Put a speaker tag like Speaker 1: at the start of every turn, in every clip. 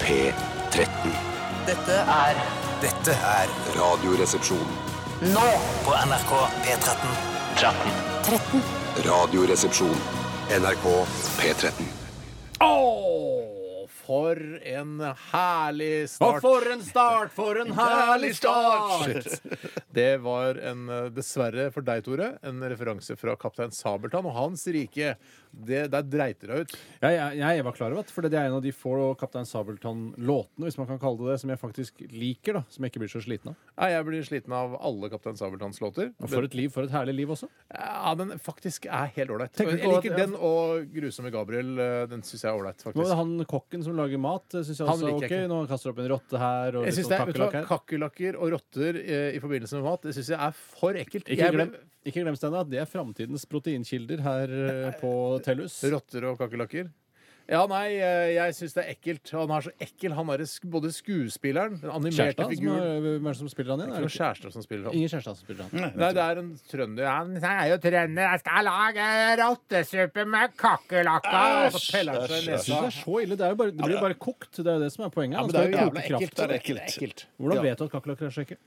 Speaker 1: P13.
Speaker 2: Dette er
Speaker 3: Dette er
Speaker 1: Radioresepsjon.
Speaker 2: nå
Speaker 3: på NRK P13.
Speaker 2: 13.
Speaker 1: Radioresepsjon. NRK P13.
Speaker 4: Åh, for en herlig
Speaker 5: Og
Speaker 4: start.
Speaker 5: for en start! For en herlig start!
Speaker 4: Shit. Det var en, eh, dessverre for deg, Tore, en referanse fra Kaptein Sabeltann og hans rike. Det, der dreit det deg ut.
Speaker 5: Ja, jeg, jeg var klar over det, for det er en av de få Kaptein Sabeltann-låtene hvis man kan kalle det det, som jeg faktisk liker. da, Som jeg ikke blir så sliten av.
Speaker 4: Nei, jeg blir sliten av alle Kaptein Sabeltanns låter.
Speaker 5: Og for et liv, for et herlig liv også.
Speaker 4: Ja, den faktisk er helt ålreit.
Speaker 5: Tenker du
Speaker 4: Jeg
Speaker 5: på at-
Speaker 4: liker den og Grusomme Gabriel. eh, Den syns jeg er ålreit,
Speaker 5: Nå er
Speaker 4: faktisk.
Speaker 5: det han kokken som lager mat. eh, Synes jeg
Speaker 4: Han
Speaker 5: også er
Speaker 4: liker
Speaker 5: ok.
Speaker 4: jeg ikke.
Speaker 5: Når han kaster opp en rotte her og
Speaker 4: Jeg synes
Speaker 5: litt sånn
Speaker 4: det er, vet du
Speaker 5: kakerlakk
Speaker 4: hva,
Speaker 5: her.
Speaker 4: Kakerlakker og rotter eh, i forbindelse med mat, det syns jeg er for ekkelt.
Speaker 5: Ikke
Speaker 4: Jeg ble-
Speaker 5: glem, ikke glem Steinar, at det er framtidens proteinkilder her eh, på Tellus.
Speaker 4: Rotter og kakerlakker? Ja, nei, eh, jeg syns det er ekkelt. Han er så ekkel, han derre sk- både skuespilleren, den animerte
Speaker 5: Kjæresta? som
Speaker 4: figuren
Speaker 5: er- Hvem er det som spiller han igjen?
Speaker 4: Det er
Speaker 5: Er det
Speaker 4: noen kjærester som spiller han.
Speaker 5: Ingen kjæreste som spiller han.
Speaker 4: Nei, det er en trønder. Han er jo trønder, jeg skal lage rottesuppe med kakerlakker! Og så peller han seg i
Speaker 5: Jeg synes det
Speaker 4: nesa.
Speaker 5: er så ille. Det, er jo bare, det blir jo bare kokt. Det er jo det som er poenget.
Speaker 6: Ja,
Speaker 5: Han
Speaker 6: men det er jo
Speaker 5: skal jo koke
Speaker 6: jævla ekkelt.
Speaker 5: kraft.
Speaker 6: Det er ekkelt.
Speaker 5: Hvordan
Speaker 6: Ja.
Speaker 5: vet du at kakerlakker er så ekkel?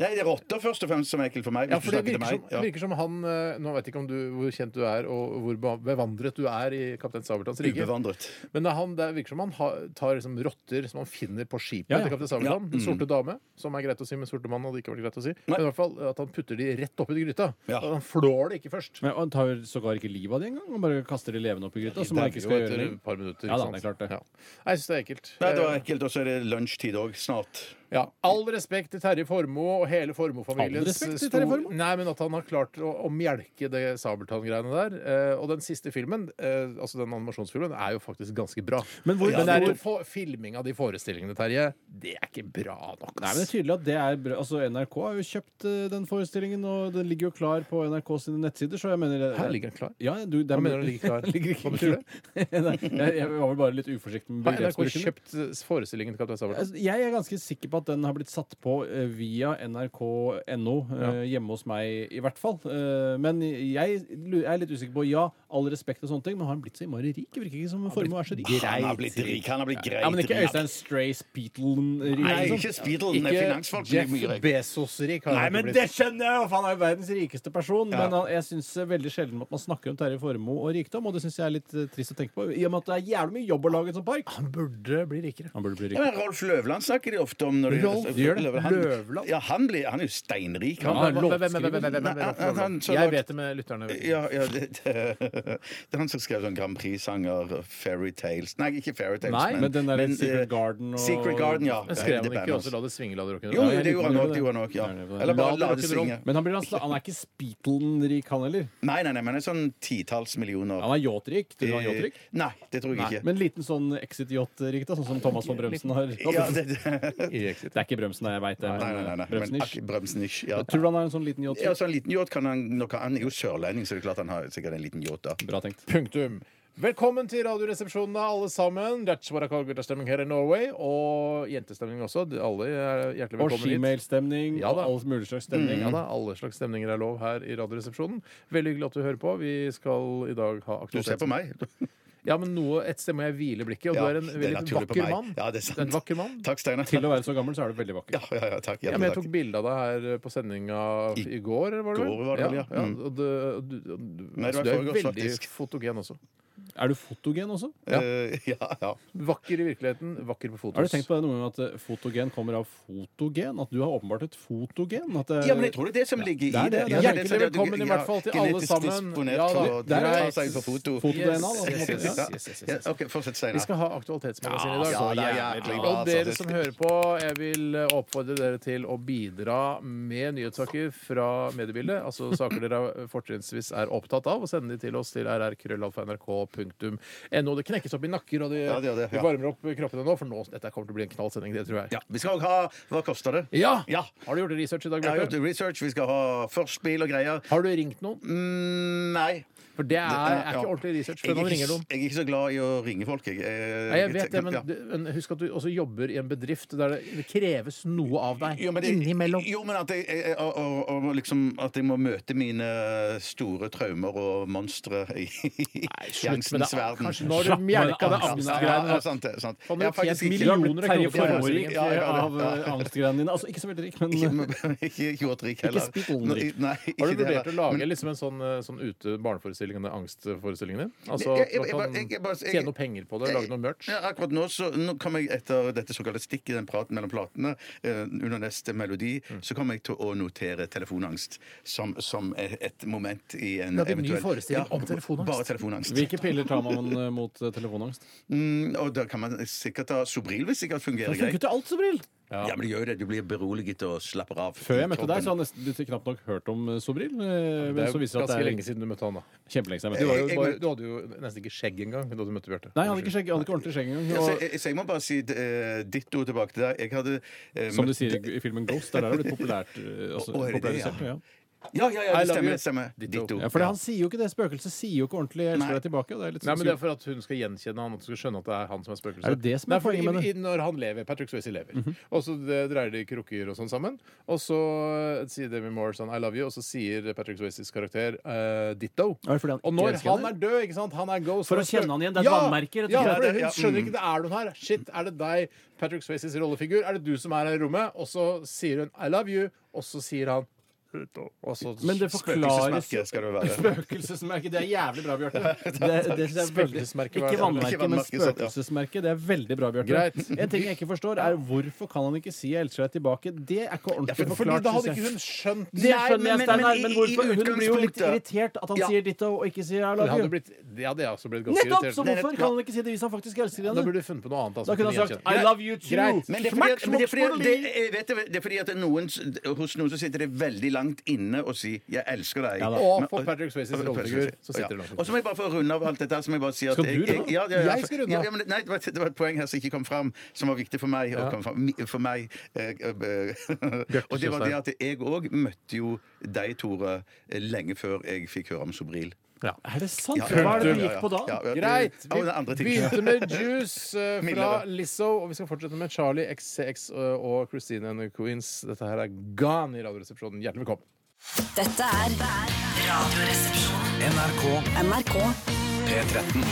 Speaker 6: Nei, det er rotter først og fremst som er ekkelt for meg.
Speaker 4: Ja,
Speaker 6: hvis
Speaker 4: for
Speaker 6: du
Speaker 4: det
Speaker 6: snakker til
Speaker 4: virker som,
Speaker 6: meg. Ja.
Speaker 4: virker som han eh, Nå vet jeg ikke om du, hvor kjent du er, og hvor ba- bevandret du er i Kaptein Sabeltanns rike.
Speaker 6: Ubevandret.
Speaker 4: Men det, er han, det virker som han har, tar liksom rotter som han finner på skipet
Speaker 5: Ja, ja. Mm.
Speaker 4: til kaptein Sabeltann. Den sorte dame, som er greit å si, men sorte mann hadde ikke vært greit å si. Men i hvert fall at han putter de rett oppi gryta.
Speaker 6: Ja.
Speaker 4: Og Han flår det ikke først.
Speaker 5: Men Han tar jo sågar ikke livet av det engang. Han bare kaster det levende opp i gryta. Som
Speaker 4: Det
Speaker 5: han
Speaker 4: er
Speaker 5: ikke
Speaker 4: jo
Speaker 5: skal
Speaker 4: etter
Speaker 5: gjøre.
Speaker 4: et par minutter. ikke
Speaker 5: Ja da,
Speaker 4: sant?
Speaker 5: det er klart det.
Speaker 4: Ja. Nei, Jeg syns det er ekkelt.
Speaker 6: Nei, det var
Speaker 4: Eh,
Speaker 6: ekkelt, og så er det lunsjtid òg snart.
Speaker 4: Ja. All respekt til Terje Formoe og hele Formoe-familiens
Speaker 5: All respekt til Terje
Speaker 4: stor-
Speaker 5: Formoe?
Speaker 4: Nei, men at han har klart å, å melke det Sabeltann-greiene der. Eh, og den siste filmen, eh, altså den animasjonsfilmen, er jo faktisk ganske bra.
Speaker 5: Men hvor-
Speaker 4: den
Speaker 5: Ja,
Speaker 4: er
Speaker 5: hvor-
Speaker 4: jo for, filming av de forestillingene, Terje. Det er ikke bra nok.
Speaker 5: Nei, men det er tydelig at det er bra. Altså, NRK har jo kjøpt eh, den forestillingen, og den ligger jo klar på NRK sine nettsider, så jeg mener eh,
Speaker 4: Her ligger den klar.
Speaker 5: Ja, du, det er-
Speaker 4: Hva mener du ligger klar? Hva betyr det?
Speaker 5: Nei, jeg, jeg var vel bare litt uforsiktig med
Speaker 4: Har NRK
Speaker 5: begrepsbruken.
Speaker 4: kjøpt eh, forestillingen til Kaptein Sabeltann?
Speaker 5: Altså, Jeg er ganske sikker på at den har blitt satt på eh, via nrk.no eh, hjemme hos meg, i hvert fall. Eh, Men jeg lu- er litt usikker på Ja, all respekt og sånne ting, men har han blitt så innmari rik? Virker ikke som formue er så rik.
Speaker 6: Han har blitt rik. Han har blitt greit
Speaker 5: Ja, men ikke
Speaker 6: rik.
Speaker 5: Øystein Strays Peatlen-rik.
Speaker 6: Nei,
Speaker 5: liksom.
Speaker 6: ikke Speedlen. Ikke finansfolk. blir
Speaker 4: Jeff
Speaker 6: mye rik.
Speaker 4: Bezos-rik har
Speaker 5: Nei,
Speaker 4: han
Speaker 5: men
Speaker 4: ikke
Speaker 5: det
Speaker 4: blitt.
Speaker 5: skjønner jeg jo! for Han er jo verdens rikeste person.
Speaker 6: Ja.
Speaker 5: Men han, jeg syns veldig sjelden at man snakker om Terje Formoe og rikdom, og det syns jeg er litt eh, trist å tenke på, i og med at det er jævlig mye jobb å lage en sånn park.
Speaker 4: Han burde bli rikere.
Speaker 5: Han burde bli
Speaker 6: Ja, men Rolf Løvland snakker de ofte om. Når de,
Speaker 4: Rolf gjør det.
Speaker 6: Han,
Speaker 4: Løvland?
Speaker 6: Ja, han, blir, han er jo steinrik.
Speaker 4: Hvem-
Speaker 6: Han,
Speaker 4: hvem-
Speaker 5: han er
Speaker 4: hvem- hvem- hvem- hvem- hvem-
Speaker 6: Nei, han- han-
Speaker 4: hvem-
Speaker 6: så
Speaker 4: Jeg
Speaker 6: rart.
Speaker 4: vet det, men lytterne vet det.
Speaker 6: ja, ja, det, det, det er han som skrev sånn Grand Prix-sanger, Fairy Tales Nei, ikke Fairy Tales,
Speaker 5: Nei, men den der Secret
Speaker 6: eh,
Speaker 5: Garden og-
Speaker 6: Secret Garden, ja.
Speaker 4: Men skrev
Speaker 6: Det er
Speaker 4: han ikke
Speaker 6: bandet
Speaker 4: også 'La det svinge, la det
Speaker 6: Jo,
Speaker 4: rock'n'roll'?
Speaker 6: jo, det
Speaker 5: litt
Speaker 6: gjorde han
Speaker 5: mindre,
Speaker 6: nok. Det gjorde han nok,
Speaker 5: Nei, det
Speaker 6: ja.
Speaker 5: var-
Speaker 6: Eller bare
Speaker 4: La
Speaker 6: la
Speaker 4: det
Speaker 6: det
Speaker 4: rock'n'roll.
Speaker 6: svinge.
Speaker 5: Men han, blir, altså- han er ikke Speatlen-rik, han heller.
Speaker 6: Nei, nei, nei, men en sånn titalls millioner.
Speaker 5: Han er yachtrik. Tror du han er yachtrik?
Speaker 6: Nei, det Eh, tror jeg ikke.
Speaker 5: Men liten sånn exit-yacht-rik, da, sånn som Thomas von Brømsen har.
Speaker 6: Ja,
Speaker 5: Det
Speaker 6: det, det.
Speaker 5: er ikke Brømsen, jeg veit det.
Speaker 6: Nei, nei, nei, nei. Men
Speaker 5: Brømsen-ish.
Speaker 6: ak- Bremsen-ish. Ja.
Speaker 5: Tror du han har en sånn liten yacht?
Speaker 6: Ja, så en liten yacht kan han nok Han er jo sørlending, så det er klart han har sikkert en liten yacht, da.
Speaker 5: Bra tenkt.
Speaker 4: Punktum. Velkommen til Radioresepsjonen, da, alle sammen. That's what I call guttastemning her i Norway. Og jentestemning også. De- Alle er hjertelig
Speaker 5: Og
Speaker 4: velkommen hit.
Speaker 5: skimailstemning
Speaker 4: Ja
Speaker 5: og
Speaker 4: da.
Speaker 5: all mulig slags
Speaker 6: Mm.
Speaker 5: stemning.
Speaker 4: Ja da, Alle slags stemninger er lov her i Radioresepsjonen. Veldig hyggelig at du hører på. Vi skal i dag ha
Speaker 6: Du ser
Speaker 4: aktivitet.
Speaker 6: på meg.
Speaker 4: Ja, men noe, Et sted må jeg hvile blikket, og
Speaker 6: Ja,
Speaker 4: du er en
Speaker 6: det er
Speaker 4: veldig
Speaker 6: naturlig på
Speaker 4: vakker
Speaker 6: meg.
Speaker 4: mann.
Speaker 6: Ja, det er sant.
Speaker 4: Du en vakker mann.
Speaker 6: Takk, Steinar.
Speaker 5: Til å være så gammel, så er du veldig vakker.
Speaker 6: Ja, ja, ja, takk.
Speaker 4: Ja,
Speaker 6: Ja,
Speaker 4: men Jeg
Speaker 6: takk.
Speaker 4: tok bilde av deg her eh, på sendinga
Speaker 6: I-
Speaker 4: i går, eller var det
Speaker 6: går var det vel, ja.
Speaker 4: ja.
Speaker 6: Mm.
Speaker 4: og du, og du, og du,
Speaker 6: Nei,
Speaker 4: altså,
Speaker 6: det var
Speaker 4: du er
Speaker 6: forgårs,
Speaker 4: veldig
Speaker 6: faktisk.
Speaker 4: fotogen også.
Speaker 5: Er du fotogen også?
Speaker 6: Eh, ja, ja.
Speaker 4: Vakker i virkeligheten, vakker på fotos.
Speaker 5: Har du tenkt på det noen gang at eh, fotogen kommer av fotogen? At du har åpenbart et fotogen? At det,
Speaker 6: ja, men jeg tror det er det som ligger i
Speaker 5: Eh, det er
Speaker 6: det.
Speaker 5: det.
Speaker 6: Ja, det er
Speaker 4: Hjertelig
Speaker 6: sånn at du-
Speaker 4: velkommen i hvert fall til
Speaker 6: ja,
Speaker 4: alle
Speaker 6: genetisk
Speaker 4: sammen.
Speaker 6: disponert
Speaker 4: Ja,
Speaker 6: for
Speaker 4: da,
Speaker 6: å ta
Speaker 4: greit.
Speaker 6: seg på
Speaker 5: Foto-
Speaker 6: foto.
Speaker 5: DNA, da,
Speaker 4: Yes, yes, yes,
Speaker 6: Ja.
Speaker 4: yes, yes, yes,
Speaker 6: Ja,
Speaker 4: yes.
Speaker 6: OK, fortsett,
Speaker 4: Vi
Speaker 6: Steinar.
Speaker 4: skal ha Aktualitetsmagasinet i dag.
Speaker 6: Ja, det er
Speaker 4: Ja,
Speaker 6: jævlig
Speaker 4: og
Speaker 6: bra, altså.
Speaker 4: dere
Speaker 6: Det-
Speaker 4: som hører på, jeg vil eh, oppfordre dere til å bidra med nyhetssaker fra mediebildet. Altså saker dere eh, fortrinnsvis er opptatt av, og sende de til oss til rrkrøllalfa.nrk.no. Det knekkes opp i nakker, og det,
Speaker 6: Ja, det gjør det,
Speaker 4: vi
Speaker 6: ja.
Speaker 4: varmer opp kroppene nå, for nå, dette kommer til å bli en knallsending, det tror jeg.
Speaker 6: Ja, vi skal òg ha Hva koster det?
Speaker 4: Ja!
Speaker 6: Ja.
Speaker 4: Har du gjort research i dag,
Speaker 6: Jeg har gjort
Speaker 4: Bjarte?
Speaker 6: research, vi skal ha førstbil og greier.
Speaker 4: Har du ringt noen?
Speaker 6: Mm, nei.
Speaker 4: For det er,
Speaker 6: Ja,
Speaker 4: er
Speaker 6: ja.
Speaker 4: ikke ordentlig research
Speaker 6: Jeg
Speaker 4: før
Speaker 6: er
Speaker 4: man
Speaker 6: ikke-
Speaker 4: ringer noen.
Speaker 6: Jeg er ikke så glad i å ringe folk, jeg. Eh,
Speaker 4: Nei, jeg vet det, men,
Speaker 6: ja.
Speaker 4: men husk at du også jobber i en bedrift der det- det kreves noe av deg
Speaker 6: Jo, men det-
Speaker 4: innimellom.
Speaker 6: Jo, men at jeg, jeg, jeg- og, og, og liksom, at jeg må møte mine store traumer og monstre i, i
Speaker 4: slutt Men det
Speaker 6: angstens
Speaker 4: er-
Speaker 6: verden.
Speaker 4: kanskje når du
Speaker 5: Slapp av med
Speaker 4: mjelka det
Speaker 5: angst.
Speaker 4: angstgreiene
Speaker 6: Ja, altså, ja, sant det. Sant.
Speaker 4: Sånn,
Speaker 6: Jeg har
Speaker 4: du har
Speaker 6: faktisk
Speaker 4: tjent
Speaker 6: ikke-
Speaker 5: Du har blitt
Speaker 4: Millioner av
Speaker 5: Terje
Speaker 4: kroner for
Speaker 5: Formoe-rik
Speaker 6: Ja, ja, ja.
Speaker 5: av eh, angstgreiene dine. Altså ikke så veldig rik, men
Speaker 6: Ikke, ikke jordrik heller.
Speaker 5: spittelrik.
Speaker 6: Nei,
Speaker 4: Har
Speaker 6: ikke
Speaker 4: du
Speaker 6: det
Speaker 4: vurdert å
Speaker 6: heller.
Speaker 4: lage liksom en sånn, eh, sånn ute barneforestilling enn angstforestillingen din? Altså
Speaker 6: Jeg- jeg-
Speaker 4: at
Speaker 6: jeg-
Speaker 4: man
Speaker 6: jeg- jeg-
Speaker 4: kan
Speaker 6: bare- jeg-
Speaker 4: tjene noe penger på det, lage noe merch?
Speaker 6: Ja, akkurat nå, så, nå kommer jeg etter dette såkalte stikket, den praten mellom platene, eh, under neste melodi,
Speaker 5: Mm.
Speaker 6: så kommer jeg til å notere telefonangst som, som et, et moment i en
Speaker 4: Lage en ny
Speaker 6: eventuell
Speaker 4: forestilling om telefonangst.
Speaker 6: Bare telefonangst.
Speaker 5: Hvilke piller tar man eh, mot eh, telefonangst?
Speaker 6: Mm, og da kan man sikkert ta Sobril, hvis sikkert fungerer
Speaker 5: Det funker
Speaker 6: greit.
Speaker 5: til alt, Sobril!
Speaker 6: Ja. men det gjør jo det. Du blir beroliget og slapper av.
Speaker 5: Før jeg møtte
Speaker 6: Kroppen.
Speaker 5: deg, så hadde jeg nesten litt knapt nok hørt om eh, Sobril. eh,
Speaker 4: Det
Speaker 5: Men
Speaker 4: er
Speaker 5: så
Speaker 4: jo
Speaker 5: viser det
Speaker 4: ganske
Speaker 5: at
Speaker 4: lenge
Speaker 5: det er
Speaker 4: siden du møtte han, da.
Speaker 5: kjempelenge siden
Speaker 4: Du,
Speaker 5: jeg
Speaker 4: var jo
Speaker 5: møtte deg.
Speaker 6: Jeg- jeg
Speaker 4: bare,
Speaker 6: møtte-
Speaker 4: du hadde jo nesten ikke skjegg engang da du møtte Bjarte.
Speaker 5: Nei, jeg hadde ikke, skjegg, jeg hadde ikke ordentlig skjegg
Speaker 6: Ja, så,
Speaker 5: engang.
Speaker 6: jeg, så jeg må bare si eh, ditto tilbake til deg. Jeg hadde eh,
Speaker 5: Og Som
Speaker 6: møtt-
Speaker 5: du sier i i filmen Ghost, der er det blitt populært. eh, Altså,
Speaker 6: Å, er det det, ja?
Speaker 5: popularisert, ja.
Speaker 6: Ja, ja, ja,
Speaker 4: I love
Speaker 6: det stemmer.
Speaker 4: you.
Speaker 6: det stemmer.
Speaker 4: Ditto.
Speaker 6: Ditto.
Speaker 5: Ja, for det, han sier jo ikke det. Spøkelset sier jo ikke ordentlig 'jeg elsker
Speaker 6: Nei.
Speaker 5: deg tilbake'. Og det er litt
Speaker 4: Nei, men
Speaker 5: sånn
Speaker 4: Det er
Speaker 5: skummelt.
Speaker 4: for at hun skal gjenkjenne han, at hun skal skjønne at det er han som er spøkelset.
Speaker 5: Er det det som er
Speaker 4: Nei, for i-
Speaker 5: poenget med det? Mhm.
Speaker 4: i- Når han lever, Patrick Swayze lever. Og så det- dreier de krukker og sånn sammen. Og så eh, sier Demi Moore sånn I love you, og så sier Patrick Swayzes karakter eh, ditto.
Speaker 5: Er det fordi
Speaker 4: og
Speaker 5: han ikke
Speaker 4: når
Speaker 5: elsker
Speaker 4: han er
Speaker 5: henne?
Speaker 4: død, ikke sant, han er ghost
Speaker 5: For å
Speaker 4: han er spøk-
Speaker 5: kjenne han igjen, det er et vannmerke, rett og
Speaker 4: Ja,
Speaker 5: slett.
Speaker 4: for hun
Speaker 6: Ja,
Speaker 4: skjønner ikke det er noen her. Shit, er det deg, Patrick Swayzes rollefigur? Er det du som er her i rommet? Og så sier hun I love you, og så sier han ditto. Og så
Speaker 5: Men det forklares
Speaker 6: Spøkelsesmerke skal det være.
Speaker 5: Spøkelsesmerke. Det er jævlig bra, Bjarte. Det, det synes jeg er veldig-
Speaker 4: Spøkelsesmerke, hva er
Speaker 5: Ikke
Speaker 4: det?
Speaker 5: vannmerke, men
Speaker 6: Ikke vannmerke, sant,
Speaker 5: spøkelsesmerke. Det er veldig bra, Bjarte.
Speaker 4: Greit.
Speaker 5: En ting jeg ikke forstår, er hvorfor kan han ikke si 'jeg elsker deg tilbake'? Det er ikke ordentlig
Speaker 4: Fordi
Speaker 5: forklart.
Speaker 4: da hadde
Speaker 5: synes jeg.
Speaker 4: ikke hun skjønt
Speaker 5: Det
Speaker 6: Nei,
Speaker 5: skjønner jeg,
Speaker 6: men-
Speaker 5: Steinar,
Speaker 6: men i-
Speaker 5: men
Speaker 6: i
Speaker 5: hvorfor? Hun blir jo litt
Speaker 6: utgangspunktet-
Speaker 5: irritert at han
Speaker 6: Ja.
Speaker 5: sier ditto og ikke sier
Speaker 4: Det
Speaker 5: 'I love
Speaker 4: hadde
Speaker 5: you'.
Speaker 4: blitt, det hadde jeg også blitt ganske
Speaker 5: Nettopp!
Speaker 4: irritert.
Speaker 5: Så hvorfor
Speaker 6: Nettopp,
Speaker 5: kan han ikke si det hvis han faktisk
Speaker 4: Da
Speaker 5: elsker henne?
Speaker 4: burde du funnet på noe annet. altså,
Speaker 5: Da kunne han
Speaker 4: jeg,
Speaker 5: sagt 'I love you too'.
Speaker 4: Greit,
Speaker 6: Men det er fordi at, men det er fordi at, det, jeg vet, det, det er fordi at noen, hos noen så sitter det veldig langt inne å si 'jeg elsker deg'.
Speaker 5: da.
Speaker 6: Men-
Speaker 4: Og for Patrick Swayzes
Speaker 6: og-
Speaker 4: rollefigur, så sitter det
Speaker 6: Ja.
Speaker 4: langt inne.
Speaker 6: Og så må jeg bare få runde av alt dette. her, Så må jeg bare si at
Speaker 5: Skal du
Speaker 6: jeg,
Speaker 5: runde av?
Speaker 6: ja, ja, ja,
Speaker 4: Jeg skal runde av.
Speaker 6: Ja, men, nei, det, var, et- det var et poeng her som ikke kom fram, som var viktig for meg. Og, kom fram, mi- for meg eh, eh, og det var det at jeg òg møtte jo deg, Tore, lenge før jeg fikk høre om Sobril.
Speaker 5: Er det sant?
Speaker 6: Ja, ja,
Speaker 5: Hva er det
Speaker 6: ja,
Speaker 5: du
Speaker 6: ja,
Speaker 5: gikk på da?
Speaker 6: ja, ja,
Speaker 4: Greit.
Speaker 6: Ja, og det er andre
Speaker 4: Vi
Speaker 6: ting.
Speaker 4: begynte med Juice eh, fra
Speaker 6: Middelhavet.
Speaker 4: Lizzo, og vi skal fortsette med Charlie XCX og- eh, og Christine and the Queens. Dette her er Gone i Radioresepsjonen. Hjertelig velkommen.
Speaker 7: Dette er Radioresepsjonen.
Speaker 3: NRK
Speaker 7: NRK
Speaker 3: P13.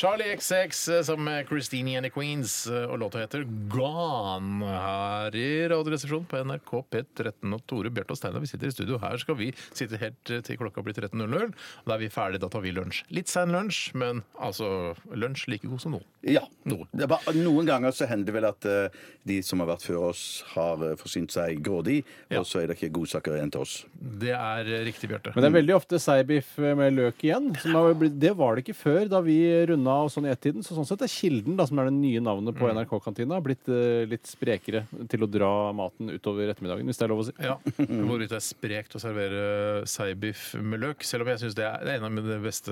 Speaker 4: Charlie XX eh, sammen med Christine and the Queens, eh, og låta heter Gone her i Radioresepsjonen på NRK P13. Og Tore Bjarte og Steinar, vi sitter i studio. Her skal vi sitte helt eh, til klokka blir 13.00. Og Da er vi ferdige, da tar vi lunsj. Litt sein lunsj, men altså lunsj like god som noen.
Speaker 6: Ja.
Speaker 4: Noen.
Speaker 6: Det er bare, noen ganger så hender det vel at eh, de som har vært før oss, har eh, forsynt seg grådig, og så er det ikke godsaker igjen til oss.
Speaker 4: Det er eh, riktig, Bjarte.
Speaker 5: Men det er veldig ofte seibiff eh, med løk igjen. Som har blitt, det var det ikke før da vi runda av sånn i ett-tiden. Så sånn sett er Kilden, da, som er det nye navnet på
Speaker 4: Mm.
Speaker 5: NRK-kantina, blitt eh, litt sprekere til å dra maten utover ettermiddagen, hvis det er lov å si.
Speaker 4: Ja. Hvorvidt det er sprekt å servere seibiff med løk. Selv om jeg syns det er det er en av mine beste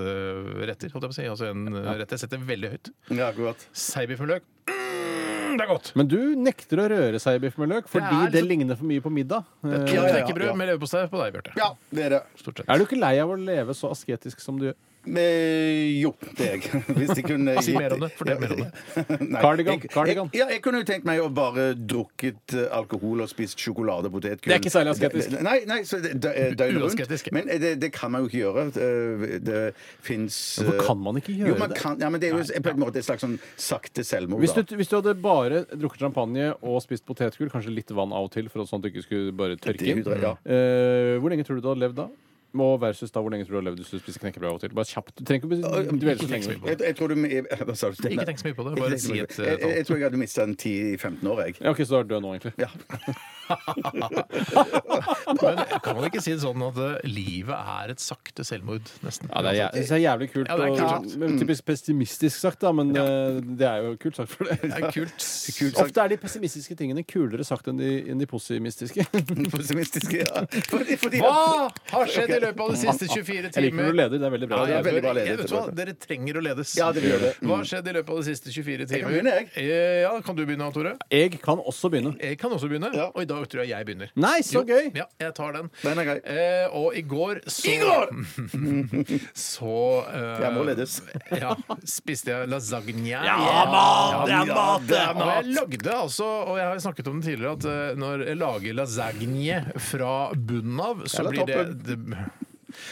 Speaker 4: retter. Holdt jeg på å si. altså en eh, rett jeg setter veldig høyt.
Speaker 6: Ja, akkurat.
Speaker 4: Seibiff med løk, mm, det er godt!
Speaker 5: Men du nekter å røre seibiff med løk fordi det,
Speaker 4: Det er liksom-
Speaker 5: ligner for mye på middag.
Speaker 4: To
Speaker 5: Eh,
Speaker 6: Ja, ja, ja,
Speaker 4: knekkebrød
Speaker 6: ja.
Speaker 4: med leverpostei på deg, Bjarte.
Speaker 6: Ja, det er det.
Speaker 4: Stort
Speaker 5: Er
Speaker 4: sett.
Speaker 5: du ikke lei av å leve så asketisk som du gjør?
Speaker 6: Men, jo, det er jeg. Hvis jeg kunne
Speaker 4: Si mer om det. Fortell mer om det.
Speaker 6: Nei,
Speaker 5: Cardigan,
Speaker 6: jeg-
Speaker 5: cardigan.
Speaker 6: Jeg, ja, jeg kunne jo tenkt meg å bare drukket eh, alkohol og spist sjokolade og potetgull.
Speaker 5: Det er ikke særlig asketisk.
Speaker 6: Nei, nei så det, det, er døgnet
Speaker 4: Uasketisk.
Speaker 6: rundt. Men eh, det, det kan man jo ikke gjøre. Det, det fins
Speaker 5: Hvorfor kan man ikke gjøre
Speaker 6: jo, man
Speaker 5: det?
Speaker 6: Kan, ja, men det er jo på en måte et slags sånn sakte selvmord.
Speaker 5: Hvis
Speaker 6: da.
Speaker 5: du, hvis du hadde bare drukket champagne og spist potetgull, kanskje litt vann av og til, for sånn at du ikke skulle bare tørke inn,
Speaker 6: Dehydrert, ja.
Speaker 5: eh, hvor lenge tror du du hadde levd da? Og versus da, hvor lenge tror du du hadde levd hvis du spiser knekkebrød av og til? Bare kjapt. Du trenger ikke å
Speaker 4: Mm.
Speaker 5: dvele så lenge.
Speaker 6: Jeg, jeg tror du jeg, Hva sa du?
Speaker 4: Ikke tenk så mye på det,
Speaker 6: Ikke
Speaker 4: bare
Speaker 6: tenk så
Speaker 4: si
Speaker 6: mye på
Speaker 4: et,
Speaker 6: det.
Speaker 4: eh,
Speaker 6: jeg, jeg tror jeg hadde mista en 10-15 år, jeg.
Speaker 5: Ja, OK, så du er død nå, egentlig.
Speaker 6: Ja.
Speaker 4: Men kan man ikke si det sånn at eh, livet er et sakte selvmord, nesten?
Speaker 5: Ja, det er, jæ- det er jævlig kult.
Speaker 4: Ja, det er kult
Speaker 5: og, men typisk pessimistisk sagt, da, men eh, det er jo kult sagt for det.
Speaker 4: Det er kult.
Speaker 6: Kult sagt.
Speaker 5: Ofte er de pessimistiske tingene kulere sagt enn de, enn de pessimistiske.
Speaker 6: Pessimistiske, ja. Fordi, fordi
Speaker 4: Hva har skjedd i løpet av de siste 24
Speaker 5: Jeg liker når du
Speaker 4: timer?
Speaker 5: leder, det er veldig bra.
Speaker 4: Ja,
Speaker 6: det er
Speaker 4: jeg
Speaker 6: veldig
Speaker 4: bør-
Speaker 6: bra ledet,
Speaker 4: jeg vet hva,
Speaker 6: Petter.
Speaker 4: Dere trenger å ledes.
Speaker 6: Ja, dere gjør det.
Speaker 4: Hva har skjedd i løpet av de siste 24 timer?
Speaker 6: kan begynne, jeg.
Speaker 4: Eh, Ja, Kan du begynne, Tore?
Speaker 5: Jeg kan også begynne.
Speaker 4: Jeg kan også begynne,
Speaker 6: Ja.
Speaker 4: og i dag tror jeg jeg begynner.
Speaker 5: Nei, så
Speaker 4: Jo,
Speaker 5: gøy!
Speaker 4: Ja, jeg tar den.
Speaker 6: Den er grei.
Speaker 4: Eh, og i går så I går! så eh,
Speaker 6: Jeg må ledes.
Speaker 4: ja, spiste jeg lasagne.
Speaker 5: mann! Det er
Speaker 4: Og jeg lagde altså, og jeg har jo snakket om det tidligere, at eh, når jeg lager lasagne fra bunnen av, så
Speaker 6: Eller
Speaker 4: blir det,
Speaker 6: toppen.
Speaker 4: det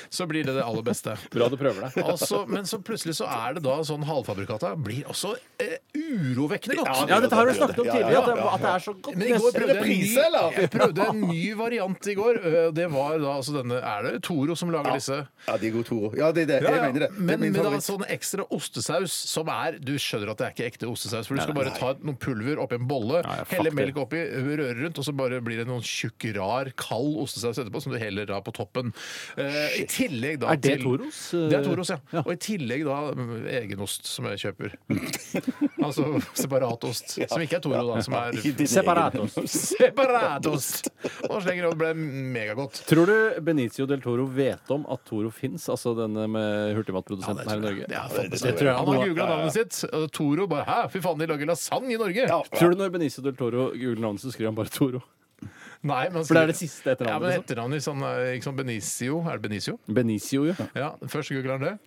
Speaker 4: så blir det det aller beste.
Speaker 5: Bra du prøver deg.
Speaker 4: Altså, men så plutselig så er det da sånn halvfabrikata blir også eh, urovekkende godt.
Speaker 5: Ja, dette har vi snakket om
Speaker 6: Ja, ja,
Speaker 5: tidligere, at det,
Speaker 6: ja, ja.
Speaker 5: at det er så godt.
Speaker 4: Men i går prøvde
Speaker 5: nesten-
Speaker 4: jeg, en ny, jeg prøvde en ny variant i går. eh, Det var da altså denne Er det Toro som lager disse?
Speaker 6: Ja, de er gode Toro. Ja, det er det. Jeg mener det. det er
Speaker 4: Men
Speaker 6: min
Speaker 4: med da
Speaker 6: favoritt.
Speaker 4: sånn ekstra ostesaus som er Du skjønner at det er ikke ekte ostesaus, for du skal bare ta noen pulver oppi en bolle,
Speaker 8: Nei, fuck
Speaker 4: helle
Speaker 8: det.
Speaker 4: melk oppi, røre rundt, og så bare blir det noen tjukk, rar, kald ostesaus etterpå som du heller da på toppen. Eh, I tillegg da
Speaker 5: Er det
Speaker 4: til-
Speaker 5: Toros?
Speaker 4: Det er Toros, ja. Og i tillegg da mm, egenost som jeg kjøper. altså separatost, som ikke er Toro, da, som er
Speaker 5: Separatos.
Speaker 4: Separatost! Og slenger over, det ble megagodt.
Speaker 5: Tror du Benicio del Toro vet om at Toro fins, altså denne med hurtigmatprodusenten her i Norge?
Speaker 4: Ja, det
Speaker 5: det tror jeg.
Speaker 4: Han har googla navnet sitt. og Toro bare 'hæ, fy faen, de lager lasagne i Norge'.
Speaker 5: Tror du når Benicio del Toro googler navnet, så skriver han bare Toro?
Speaker 4: Nei, men altså-
Speaker 5: For det er det siste etternavnet,
Speaker 4: Ja, men
Speaker 5: liksom.
Speaker 4: etternavnet liksom, er ikke sånn Benicio. Er det Benicio?
Speaker 5: Benicio, jo.
Speaker 4: Ja, Først googler han det,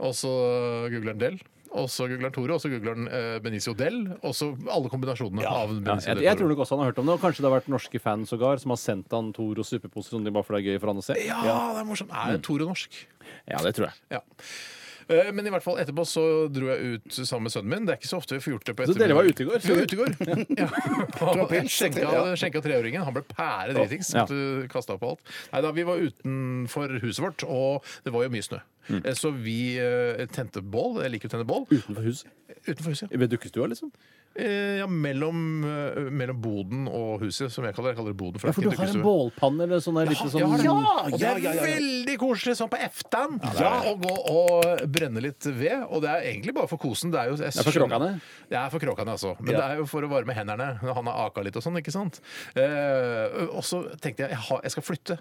Speaker 4: og så googler han Del. Og så googler han Tore, og så googler han eh, Benicio Del. Og så alle kombinasjonene av Benicio
Speaker 5: Jeg,
Speaker 4: Del
Speaker 5: jeg tror
Speaker 4: Toro.
Speaker 5: nok også han har hørt om det, og kanskje det har vært norske fans sågar som har sendt han Toro suppeposer som de bare for det Mm. er gøy for han å se.
Speaker 4: Ja, det er morsomt. Er Tore norsk?
Speaker 8: Ja, det tror jeg.
Speaker 4: Ja. Eh, Men i hvert fall etterpå så dro jeg ut sammen med sønnen min. Det er ikke så ofte vi får gjort det på
Speaker 5: Så dere var ute i går?
Speaker 4: Vi var ute i går. Ja. Og jeg Skjenka, skjenka treåringen. Han ble pære dritings.
Speaker 5: Ja.
Speaker 4: Måtte kaste opp på alt. Nei da, vi var utenfor huset vårt, og det var jo mye snø.
Speaker 5: Mm.
Speaker 4: Eh, Så vi eh, tente bål. Jeg liker å tenne bål.
Speaker 5: Utenfor huset?
Speaker 4: Utenfor huset, ja.
Speaker 5: Ved dukkestua, liksom?
Speaker 4: Eh, ja mellom, eh, mellom boden og huset, som jeg kaller det. Jeg kaller det boden. For det
Speaker 5: Ja,
Speaker 4: er
Speaker 5: for du
Speaker 4: ikke
Speaker 5: har en
Speaker 4: dukkestue.
Speaker 5: bålpanne eller sånn der
Speaker 4: Ja,
Speaker 5: lite
Speaker 4: jeg
Speaker 5: sånn
Speaker 4: har det. og det
Speaker 6: ja,
Speaker 4: er
Speaker 6: ja, ja, ja.
Speaker 4: veldig koselig sånn på eftan ja, å gå og brenne litt ved. Og det er egentlig bare for kosen. Det er, jo, jeg
Speaker 5: er for
Speaker 4: skjønner-
Speaker 5: kråkene.
Speaker 4: Det er for kråkene, altså. Men det er jo for å varme hendene når han har aka litt og sånn, ikke sant. Eh, og så tenkte jeg jeg, har, jeg skal flytte.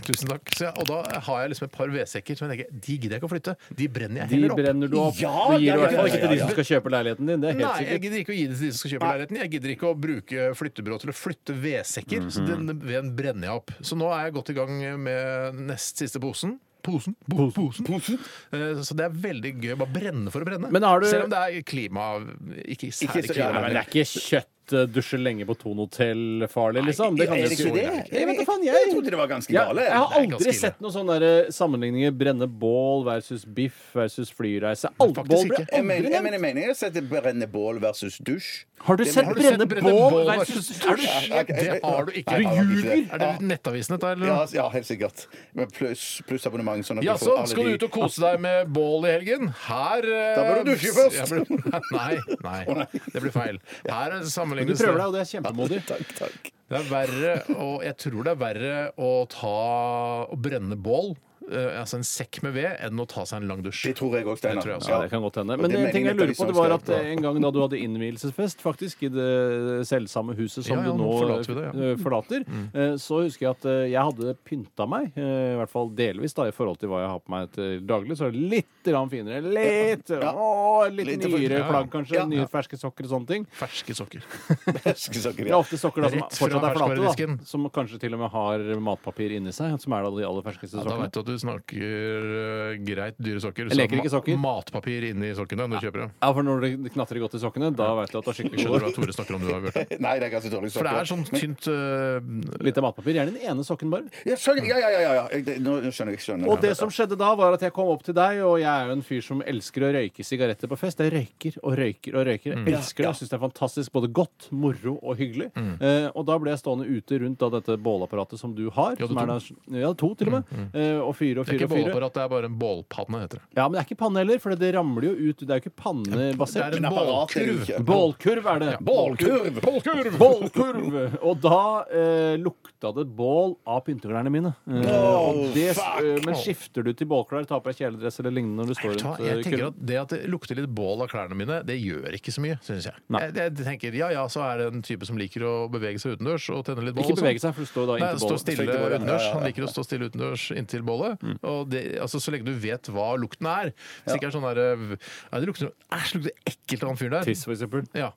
Speaker 4: Tusen takk. Så jeg, og da har jeg liksom et par vedsekker som jeg tenker de gidder jeg ikke å flytte. De brenner jeg
Speaker 5: De
Speaker 4: heller opp.
Speaker 5: brenner du opp.
Speaker 6: Ja,
Speaker 5: du gir
Speaker 6: ja,
Speaker 5: i hvert
Speaker 6: ja,
Speaker 5: fall
Speaker 6: ja,
Speaker 5: ikke til de
Speaker 6: ja,
Speaker 5: som skal kjøpe leiligheten din. Det er helt
Speaker 4: Nei, jeg
Speaker 5: sikkert.
Speaker 4: gidder ikke å gi det til de som skal kjøpe leiligheten. Jeg gidder ikke å bruke flyttebyrå til å flytte vedsekker.
Speaker 5: Mhm.
Speaker 4: Så den veden brenner jeg opp. Så nå er jeg godt i gang med nest siste posen. Posen, po posen. Eh, Så det er veldig gøy. Bare brenne for å brenne.
Speaker 5: Men har du-
Speaker 4: Selv om det er klima Ikke særlig
Speaker 6: så-
Speaker 5: Nei,
Speaker 4: klima.
Speaker 5: men det er ikke kjøtt eh, dusje lenge på Thon Hotel farlig, liksom. Det kan
Speaker 6: Er
Speaker 5: du
Speaker 6: det
Speaker 5: ikke
Speaker 6: ikke det?
Speaker 5: Jeg vet da faen, jeg-
Speaker 6: jeg trodde det var ganske
Speaker 5: Ja,
Speaker 6: gale.
Speaker 5: jeg har
Speaker 4: Det er ganske
Speaker 5: aldri
Speaker 4: ille.
Speaker 5: sett noen sånne der eh, sammenligninger. Brenne bål versus biff versus flyreise. Alt
Speaker 4: Faktisk
Speaker 5: bål blir
Speaker 4: ikke.
Speaker 6: Jeg mener,
Speaker 5: aldri nevnt.
Speaker 6: jeg mener, jeg mener jeg har sett et brenne bål versus dusj.
Speaker 5: Har du sett
Speaker 4: Har du
Speaker 5: brenne
Speaker 4: sett
Speaker 5: bål versus dusj?
Speaker 4: dusj? Det har du ikke.
Speaker 6: Nei, jeg har ikke det.
Speaker 4: Er det nettavisen dette, eller?
Speaker 6: Ja, ja, helt sikkert. Men pluss pluss abonnement. Sånn at
Speaker 4: Ja,
Speaker 6: du
Speaker 4: så
Speaker 6: får alle
Speaker 4: skal du
Speaker 6: de-
Speaker 4: ut og kose deg med bål i helgen. Her eh,
Speaker 6: Da bør du dusje først.
Speaker 4: jeg blir- Nei, nei, det blir feil. Her er
Speaker 5: Du
Speaker 4: sammenlignes
Speaker 5: prøver deg, og det er kjempemodig.
Speaker 6: Takk, takk.
Speaker 4: Det er verre, og jeg tror det er verre å ta å brenne bål, eh, altså en sekk med ved, enn å ta seg en lang dusj.
Speaker 6: Det tror jeg òg, Steinar.
Speaker 4: Det tror jeg også.
Speaker 5: Ja, det kan godt hende.
Speaker 6: Og
Speaker 5: Men
Speaker 6: det
Speaker 5: en
Speaker 6: mener
Speaker 5: ting jeg
Speaker 6: jeg
Speaker 5: lurer
Speaker 6: at de
Speaker 5: på, det
Speaker 6: som
Speaker 5: var
Speaker 6: skal
Speaker 5: at eh, en gang da du hadde innvielsesfest, faktisk, i det selvsamme huset som
Speaker 4: Ja, ja,
Speaker 5: du
Speaker 4: nå
Speaker 5: nå
Speaker 4: forlater vi det, ja. Mm.
Speaker 5: eh, forlater, eh, så husker jeg at eh, jeg hadde pynta meg, eh, i hvert fall delvis, da, i forhold til hva jeg har på meg til daglig, så er det litt grann finere. Litt! Å, litt
Speaker 6: Litt for-
Speaker 5: nyere
Speaker 4: ja, ja.
Speaker 5: plagg, kanskje. Nye ferske sokker og sånne ting.
Speaker 4: Ferske sokker.
Speaker 6: Skal
Speaker 5: Det er ofte sokker da, som
Speaker 4: Rett fra
Speaker 5: fortsatt er flate, da,
Speaker 4: ferskvaredisken.
Speaker 5: som kanskje til og med har matpapir inni seg, som er da de aller ferskeste
Speaker 4: Da
Speaker 5: sokkene.
Speaker 4: vet du at du snakker eh, greit dyre sokker.
Speaker 5: Jeg
Speaker 4: så
Speaker 5: leker ikke
Speaker 4: ma-
Speaker 5: sokker.
Speaker 4: Matpapir inni sokkene når du kjøper dem.
Speaker 5: Ja, for når det knatrer godt i sokkene, da vet du at det er skikkelig
Speaker 4: Skjønner du hva Tore snakker om du har gjort? det?
Speaker 6: Nei, det er ganske dårlig
Speaker 4: For det
Speaker 6: sokker.
Speaker 4: er sånn tynt eh,
Speaker 5: Lite matpapir. Gjerne den ene sokken, bare.
Speaker 6: ja, skjønner, ja, ja, ja, ja, ja. Jeg- det- Nå nå skjønner jeg. skjønner jeg.
Speaker 5: Og det som skjedde da, var at jeg kom opp til deg, og jeg er jo en fyr som elsker å røyke sigaretter på fest. Jeg røyker og røyker og røyker.
Speaker 4: Mm.
Speaker 5: Jeg elsker det. Jeg syns det er fantastisk. Både godt, moro og hyggelig.
Speaker 4: Mm.
Speaker 5: Eh, og da ble jeg stående ute rundt da, dette bålapparatet som du har.
Speaker 4: Ja,
Speaker 5: som
Speaker 4: det
Speaker 5: er
Speaker 4: er Mm,
Speaker 5: da- ja, to til og med. Eh, og fyre og
Speaker 4: Det er
Speaker 5: fyre
Speaker 4: ikke
Speaker 5: og fyre.
Speaker 4: bålapparat, det er bare en bålpanne, heter det.
Speaker 5: Ja, men det er ikke panne heller, for det ramler jo ut. Det er jo ikke
Speaker 4: Det er
Speaker 5: pannebasert.
Speaker 4: en
Speaker 6: Men apparat er det
Speaker 4: bålkurv.
Speaker 6: jo ikke.
Speaker 5: Bålkurv er det.
Speaker 6: Bålkurv!
Speaker 4: Bålkurv!
Speaker 5: Bålkurv! Og da eh, lukta det bål av pynteklærne mine. Eh, og det, eh, men skifter du til bålklær, tar på deg kjeledress eller lignende når du står
Speaker 4: Vet du hva,
Speaker 5: rundt eh,
Speaker 4: jeg tenker
Speaker 5: kurven?
Speaker 4: at Det at det lukter litt bål av klærne mine, det gjør ikke så mye, syns jeg.
Speaker 5: Nei.
Speaker 4: jeg. Jeg tenker, Ja ja, så er det en type som liker å bevege seg utendørs og tenne litt bål.
Speaker 5: Ikke
Speaker 4: og sånn.
Speaker 5: bevege seg, for du står da
Speaker 4: Nei,
Speaker 5: inntil
Speaker 4: stå
Speaker 5: bålet.
Speaker 4: stille
Speaker 6: Stå inntil bålet, ja,
Speaker 4: utendørs.
Speaker 6: ja, ja.
Speaker 4: Han liker å stå stille utendørs inntil bålet. det.
Speaker 5: Mm.
Speaker 4: Og det, altså, så lenge du vet hva lukten er. Hvis det ikke er sånn der eh, ja, det lukter, noe- Æsj, det lukter ekkelt av han fyren der.
Speaker 5: Tiss, for eksempel.
Speaker 4: Ja.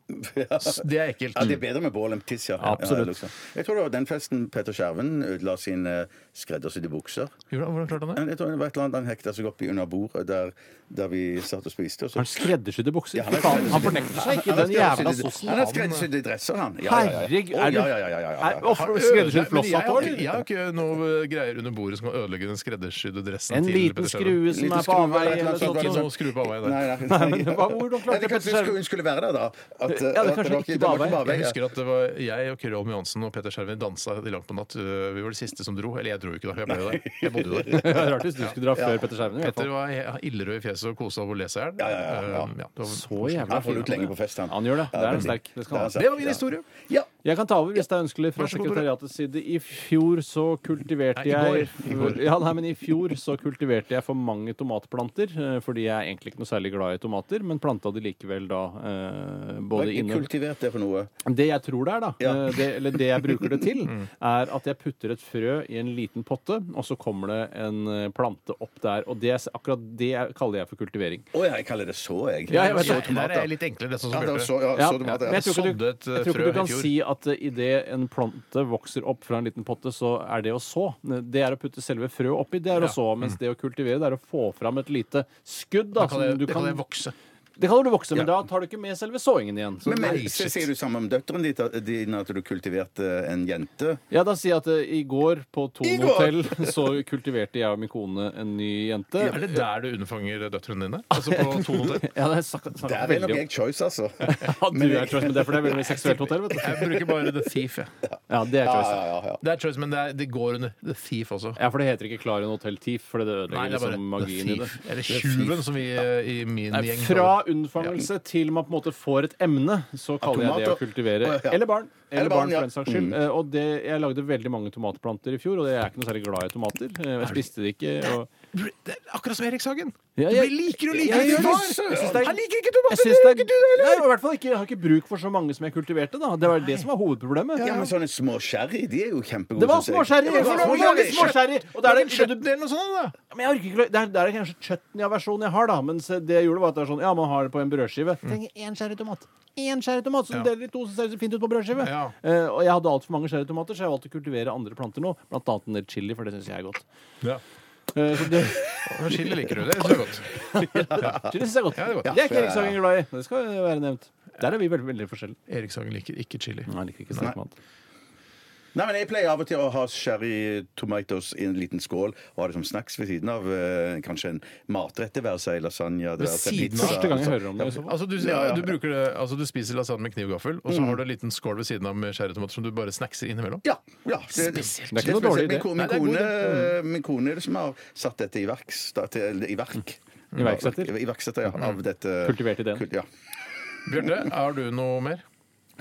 Speaker 4: S- Det er ekkelt.
Speaker 6: Ja, Det er bedre med bål enn tiss, ja.
Speaker 5: Absolutt.
Speaker 6: Ja, det lukter. jeg tror det var den festen Peter Skjerven ødela eh, sine skreddersydde bukser.
Speaker 4: Gjorde han- Hvordan klarte han det?
Speaker 6: Jeg tror det var et eller annet Han hekta seg opp i under bordet der, der vi satt og spiste. Og så
Speaker 5: Har han skreddersydde bukser?
Speaker 6: Ja,
Speaker 5: Fy faen, han fornekter seg ikke
Speaker 6: Han har
Speaker 5: den jævla
Speaker 6: skreddersydde-
Speaker 5: sossen.
Speaker 6: Han har skreddersydde dresser, han. Ja, ja, ja.
Speaker 5: Herregud.
Speaker 6: Å,
Speaker 5: Er du
Speaker 6: ja, ja, ja, ja, ja.
Speaker 5: er- å, for- skreddersydd
Speaker 4: Men jeg,
Speaker 5: flosshatt
Speaker 4: har,
Speaker 5: òg?
Speaker 4: jeg har ikke noe eh, greier under bordet som kan ødelegge den skreddersydde dressen
Speaker 5: En
Speaker 4: til
Speaker 5: liten
Speaker 4: Petter Schaugen.
Speaker 5: skrue Sånn- som
Speaker 6: Liten
Speaker 5: er på
Speaker 6: skrue
Speaker 5: avveie
Speaker 6: eller
Speaker 5: eller
Speaker 6: noe sånt.
Speaker 5: sånt.
Speaker 4: Ikke noe skru på avveie der.
Speaker 6: Nei, nei,
Speaker 5: Nei, men hva- hvordan klarte
Speaker 6: Eller kanskje
Speaker 5: Petter Skjerven-
Speaker 6: hun skulle være der, da. At, eh,
Speaker 5: det er
Speaker 6: at
Speaker 5: kanskje
Speaker 6: var
Speaker 5: ikke
Speaker 6: det var
Speaker 5: bare
Speaker 6: bare
Speaker 4: Jeg
Speaker 6: vei, ja.
Speaker 4: husker at det var jeg og Kyrre Holm Johansen og Peter Skjerven dansa i Langt på natt. Vi var de siste som dro. Eller jeg dro jo ikke da, jeg ble jo der. Jeg bodde jo
Speaker 5: Det
Speaker 4: der.
Speaker 5: er Rart hvis du skulle dra før Petter Skjerven. i hvert
Speaker 4: Petter
Speaker 5: fall.
Speaker 4: var he- illerød i fjeset og kosa av å lese her.
Speaker 6: Ja, ja, ja, ja.
Speaker 4: Um, ja, det var-
Speaker 5: Så jævla
Speaker 6: Han får ut lenge på fest, han.
Speaker 5: Han gjør det.
Speaker 6: Ja,
Speaker 5: Det er en
Speaker 6: veldig.
Speaker 5: sterk. Det skal
Speaker 6: er
Speaker 5: han
Speaker 6: en
Speaker 5: ha.
Speaker 6: sterk,
Speaker 4: Det var min
Speaker 6: ja.
Speaker 4: historie.
Speaker 6: Ja.
Speaker 5: Jeg kan ta over hvis det er ønskelig fra
Speaker 4: Vær så god, Tore.
Speaker 5: sekretariatets side. I fjor så kultiverte
Speaker 4: Nei, i
Speaker 5: jeg
Speaker 4: går. I går.
Speaker 5: Ja, nei, men i fjor så kultiverte jeg for mange tomatplanter, eh, fordi jeg er egentlig ikke noe særlig glad i tomater, men planta de likevel da eh,
Speaker 6: Hva
Speaker 5: både
Speaker 6: er
Speaker 5: inne
Speaker 6: kultivert det for noe?
Speaker 5: Det jeg tror det er, da,
Speaker 6: Ja.
Speaker 5: eh, det, eller det jeg bruker det til,
Speaker 4: Mm.
Speaker 5: er at jeg putter et frø i en liten potte, og så kommer det en eh, plante opp der. Og det, er s- akkurat det jeg- kaller jeg for kultivering.
Speaker 6: Å ja, jeg kaller det så, jeg.
Speaker 5: Ja, jeg vet
Speaker 4: Så
Speaker 5: det.
Speaker 6: så
Speaker 4: tomater. Der er jeg
Speaker 6: tomater.
Speaker 4: litt enklere, det er sånn
Speaker 6: Ja,
Speaker 4: som
Speaker 6: det var
Speaker 4: Bjarte.
Speaker 6: så, ja,
Speaker 5: Ja,
Speaker 6: så tomater.
Speaker 5: men jeg tror ikke du,
Speaker 4: Sådde et, eh,
Speaker 5: jeg tror ikke
Speaker 4: frø
Speaker 5: du kan
Speaker 4: i fjor.
Speaker 5: si at eh, idet en plante vokser opp fra en liten potte, så er det å så. Det er å putte selve frøet oppi, det er å så. Mens det å kultivere, det er å få fram et lite skudd. Da,
Speaker 4: Da kan jeg,
Speaker 5: som Sånn du
Speaker 4: da kan
Speaker 5: kan,
Speaker 4: jeg vokse.
Speaker 5: det kaller du vokse, men da tar du ikke med selve såingen igjen.
Speaker 6: Men, men
Speaker 4: Nei,
Speaker 6: så
Speaker 4: shit.
Speaker 6: sier du sammen om døtrene ditt- dine at du kultiverte en jente?
Speaker 5: Ja, da sier jeg at eh, i går på
Speaker 6: I
Speaker 5: Thon
Speaker 6: går!
Speaker 5: hotell så kultiverte jeg og min kone en ny jente.
Speaker 4: Er det der du underfanger døtrene dine? Altså på Thon hotell?
Speaker 5: Ja, det er sak- snakket
Speaker 6: Der er
Speaker 5: veldig
Speaker 6: nok
Speaker 5: om-
Speaker 6: jeg choice, altså.
Speaker 5: Ja, du er choice, men det er fordi det er veldig mye seksuelt hotell, vet
Speaker 4: Jeg
Speaker 5: du.
Speaker 4: bruker bare The Thief, jeg.
Speaker 5: Ja, det er
Speaker 6: Ja,
Speaker 5: choice.
Speaker 6: ja, ja, ja.
Speaker 4: Det er choice, men det, er, det går under The Thief også.
Speaker 5: Ja, for det heter ikke Klarion Hotell Thief, for det ødelegger liksom magien i det.
Speaker 4: Eller Tjuven, som vi eh, i min
Speaker 5: Nei,
Speaker 4: gjeng
Speaker 5: fra unnfangelse til man på en måte får et emne, så kaller jeg det å
Speaker 6: tomater.
Speaker 5: kultivere.
Speaker 6: Å, ja.
Speaker 5: Eller barn. Eller
Speaker 6: Eller
Speaker 5: barn,
Speaker 6: barn,
Speaker 5: for
Speaker 6: ja. Mm.
Speaker 5: den saks skyld. Eh, Og det, jeg lagde veldig mange tomatplanter i fjor, og jeg er ikke noe særlig glad i tomater. Eh, Jeg spiste det ikke.
Speaker 4: kaller
Speaker 5: Og
Speaker 4: det. Det er Akkurat som Erik Sagen.
Speaker 5: Ja,
Speaker 4: Du
Speaker 5: jeg-
Speaker 4: blir likere og
Speaker 5: Ja, jeg
Speaker 4: likere. til
Speaker 5: gjør det.
Speaker 4: far.
Speaker 5: Jeg synes det er-
Speaker 4: Han liker ikke
Speaker 5: jeg
Speaker 4: tomater!
Speaker 5: syns
Speaker 4: det gjør
Speaker 5: det er,
Speaker 4: ikke du heller!
Speaker 5: Nei, og i hvert fall ikke, jeg har ikke bruk for så mange som jeg kultiverte, da. Det var det som var hovedproblemet.
Speaker 6: Ja, men sånne små sherry, de er jo kjempegode.
Speaker 5: Det var
Speaker 6: synes jeg.
Speaker 5: småskjærer!
Speaker 6: Ja,
Speaker 5: Jeg
Speaker 6: men
Speaker 5: får lage småskjærer! Og da er
Speaker 4: Lag
Speaker 5: det
Speaker 4: en kjøttdel og sånn, da.
Speaker 5: Men jeg orker ikke, det, er, det er kanskje chutney-versjonen jeg har, da. Mens det jeg gjorde, var at det er sånn, ja, man har det på en brødskive. Trenger én skjære tomat. Én skjære tomat som
Speaker 4: Ja.
Speaker 5: du deler i to, så ser det så fint ut på brødskive.
Speaker 4: Ja.
Speaker 5: Eh, og jeg hadde altfor mange skjære tomater, så jeg valgte å kultivere andre planter nå. Blant annet en del chili, for det syns jeg er godt.
Speaker 4: Ja.
Speaker 5: Eh, så det,
Speaker 4: Chili liker du. Det synes jeg er godt.
Speaker 5: chili synes jeg er godt.
Speaker 4: Ja, det er godt.
Speaker 5: er ikke Erik Sagen glad i. Det skal være nevnt. Der er vi veldig, veldig forskjellige.
Speaker 4: Erik Sagen liker ikke chili.
Speaker 5: Nei, jeg liker ikke sterk mat.
Speaker 6: Nei, men Jeg pleier av og til å ha sherry tomatoes i en liten skål og ha det som snacks ved siden av eh, kanskje en matrett, det være seg lasagne
Speaker 4: Ved
Speaker 6: det være seg
Speaker 4: siden av?
Speaker 6: pizza.
Speaker 5: Første gang jeg hører om det. i så fall.
Speaker 4: Altså, du, du, bruker det, altså, du spiser lasagne med kniv og gaffel, og så har du en liten skål ved siden av med skjæretomater som du bare snackser innimellom.
Speaker 6: Ja. ja
Speaker 4: Spesielt.
Speaker 5: Det er Mm. ikke noe dårlig idé.
Speaker 6: Min, ko- min,
Speaker 4: Nei, det er god
Speaker 6: kone, min kone er det som har satt dette i verk. sta- til- I verk.
Speaker 5: Mm. Iverksetter.
Speaker 6: Iverksetter, ja. Av dette
Speaker 5: Kultivert ideen.
Speaker 6: Kul- Ja.
Speaker 4: Bjarte, har du noe mer?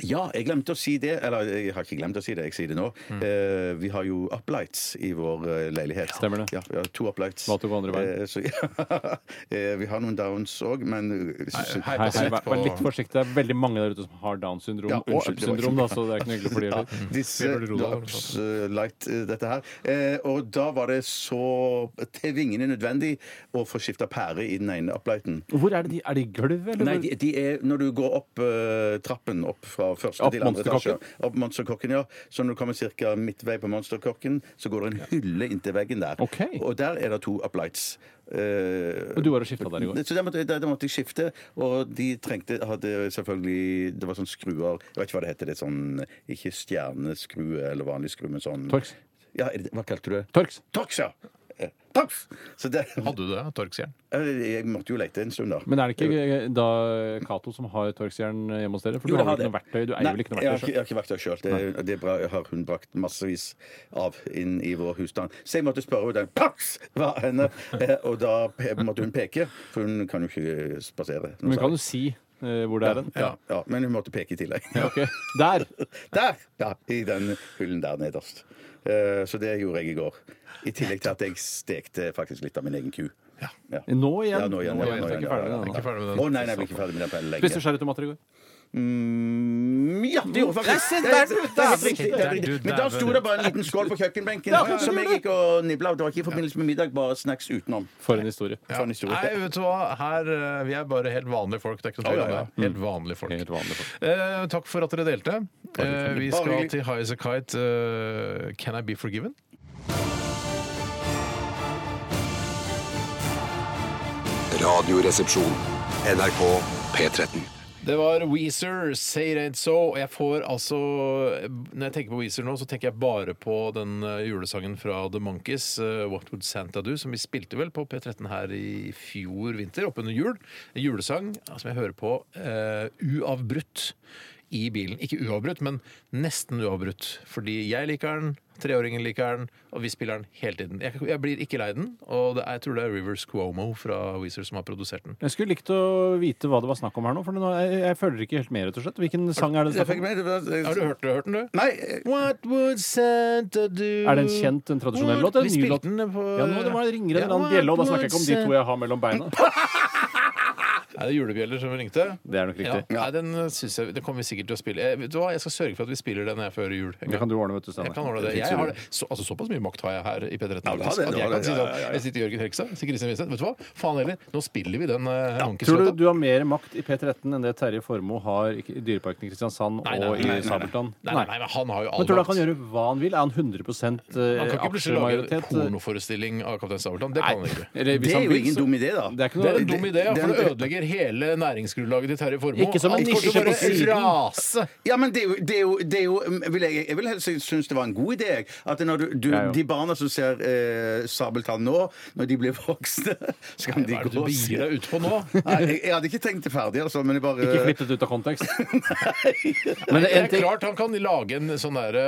Speaker 6: Ja, jeg glemte å si det. Eller jeg har ikke glemt å si det, jeg sier det nå.
Speaker 5: Mm.
Speaker 6: Eh, vi har jo uplights i vår eh, leilighet.
Speaker 5: Stemmer det.
Speaker 6: Ja, vi har to uplights.
Speaker 5: Valgte å gå andre veien.
Speaker 6: Eh, så, ja. eh, vi har noen downs òg, men
Speaker 4: hei,
Speaker 6: eh,
Speaker 5: Hei,
Speaker 4: Sett
Speaker 5: hei, altså, vær
Speaker 4: på-
Speaker 5: vær litt forsiktig. Det er veldig mange der ute som har Downs syndrom
Speaker 6: Ja,
Speaker 5: og
Speaker 6: unnskyld, det var ikke-
Speaker 5: Up-syndrom, da, så det er ikke noe hyggelig for de
Speaker 6: ja,
Speaker 5: heller.
Speaker 6: disse
Speaker 4: Vi burde roe deg,
Speaker 6: drops
Speaker 5: sånn.
Speaker 6: eh, light, eh, dette her. Eh, og da var det så til vingene nødvendig å få skifta pære i den ene uplighten.
Speaker 5: Hvor er det de? Er de i gulvet, eller?
Speaker 6: Nei,
Speaker 5: hvor-
Speaker 6: de, de er når du går opp eh, trappen opp fra første
Speaker 5: Opp
Speaker 6: til andre etasje.
Speaker 5: Monsterkokken?
Speaker 6: Opp Monsterkokken, ja. Så når du kommer ca. midtvei på Monsterkokken, så går det en hylle inntil veggen der.
Speaker 5: Ok.
Speaker 6: Og der er det to uplights. Eh,
Speaker 5: Og du var og skifta der i går?
Speaker 6: Så der måtte, der, der måtte jeg skifte, og de trengte hadde selvfølgelig Det var sånn skruer Jeg vet ikke hva det heter. det er sånn, Ikke stjerneskrue eller vanlig skru, men sånn
Speaker 5: Torx.
Speaker 6: Ja, er det- hva kalte du det?
Speaker 5: Torx.
Speaker 6: Torx, ja! Eh, Torx! Så det,
Speaker 4: Hadde du det? Torksjern?
Speaker 6: jeg måtte jo lete en stund, da.
Speaker 5: Men er det ikke eh, da Cato som har torksjern hjemme hos dere? For du
Speaker 6: Jo, det
Speaker 5: har vel
Speaker 6: har
Speaker 5: ikke noe
Speaker 6: det.
Speaker 5: verktøy? Du eier
Speaker 6: Nei,
Speaker 5: vel ikke noe
Speaker 6: jeg
Speaker 5: verktøy
Speaker 6: har ikke,
Speaker 5: selv?
Speaker 6: jeg har ikke verktøy sjøl. Det, det er bra, jeg har hun brakt massevis av inn i vår husstand. Så jeg måtte spørre henne Pax! hva er henne? Eh, Og da pe- måtte hun peke, for hun kan jo ikke eh, spasere. noe
Speaker 5: Men kan du
Speaker 6: særlig.
Speaker 5: si eh, hvor det er den?
Speaker 6: ja, ja, men hun måtte peke i tillegg.
Speaker 5: Ok. Der!
Speaker 6: Der! Ja, I den hullen der nederst. Eh, Så det gjorde jeg i går. I tillegg til at jeg stekte faktisk litt av min egen ku. Ja.
Speaker 5: Nå igjen?
Speaker 6: Ja, nå igjen,
Speaker 5: Nå
Speaker 6: ja,
Speaker 5: igjen, så
Speaker 6: nå
Speaker 5: er jeg ikke
Speaker 6: igjen, ja,
Speaker 5: ferdig
Speaker 6: ja,
Speaker 5: med den.
Speaker 6: ja.
Speaker 4: Ikke ferdig med
Speaker 6: Å
Speaker 4: den.
Speaker 6: nei, nei, jeg ble ikke ferdig med den på lenge.
Speaker 5: Spiste du skjæretomater i går?
Speaker 6: Mm, ja, det gjorde faktisk
Speaker 5: se der,
Speaker 6: Det er-
Speaker 5: du,
Speaker 6: det er helt riktig, det er
Speaker 4: der,
Speaker 6: helt
Speaker 4: du,
Speaker 6: riktig. Men da
Speaker 4: der,
Speaker 6: sto
Speaker 4: du.
Speaker 6: det bare en liten skål på kjøkkenbenken som jeg gikk og nibla av. Det var ikke i forbindelse med middag, bare snacks utenom.
Speaker 5: For en historie.
Speaker 6: For en historie.
Speaker 4: Nei, vet du hva? Her, eh, vi er bare helt vanlige folk. Det er ikke noe
Speaker 6: Ja,
Speaker 4: tvil
Speaker 6: ja,
Speaker 4: om
Speaker 6: ja.
Speaker 4: det. Helt vanlige folk.
Speaker 5: Helt vanlig folk.
Speaker 4: Eh, takk for at dere delte. Eh, vi
Speaker 6: Bare
Speaker 4: skal
Speaker 6: hyggelig.
Speaker 4: til High as a Kite. eh, Can I be forgiven?
Speaker 1: Radioresepsjon. NRK P13.
Speaker 4: Det var Weezer, Say It Ain't So. Og jeg får altså Når jeg tenker på Weezer nå, så tenker jeg bare på den eh, julesangen fra The Monkees, eh, What Would Santa Do, som vi spilte vel på P13 her i fjor vinter, oppunder jul. En julesang eh, som jeg hører på eh, uavbrutt i bilen. Ikke uavbrutt, men nesten uavbrutt. Fordi jeg liker den, treåringen liker den, og vi spiller den hele tiden. Jeg, jeg blir ikke lei den, og det er, jeg tror det er Rivers Cuomo fra Weezer som har produsert den.
Speaker 5: Jeg skulle likt å vite hva det var snakk om her nå, for nå, jeg, jeg følger ikke helt med, rett og slett. Hvilken sang er det
Speaker 6: Jeg
Speaker 5: snakk
Speaker 6: fikk
Speaker 5: om?
Speaker 6: med det var-
Speaker 4: Har du hørt, hørt den, du?
Speaker 6: Nei, eh,
Speaker 4: What would Santa do?
Speaker 5: Er det en kjent, en tradisjonell låt? eller
Speaker 4: Vi
Speaker 5: En ny låt?
Speaker 4: spilte den på
Speaker 5: Ja, nå det var det ringer en
Speaker 4: Ja,
Speaker 5: eller annen bjelle, og da
Speaker 4: What
Speaker 5: snakker jeg ikke om de
Speaker 4: would
Speaker 5: to jeg har mellom beina.
Speaker 4: Santa- Er det julebjeller som ringte?
Speaker 5: Det er nok
Speaker 4: Ja.
Speaker 5: riktig.
Speaker 4: Nei, den eh, synes jeg Den kommer vi sikkert til å spille. Jeg, vet du hva, jeg skal sørge for at vi spiller den her før jul.
Speaker 5: Det kan du ordne, vet du,
Speaker 4: Jeg kan ordne det. Jeg har det. Så, altså, såpass mye makt har jeg her i P13.
Speaker 6: Ja, du har
Speaker 4: faktisk,
Speaker 6: det,
Speaker 4: at
Speaker 6: du
Speaker 4: jeg
Speaker 6: har
Speaker 4: kan
Speaker 6: det.
Speaker 4: si
Speaker 6: Ja,
Speaker 4: sånn
Speaker 6: ja, ja, ja.
Speaker 4: Jeg sitter i Jørgen Hegstad, sier Kristin Winseth. Vet du hva? Faen heller, nå spiller vi den eh,
Speaker 5: Tror du
Speaker 4: Monkeys-låta.
Speaker 5: du har mer makt i P13 enn det Terje Formoe har i Dyreparken i Kristiansand
Speaker 4: Nei, nei,
Speaker 5: og
Speaker 4: nei,
Speaker 5: i
Speaker 4: nei,
Speaker 5: Sabeltann?
Speaker 4: Nei, nei, nei, men han har jo all
Speaker 5: Men tror du han
Speaker 4: makt.
Speaker 5: kan gjøre hva han vil? Er han 100
Speaker 4: Han kan ikke plutselig lage en
Speaker 5: aksjemajoritet?
Speaker 4: pornoforestilling av Kaptein Sabeltann. Det kan han ikke.
Speaker 5: Eller hvis
Speaker 6: det er
Speaker 5: han
Speaker 6: jo
Speaker 5: vil,
Speaker 6: ingen
Speaker 5: så-
Speaker 6: dum idé, da.
Speaker 5: Det er ikke
Speaker 4: Det
Speaker 5: noe
Speaker 4: er en dum idé, ja,
Speaker 6: det-
Speaker 4: for det
Speaker 6: det-
Speaker 4: ødelegger hele næringsgrunnlaget til Terje Formoe.
Speaker 5: Ikke som en
Speaker 4: Alt kommer
Speaker 5: nisje
Speaker 4: til å
Speaker 5: på
Speaker 4: bare
Speaker 5: siden.
Speaker 4: Rase.
Speaker 6: Ja, men det er jo, det er jo, det er jo vil jeg, jeg vil helst synes det var en god idé. jeg. At når du, du,
Speaker 5: Ja, ja.
Speaker 6: De barna som ser eh, Sabeltann nå, når de blir voksne, så
Speaker 4: Hva
Speaker 6: kan
Speaker 4: er
Speaker 6: de
Speaker 4: det du
Speaker 6: gå og se
Speaker 4: begir deg ut på nå?
Speaker 6: Nei, jeg, jeg hadde ikke tenkt det ferdig, altså, men jeg bare
Speaker 5: Ikke klippet ut av kontekst.
Speaker 4: Men
Speaker 5: Men
Speaker 4: det
Speaker 5: en
Speaker 4: er
Speaker 5: ting
Speaker 4: klart han kan lage en sånn derre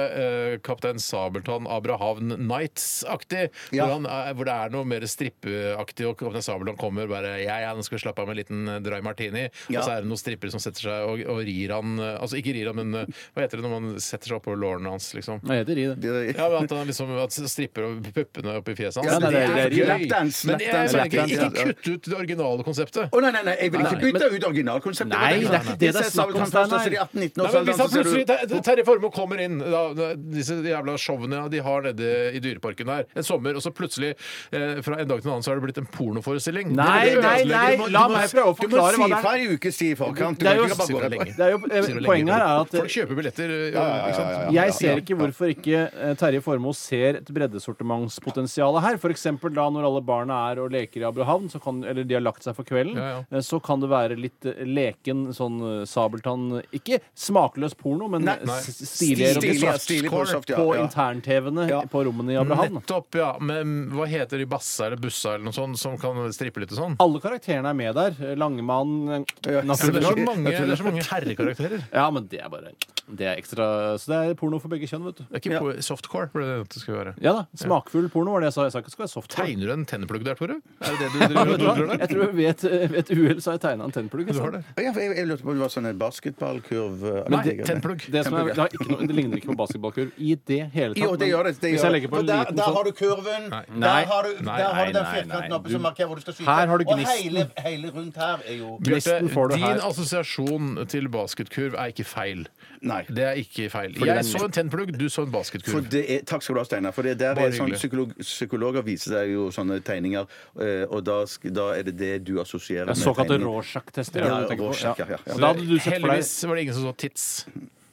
Speaker 4: eh, Kaptein Sabeltann Abrahavn Nights-aktig,
Speaker 6: Ja.
Speaker 4: hvor, han er- hvor det er noe mer strippeaktig, og Kaptein Sabeltann kommer bare Ja, ja, nå skal vi slappe av med en liten eh, dry martini,
Speaker 6: Ja.
Speaker 4: og så er det noen strippere som setter seg og, og rir han eh, Altså ikke rir han, men eh, hva heter det når man setter seg oppå lårene hans, liksom?
Speaker 5: Nei, det er i det.
Speaker 6: Det-
Speaker 4: Ja, men at han liksom at stripper og puppene oppi fjeset hans.
Speaker 6: Ja,
Speaker 5: det er- det er-
Speaker 6: lapdance,
Speaker 4: Men jeg
Speaker 6: lapdance,
Speaker 4: mener ikke,
Speaker 6: lapdance,
Speaker 4: ikke
Speaker 6: ja.
Speaker 4: kutt ut det originale konseptet.
Speaker 6: Å nei, nei, nei, jeg vil ikke
Speaker 5: Nei,
Speaker 6: bytte ut originalkonseptet.
Speaker 5: Nei,
Speaker 6: vil jeg
Speaker 5: det er ikke det det er
Speaker 6: Jeg ser
Speaker 5: snakk om,
Speaker 6: Sabeltann først,
Speaker 5: Steinar.
Speaker 6: og så er de 18-19 år,
Speaker 4: Nei, men Hvis han
Speaker 5: sånn,
Speaker 6: så ser du-
Speaker 4: plutselig Ter- Terje Formoe kommer inn, da, disse jævla showene de har nede i Dyreparken her en sommer, og så plutselig eh, fra en dag til en annen så har det blitt en pornoforestilling
Speaker 5: Nei,
Speaker 4: Det vil
Speaker 5: nei,
Speaker 4: ødelegge-
Speaker 5: nei,
Speaker 6: Du må-
Speaker 5: la
Speaker 6: du må-
Speaker 5: meg prøve å forklare
Speaker 6: Du
Speaker 5: hva det
Speaker 6: må si
Speaker 5: er.
Speaker 6: fra i ukes tid i forkant. Du
Speaker 5: Det er
Speaker 6: kan
Speaker 5: jo-
Speaker 6: ikke bare gå
Speaker 4: Sitter
Speaker 6: rett på.
Speaker 4: lenge.
Speaker 5: Det er jo, eh,
Speaker 4: Sitter lenge.
Speaker 5: poenget her er at
Speaker 4: Folk kjøper billetter, eh, ikke sant?
Speaker 5: Jeg ser ikke hvorfor ikke eh, Terje Formoe ser et breddesortimentspotensial her. For eksempel da når alle barna er og leker i Abrahavn, så kan, eller de har lagt seg for kvelden,
Speaker 4: Ja, ja.
Speaker 5: eh, så kan det være litt eh, leken sånn eh, Sabeltann Ikke smakløs porno, men
Speaker 6: Nei.
Speaker 5: s- stilig
Speaker 6: Stilig,
Speaker 5: erotisk
Speaker 6: ja,
Speaker 5: soft
Speaker 6: stilig
Speaker 5: core
Speaker 6: soft, ja,
Speaker 5: på
Speaker 6: ja.
Speaker 5: intern-TV-ene
Speaker 6: Ja.
Speaker 5: på rommene i Abrahavn.
Speaker 4: Nettopp, ja. Men hva heter de bassa eller bussa eller noe sånt som kan strippe litt og sånn?
Speaker 5: Alle karakterene er med der. Eh, Langemann, eh,
Speaker 4: Ja, men Det er så
Speaker 5: Nasse-
Speaker 4: mange, det er så mange herrekarakterer.
Speaker 5: Ja, men det er bare Det er ekstra Så det er porno for begge kjønn, vet du.
Speaker 4: Det er ikke po- softcore, ble det det skulle være.
Speaker 5: Ja da. Smakfull porno var det jeg sa. Jeg sa ikke det skulle være soft.
Speaker 4: Tegner du en tenneplugg der, Tore? Er det det du
Speaker 5: Ja,
Speaker 4: driver
Speaker 5: vet
Speaker 4: og
Speaker 5: du hva?
Speaker 4: dodler der?
Speaker 5: Jeg tror ved et, ved et uhell så har jeg tegna en tennplugg.
Speaker 4: Du
Speaker 5: altså.
Speaker 4: har det.
Speaker 6: Ja, for jeg, jeg lurte på om det var sånn en basketballkurv
Speaker 4: Nei,
Speaker 6: eh, aktig, eller?
Speaker 4: tennplugg.
Speaker 5: Det, som er, det, har ikke noe, det ligner ikke på basketballkurv i det hele tatt.
Speaker 6: Jo,
Speaker 5: men
Speaker 6: det gjør det. det
Speaker 5: hvis jeg
Speaker 6: gjør det.
Speaker 5: legger på
Speaker 6: For
Speaker 5: en
Speaker 6: der,
Speaker 5: liten
Speaker 6: der har
Speaker 5: sånn
Speaker 6: du kurven.
Speaker 5: Nei.
Speaker 6: Der har du,
Speaker 4: Nei,
Speaker 6: der har du den
Speaker 5: nei,
Speaker 6: firkanten
Speaker 5: nei.
Speaker 6: oppe som
Speaker 5: Du-
Speaker 6: markerer hvor du skal skyte.
Speaker 5: Her har du
Speaker 6: Og
Speaker 5: gnisten.
Speaker 6: hele, hele rundt her er jo
Speaker 5: Gnisten får du
Speaker 4: din
Speaker 5: her.
Speaker 4: assosiasjon til basketkurv er ikke feil.
Speaker 6: Nei.
Speaker 4: Det er ikke feil.
Speaker 5: det er
Speaker 4: Jeg så en tennplugg, du så en
Speaker 6: For
Speaker 4: basketkurv.
Speaker 6: det er, takk skal du ha, Steinar. For det der
Speaker 4: Bare
Speaker 6: er sånn,
Speaker 4: hyggelig.
Speaker 6: psykolog, psykologer viser deg jo sånne tegninger, eh, og da, sk- da er det det du assosierer
Speaker 5: ja,
Speaker 6: med
Speaker 5: Såkalte
Speaker 6: tegning.
Speaker 5: Rorschach-tester.
Speaker 6: Ja,
Speaker 5: er det du tenker på?
Speaker 6: Rorschach, ja, ja, ja.
Speaker 5: Så Da hadde du sett for
Speaker 4: Heldigvis
Speaker 5: deg
Speaker 4: var det ingen som så tits.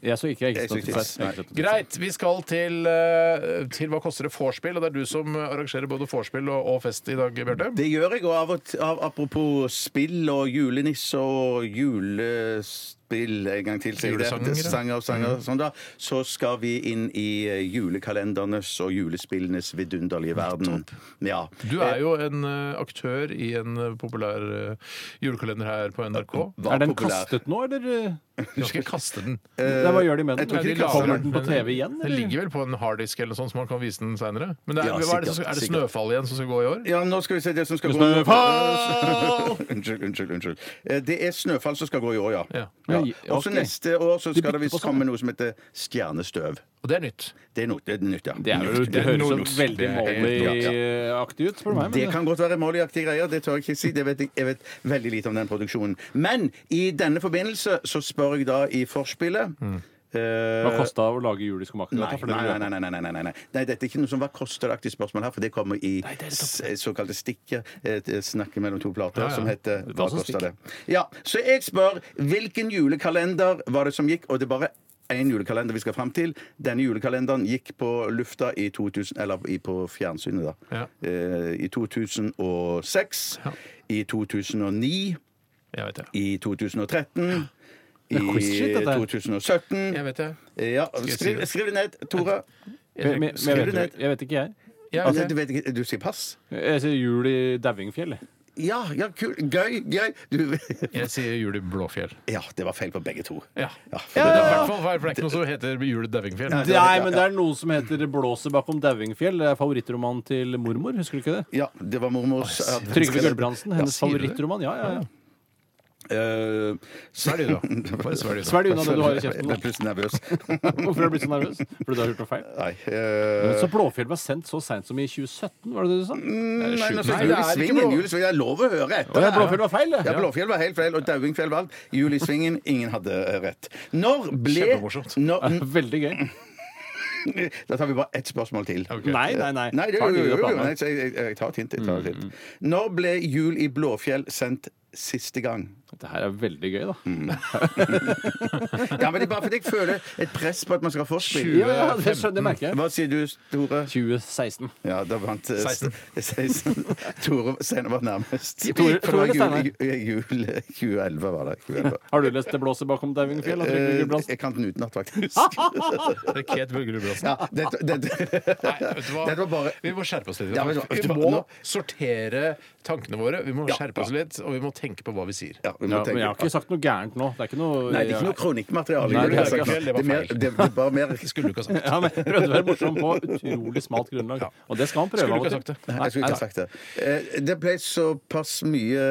Speaker 5: Jeg så ikke. Jeg ikke
Speaker 6: Jeg så
Speaker 5: stod
Speaker 6: ikke
Speaker 5: til
Speaker 6: tiss.
Speaker 5: seg. Jeg ikke stod til seg.
Speaker 4: Greit, vi skal til, eh, til Hva koster det vorspiel? Og det er du som arrangerer både vorspiel og, og fest i dag, Bjarte.
Speaker 6: Det gjør jeg, og av og t av, apropos spill og julenisse og julespill en gang til, sier jeg
Speaker 4: Julesanger,
Speaker 6: det.
Speaker 4: ja. Mm.
Speaker 6: Sanger og sanger og sånn da. Så skal vi inn i eh, julekalendernes og julespillenes vidunderlige verden. Ja.
Speaker 4: Du er jo en eh, aktør i en eh, populær eh, julekalender her på NRK.
Speaker 6: Var
Speaker 5: Er den
Speaker 6: populær. Eh,
Speaker 5: kastet nå, eller? eh,
Speaker 4: Du skal ikke kaste den.
Speaker 5: Nei, hva gjør de med
Speaker 6: jeg tror
Speaker 5: den?
Speaker 6: ikke de
Speaker 4: lager
Speaker 6: kaster
Speaker 5: Kommer den på
Speaker 4: men
Speaker 5: TV igjen,
Speaker 4: Den
Speaker 5: eller?
Speaker 4: ligger vel på en harddisk eller noe sånt, så man kan vise den seinere. Men det er,
Speaker 6: Ja,
Speaker 4: hva er, det,
Speaker 6: sikkert,
Speaker 4: som- er det
Speaker 6: sikkert.
Speaker 4: snøfall igjen som skal gå i år?
Speaker 6: Ja, nå skal vi se det som skal gå
Speaker 5: Snøfall!
Speaker 6: Unnskyld, unnskyld. unnskyld. Eh, Det er snøfall som skal gå i år, ja.
Speaker 4: Ja.
Speaker 5: Ja,
Speaker 9: Oi,
Speaker 6: Og så
Speaker 9: ok.
Speaker 6: neste år så skal
Speaker 9: bytter
Speaker 6: det
Speaker 9: på
Speaker 6: visst
Speaker 9: sånn,
Speaker 6: komme noe som heter stjernestøv.
Speaker 4: Og det er nytt.
Speaker 6: Det er noe det er nytt, ja.
Speaker 5: Det, er jo,
Speaker 6: Nytt.
Speaker 5: det høres
Speaker 6: Nytt.
Speaker 5: jo veldig
Speaker 6: Det er helt nytt, ja.
Speaker 5: Molly-aktig ut, spør du meg.
Speaker 6: Det kan godt være Molly-aktige greier, det tør jeg ikke si. Det vet jeg, jeg vet veldig lite om den produksjonen. Men i denne forbindelse så spør jeg da i forspillet eh,
Speaker 5: Hva kosta å lage jul i skomakeren?
Speaker 6: Nei, nei, nei, nei, nei, nei, nei, nei, nei. nei. Dette er ikke noe som hva koster det aktig spørsmål her, for det kommer i s- såkalte stikker, et et snakk mellom to plater,
Speaker 4: Ja, ja.
Speaker 6: som heter
Speaker 5: Det var
Speaker 6: Hva
Speaker 5: sånn
Speaker 6: koster det? Ja, så jeg spør hvilken julekalender var det som gikk, og det er bare én julekalender vi skal fram til. Denne julekalenderen gikk på lufta i 2000, eller i- på fjernsynet, da.
Speaker 4: Ja.
Speaker 6: Eh, I 2006. I 2009.
Speaker 4: Jeg vet det.
Speaker 6: I 2013. I
Speaker 5: quizshit, dette her.
Speaker 6: 2017.
Speaker 4: Jeg vet det.
Speaker 6: Ja,
Speaker 4: jeg si
Speaker 6: skriv,
Speaker 4: det?
Speaker 6: skriv det ned, Tore.
Speaker 5: Men, men, men jeg, vet, jeg vet ikke, jeg.
Speaker 4: Jeg
Speaker 6: Altså,
Speaker 4: vet
Speaker 6: du,
Speaker 4: det.
Speaker 6: vet ikke, du sier pass?
Speaker 5: Jeg sier jul i Dauingfjell. jeg.
Speaker 6: Ja, ja, kul, gøy, gøy. Du,
Speaker 4: Jeg sier jul i Blåfjell.
Speaker 6: ja, det var feil på begge to.
Speaker 4: Ja.
Speaker 6: Ja, for
Speaker 4: Det er i
Speaker 6: det-
Speaker 4: hvert fall feil, for det er ikke noe som heter jul i Dauingfjell.
Speaker 6: Nei, det-
Speaker 5: Nei, men det er noe som heter 'Blåset bakom Dauingfjell'. Det er favorittromanen til mormor, husker du ikke det?
Speaker 6: ja, det var mormors
Speaker 5: Trygve Gulbrandsen, hennes
Speaker 4: sier du det?
Speaker 5: favorittroman. Ja, ja, ja.
Speaker 6: Uh,
Speaker 4: Svelg, da. Bare svelg, da.
Speaker 5: Svelg unna det Sånn du har i
Speaker 6: Jeg
Speaker 5: kjeften.
Speaker 6: ble
Speaker 5: nå.
Speaker 6: plutselig nervøs.
Speaker 5: Hvorfor har du blitt så nervøs? Fordi du har hørt noe feil?
Speaker 6: Nei.
Speaker 5: Men
Speaker 6: eh,
Speaker 5: Så Blåfjell var sendt så seint som i 2017, var det det du sa?
Speaker 6: nei,
Speaker 4: Nei,
Speaker 6: nå
Speaker 4: det
Speaker 6: sa jeg
Speaker 4: er
Speaker 6: Jul i
Speaker 4: ikke
Speaker 6: Svingen.
Speaker 4: blå-
Speaker 6: Jul i Svingen. Jeg lover å høre etter.
Speaker 5: Å ja,
Speaker 6: det.
Speaker 5: Blåfjell var feil,
Speaker 6: Mm, Ja,
Speaker 5: det!
Speaker 6: Blåfjell var helt feil, og Dauingfjell var alt. Jul i Svingen, ingen hadde rett. Når ble
Speaker 4: Kjempemorsomt.
Speaker 6: når,
Speaker 5: Veldig gøy.
Speaker 6: Da tar vi bare ett spørsmål til.
Speaker 5: Nei, nei, nei.
Speaker 6: Eh, Nei, det,
Speaker 5: Tar
Speaker 6: jo,
Speaker 5: de
Speaker 6: jo,
Speaker 5: det
Speaker 6: jo, jo,
Speaker 5: planlagt?
Speaker 6: nei, så jeg, jeg, jeg tar et hint. Jeg tar et
Speaker 5: Mm,
Speaker 6: hint. Når ble Jul i Blåfjell sendt siste gang?
Speaker 5: Det her er veldig gøy, da.
Speaker 6: Mm. Ja, men det er bare fordi jeg føler et press på at man skal få
Speaker 5: Ja,
Speaker 6: spill.
Speaker 5: ja, det skjønner jeg, merker jeg.
Speaker 6: Hva sier du, Tore?
Speaker 5: 2016.
Speaker 6: Ja, da vant eh,
Speaker 4: 16.
Speaker 6: 16. Tore Steinar var nærmest.
Speaker 5: Tore-
Speaker 6: For det var
Speaker 5: Tore Steinar.
Speaker 6: jul, jul, jul 2011 var det. 2011.
Speaker 5: Har du lest 'Det blåser bakom Dauingfjell'? av Trygve
Speaker 6: Eh,
Speaker 5: Gulbrandsen?
Speaker 6: Jeg kan den utenat, faktisk.
Speaker 4: Det er Kate Bø Gulbrandsen.
Speaker 6: Ja, dette, dette,
Speaker 4: Nei, vet du hva?
Speaker 6: dette var bare
Speaker 4: Vi må skjerpe oss litt.
Speaker 6: Ja, men vet
Speaker 4: vi
Speaker 6: du hva?
Speaker 4: må
Speaker 6: Nå-
Speaker 4: sortere tankene våre, vi må
Speaker 6: Ja,
Speaker 4: skjerpe oss litt, og vi må tenke på hva vi sier.
Speaker 6: ja, vi må
Speaker 5: Ja, men jeg har
Speaker 6: tenke.
Speaker 5: ikke sagt noe gærent nå. Det er ikke noe
Speaker 6: Nei, det er ikke noe kronikkmateriale.
Speaker 5: Nei, det er
Speaker 6: det,
Speaker 5: ikke-
Speaker 6: er mer- det er bare mer
Speaker 4: Skulle du ikke ha sagt det?
Speaker 5: Ja, men jeg Prøvde å være morsom på utrolig smalt grunnlag.
Speaker 4: Ja.
Speaker 5: Og det skal han prøve.
Speaker 4: Skulle
Speaker 5: av og
Speaker 4: ikke ha
Speaker 5: til.
Speaker 4: sagt det.
Speaker 6: Nei, jeg skulle ikke ha sagt det. Eh, Det ble såpass mye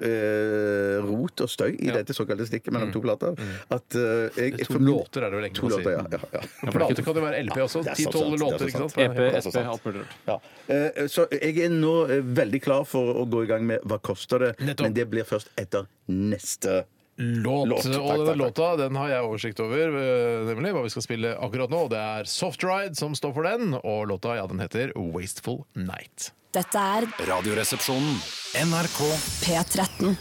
Speaker 6: eh, rot og støy i dette såkalte stikket mellom to plater at eh, jeg,
Speaker 4: To låter Mm. er det vel egentlig
Speaker 6: To
Speaker 4: man
Speaker 6: låter,
Speaker 4: sier.
Speaker 6: ja. ja, ja.
Speaker 4: Plate kan jo være LP også.
Speaker 6: det er
Speaker 4: 10-12
Speaker 6: sant, sant, det
Speaker 4: låter,
Speaker 6: er
Speaker 4: ikke sant?
Speaker 6: sant.
Speaker 5: EP,
Speaker 4: Ja,
Speaker 5: SP, alt mulig rart.
Speaker 6: Ja. Eh, Så jeg er nå eh, veldig klar for å gå i gang med Hva koster det?
Speaker 4: Nettopp.
Speaker 6: Men det blir først etter neste.
Speaker 4: Låt.
Speaker 6: Låt, takk,
Speaker 4: og denne
Speaker 6: takk,
Speaker 4: låta den har jeg oversikt over, eh, nemlig hva vi skal spille akkurat nå. Det er Soft Ride som står for den, og låta ja, den heter Wasteful Night.
Speaker 7: Dette er
Speaker 1: Radioresepsjonen.
Speaker 10: NRK
Speaker 7: P13.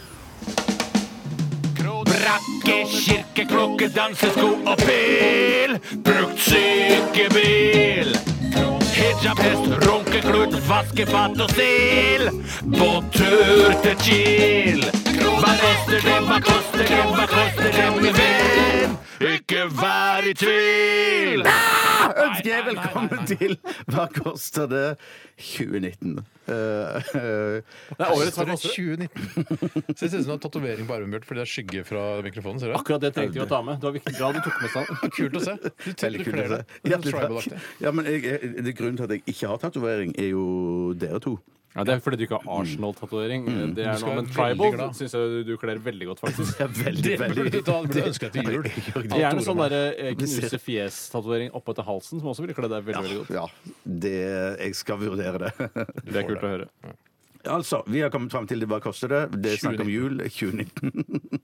Speaker 11: Brakke, kirke, klokke, dansesko og pil. Brukt sykebil. Hijab, hest, runkeklut, vaskefat og stil. På tur til Kiel. Hva koster det, hva koster det, hva koster det, min venn? Ikke vær i tvil!
Speaker 6: Ah! Ønsker jeg velkommen til Hva koster det 2019? Eh, eh,
Speaker 5: Det er årets
Speaker 4: Står det
Speaker 5: vakkeste.
Speaker 4: 2019. Så det ser ut som du har tatovering på armen, Bjørt, fordi det er skygge fra mikrofonen. ser du?
Speaker 5: Akkurat det trengte vi å ta med. Det var viktig bra du tok med stand.
Speaker 4: Kult å se. Du
Speaker 6: Veldig kult å
Speaker 4: flere
Speaker 6: se.
Speaker 4: det.
Speaker 6: Ja,
Speaker 4: Litt
Speaker 6: takk.
Speaker 4: tribal-aktig.
Speaker 6: ja, men jeg, jeg, det Grunnen til at jeg ikke har tatovering, er jo dere to.
Speaker 5: Ja, det er fordi du ikke har Arsenal-tatovering. Det er
Speaker 4: Du skal
Speaker 5: noe, men
Speaker 4: være veldig
Speaker 5: tribal
Speaker 4: glad.
Speaker 5: syns jeg du kler veldig godt, faktisk.
Speaker 6: Veldig,
Speaker 4: Det burde du ta, det burde du ønske deg til jul.
Speaker 5: Det er Gjerne sånn der, eh, knuse fjes-tatovering oppå til halsen, som også ville kle deg veldig veldig godt.
Speaker 6: Ja, det, jeg skal vurdere det.
Speaker 5: Det er kult å høre.
Speaker 6: altså, Vi har kommet fram til det, hva koster det? Det er snakk om jul 2019.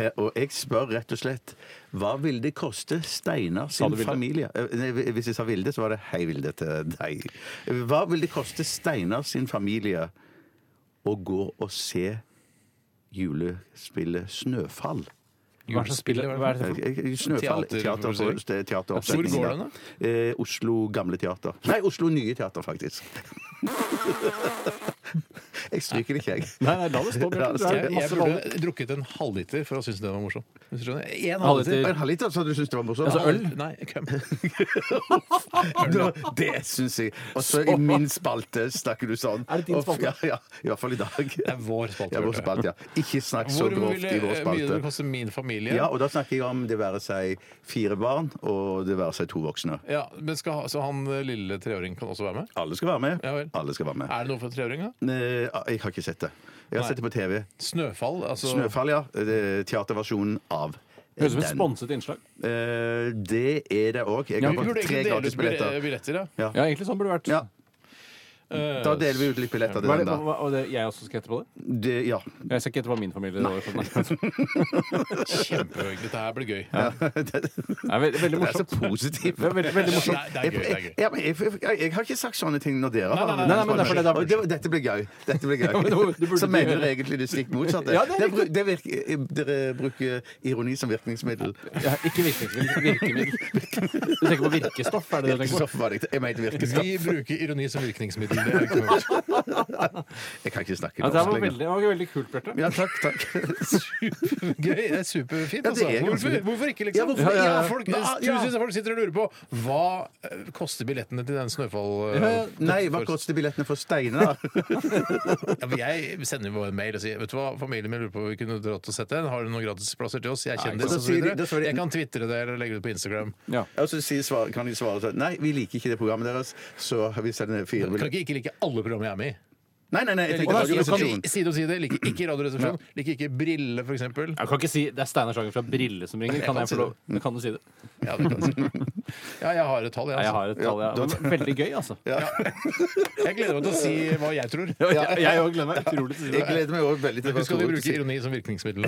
Speaker 6: Eh, og jeg spør rett og slett hva vil det koste Steinar sin
Speaker 5: du Vilde?
Speaker 6: familie Eh, nei, Hvis jeg sa Vilde, så var det hei, Vilde, til deg. Eh, Hva vil det koste Steinar sin familie å gå og se julespillet Snøfall?
Speaker 5: Hva er det som spiller? Hva er det for
Speaker 6: Jeg- jeg- Snøfall
Speaker 4: Teater-
Speaker 6: teater,
Speaker 4: forestilling.
Speaker 6: det er teateroppsetning,
Speaker 4: Hvor går
Speaker 6: da.
Speaker 4: den,
Speaker 6: Eh, Oslo Gamle Teater. Nei, Oslo Nye Teater, faktisk. jeg stryker det ikke, jeg.
Speaker 5: Nei, nei, la det stå, Bjørn. Det
Speaker 4: Jeg,
Speaker 5: er
Speaker 4: jeg
Speaker 5: masse baller.
Speaker 4: burde drukket en halvliter for å synes den var morsom. Hvis du skjønner. En
Speaker 5: Halvliter.
Speaker 4: halvliter.
Speaker 6: Og En halvliter, Altså så du syntes det var morsomt?
Speaker 4: Øl? Nei, køm.
Speaker 6: Nå, det syns jeg. Og så i min spalte snakker du sånn.
Speaker 5: Er det din
Speaker 6: Og-
Speaker 5: spalte?
Speaker 6: Ja, ja, I hvert fall i dag.
Speaker 4: Det er vår spalte.
Speaker 6: Ja, vår spalte, ja. Ikke snakk så
Speaker 4: Hvor
Speaker 6: grovt
Speaker 4: ville-
Speaker 6: i vår
Speaker 4: mye det
Speaker 6: spalte.
Speaker 4: koste min familie?
Speaker 6: Ja, og da snakker jeg om det være seg fire barn, og det være seg to voksne.
Speaker 4: Ja, men skal, ha- så han eh, lille treåringen kan også være med?
Speaker 6: Alle skal være med.
Speaker 4: Ja vel.
Speaker 6: Alle skal være med.
Speaker 4: Er det noe for treåring, da?
Speaker 6: Nei, jeg har ikke sett det. Jeg har
Speaker 4: Nei.
Speaker 6: sett det på TV.
Speaker 4: Snøfall? Altså,
Speaker 6: Snøfall, ja. Det er Teaterversjonen av
Speaker 5: Høres ut som et
Speaker 6: den.
Speaker 5: sponset innslag.
Speaker 6: Eh, det er det òg. Jeg
Speaker 5: Ja,
Speaker 6: har
Speaker 5: vi
Speaker 4: Vi burde
Speaker 6: fått tre
Speaker 4: egentlig dele ut bille-
Speaker 6: gratisbilletter.
Speaker 4: billetter, ja.
Speaker 5: Ja, egentlig sånn burde det vært.
Speaker 6: Ja.
Speaker 5: Eh,
Speaker 6: Da deler vi ut litt billetter til
Speaker 5: Hva er
Speaker 6: den,
Speaker 5: det,
Speaker 6: da.
Speaker 5: hva, og det, jeg også skal hete på det?
Speaker 6: Det, ja.
Speaker 5: Mm. Jeg skal ikke hete hva min familie var. Sånn, nei.
Speaker 4: Kjempegøy. Dette her blir gøy.
Speaker 5: Det er veldig, veldig
Speaker 6: Det er så
Speaker 5: morsomt.
Speaker 6: positivt.
Speaker 5: Det er veldig, veldig morsomt.
Speaker 4: Nei, det er gøy. det er gøy.
Speaker 6: Ja, men jeg, jeg, jeg har ikke sagt sånne ting når dere har
Speaker 5: nei, nei, men det er fordi det er-
Speaker 6: Og det- Dette blir gøy. Dette blir gøy.
Speaker 5: men du- du burde ikke
Speaker 6: så mener
Speaker 5: gjøre
Speaker 6: dere egentlig det stikk motsatte.
Speaker 5: Ja, det er
Speaker 6: Dere bru- det virker, eh, dere bruker ironi som virkningsmiddel.
Speaker 5: Ja, ikke virkemiddel. virkemiddel. Du tenker på virkestoff? Er det det du tenker på?
Speaker 6: Stoff var det ikke. Jeg mente virkestoff.
Speaker 4: Vi bruker ironi som virkningsmiddel. Det er ikke noe.
Speaker 6: Jeg kan ikke snakke
Speaker 5: Ja, det her var
Speaker 6: norsk lenger.
Speaker 5: veldig, det var veldig kult, Bjarte.
Speaker 6: Ja, takk, takk.
Speaker 4: Gøy, det er superfint.
Speaker 6: Ja, det
Speaker 4: Altså.
Speaker 6: er ganske
Speaker 4: Hvorfor,
Speaker 6: fint.
Speaker 4: hvorfor ikke, liksom?
Speaker 6: Ja, hvorfor-
Speaker 4: Ja, ah,
Speaker 6: ja.
Speaker 4: Folk,
Speaker 6: Ja, ja.
Speaker 4: Tusenvis av folk sitter og lurer på hva eh, koster billettene til den snøfall... eh,
Speaker 6: Nei, hva koster billettene for Steinar?
Speaker 4: Ja, men jeg sender jo en mail og sier Vet du hva, familien min lurer på om vi kunne dratt og sett den. Har du noen gratisplasser til oss? Jeg er
Speaker 6: Nei,
Speaker 4: kjendis
Speaker 6: da
Speaker 4: og så
Speaker 6: sier de-
Speaker 4: videre.
Speaker 6: da svarer de-
Speaker 4: Jeg kan tvitre det eller legge det ut på Instagram.
Speaker 6: Og så sier svar- kan de svare sånn Nei, vi liker ikke det programmet deres, så vi sender fire
Speaker 4: Kan
Speaker 6: billetter.
Speaker 4: ikke ikke like alle programmer jeg er med i.
Speaker 6: Nei, nei, nei, jeg tenker
Speaker 4: Å, nei, så
Speaker 6: Radioresepsjonen.
Speaker 4: kan- Side om side. Liker ikke Radioresepsjonen. Liker ikke Brille, for eksempel.
Speaker 5: Jeg kan ikke si Det er Steinar Sagen fra Brille som ringer. Kan,
Speaker 6: kan
Speaker 5: jeg
Speaker 6: si
Speaker 5: få lov? Kan du si det?
Speaker 4: Ja, det kan jeg si. ja, jeg har et tall, jeg.
Speaker 5: Nei, jeg
Speaker 4: Altså.
Speaker 5: har et tall, ja. Men Veldig gøy, altså.
Speaker 4: Jeg gleder meg til å si hva jeg tror.
Speaker 5: Jeg òg gleder meg utrolig til å si
Speaker 6: Jeg
Speaker 5: det.
Speaker 6: gleder meg også veldig til hva
Speaker 4: Husk at vi
Speaker 6: Tore
Speaker 4: bruker
Speaker 6: sier.
Speaker 4: ironi som virkningsmiddel.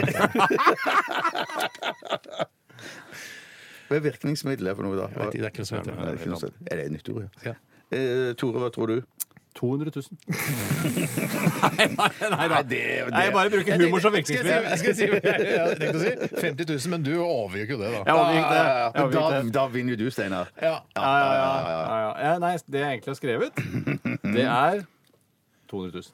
Speaker 6: Hva er virkningsmiddel for noe, da?
Speaker 4: vet ikke, det er ikke noe som heter det.
Speaker 6: Nei, det. Er, ikke noe som heter det. er det et nytt ord,
Speaker 4: Ja.
Speaker 6: ja? Eh, Tore, hva tror du?
Speaker 5: 200 000. Nei, nei, nei.
Speaker 6: Nei,
Speaker 5: nei.
Speaker 6: det,
Speaker 5: Nei, jeg bare bruker humor som
Speaker 4: Skal jeg
Speaker 5: virkningsmiddel.
Speaker 4: si, skal jeg si hva jeg hadde tenkt å si? 50 000, men du overgikk jo det, da.
Speaker 5: Jeg overgikk det.
Speaker 6: Ja,
Speaker 5: Jeg
Speaker 6: men da,
Speaker 5: overgikk det.
Speaker 6: da vinner jo du, Steinar.
Speaker 4: Ja.
Speaker 5: Ja, ja, ja, ja, ja. ja. Nei, det jeg egentlig har skrevet, det er 200 000.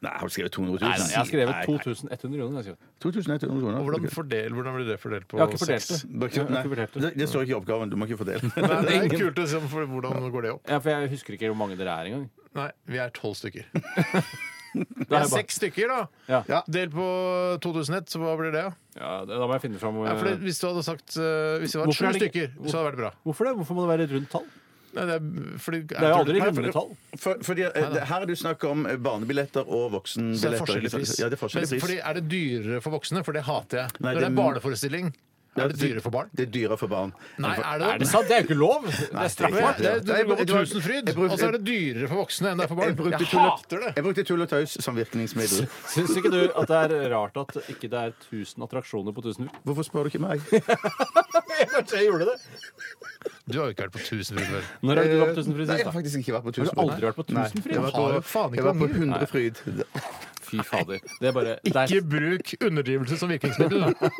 Speaker 6: Nei, har du skrevet 200
Speaker 5: Nei, nei,
Speaker 6: 000?
Speaker 5: jeg har skrevet
Speaker 6: Nei,
Speaker 5: 2100 kroner. jeg har skrevet.
Speaker 6: 2100 kroner.
Speaker 4: Og Hvordan, fordel, hvordan blir det fordelt på
Speaker 5: Jeg har ikke fordelt
Speaker 4: seks?
Speaker 5: det.
Speaker 6: Bør ikke-
Speaker 5: Jeg har ikke
Speaker 6: Nei,
Speaker 5: vurdert det.
Speaker 6: det, det står ikke i oppgaven. Du må ikke fordele.
Speaker 4: Nei, det er kult å se for hvordan går det opp.
Speaker 5: Ja, for jeg husker ikke hvor mange dere er engang.
Speaker 4: Nei, vi er tolv stykker.
Speaker 5: Da,
Speaker 4: Vi
Speaker 5: har
Speaker 4: er
Speaker 5: jeg bare,
Speaker 4: seks stykker, da.
Speaker 5: Ja.
Speaker 4: Delt på 2001, så hva blir det?
Speaker 5: ja, da må jeg finne fram
Speaker 4: Ja, for det,
Speaker 5: eh,
Speaker 4: hvis du hadde sagt eh, Hvis det var
Speaker 5: Hvorfor
Speaker 4: sju
Speaker 5: er det ikke-
Speaker 4: stykker, så hadde det vært bra.
Speaker 5: Hvorfor det? Hvorfor må det være et rundt tall?
Speaker 4: Nei, det, er, fordi,
Speaker 5: Det er jo aldri
Speaker 4: Nei, for-
Speaker 5: runde tall.
Speaker 6: For, fordi, eh, det- her er det snakk om eh, barnebilletter og
Speaker 4: Så det er
Speaker 6: voksenbilletter.
Speaker 4: forskjellig
Speaker 6: ikke sant?
Speaker 4: pris.
Speaker 6: Ja, det er forskjellig
Speaker 4: Men
Speaker 6: pris.
Speaker 4: Fordi er det dyrere for voksne? For det hater jeg.
Speaker 6: Nei,
Speaker 4: Når det
Speaker 6: det-
Speaker 4: er barneforestilling,
Speaker 6: Ja,
Speaker 4: er det dyrere for barn?
Speaker 6: Det er dyrere for barn.
Speaker 4: Nei, er det
Speaker 5: Er det sant? Det er jo ikke lov! Det er
Speaker 6: Nei,
Speaker 5: straffbart.
Speaker 4: Det er, du
Speaker 6: Jeg-
Speaker 4: går på
Speaker 6: jeg- jeg-
Speaker 4: Tusenfryd,
Speaker 6: jeg brukte-
Speaker 4: og så er det dyrere for voksne enn det er for
Speaker 6: Jeg
Speaker 4: barn.
Speaker 6: brukte
Speaker 4: Jeg
Speaker 6: tull og-
Speaker 4: hater det!
Speaker 6: Jeg brukte tull og tøys som virkningsmiddel.
Speaker 5: Syns ikke du at det er rart at ikke det er 1000 attraksjoner på 1000 uker?
Speaker 6: Hvorfor spør du ikke meg?
Speaker 5: Kanskje jeg gjorde det?
Speaker 4: Du har jo ikke vært på Tusenfryd før.
Speaker 5: Når har du vært på
Speaker 6: Eh, Nei,
Speaker 5: 1000
Speaker 6: jeg har
Speaker 5: frisør?
Speaker 6: faktisk ikke vært på
Speaker 5: Har du
Speaker 6: Tusenfryd.
Speaker 5: aldri vært på
Speaker 6: Nei,
Speaker 5: Tusenfryd?
Speaker 6: Jeg var
Speaker 4: Har jo
Speaker 6: på,
Speaker 4: faen ikke
Speaker 6: jeg var på
Speaker 4: vært mye.
Speaker 6: Hundrefryd.
Speaker 5: Fy fader. Det er bare det
Speaker 4: Ikke
Speaker 5: er,
Speaker 4: bruk underdrivelse som virkningsmiddel, da.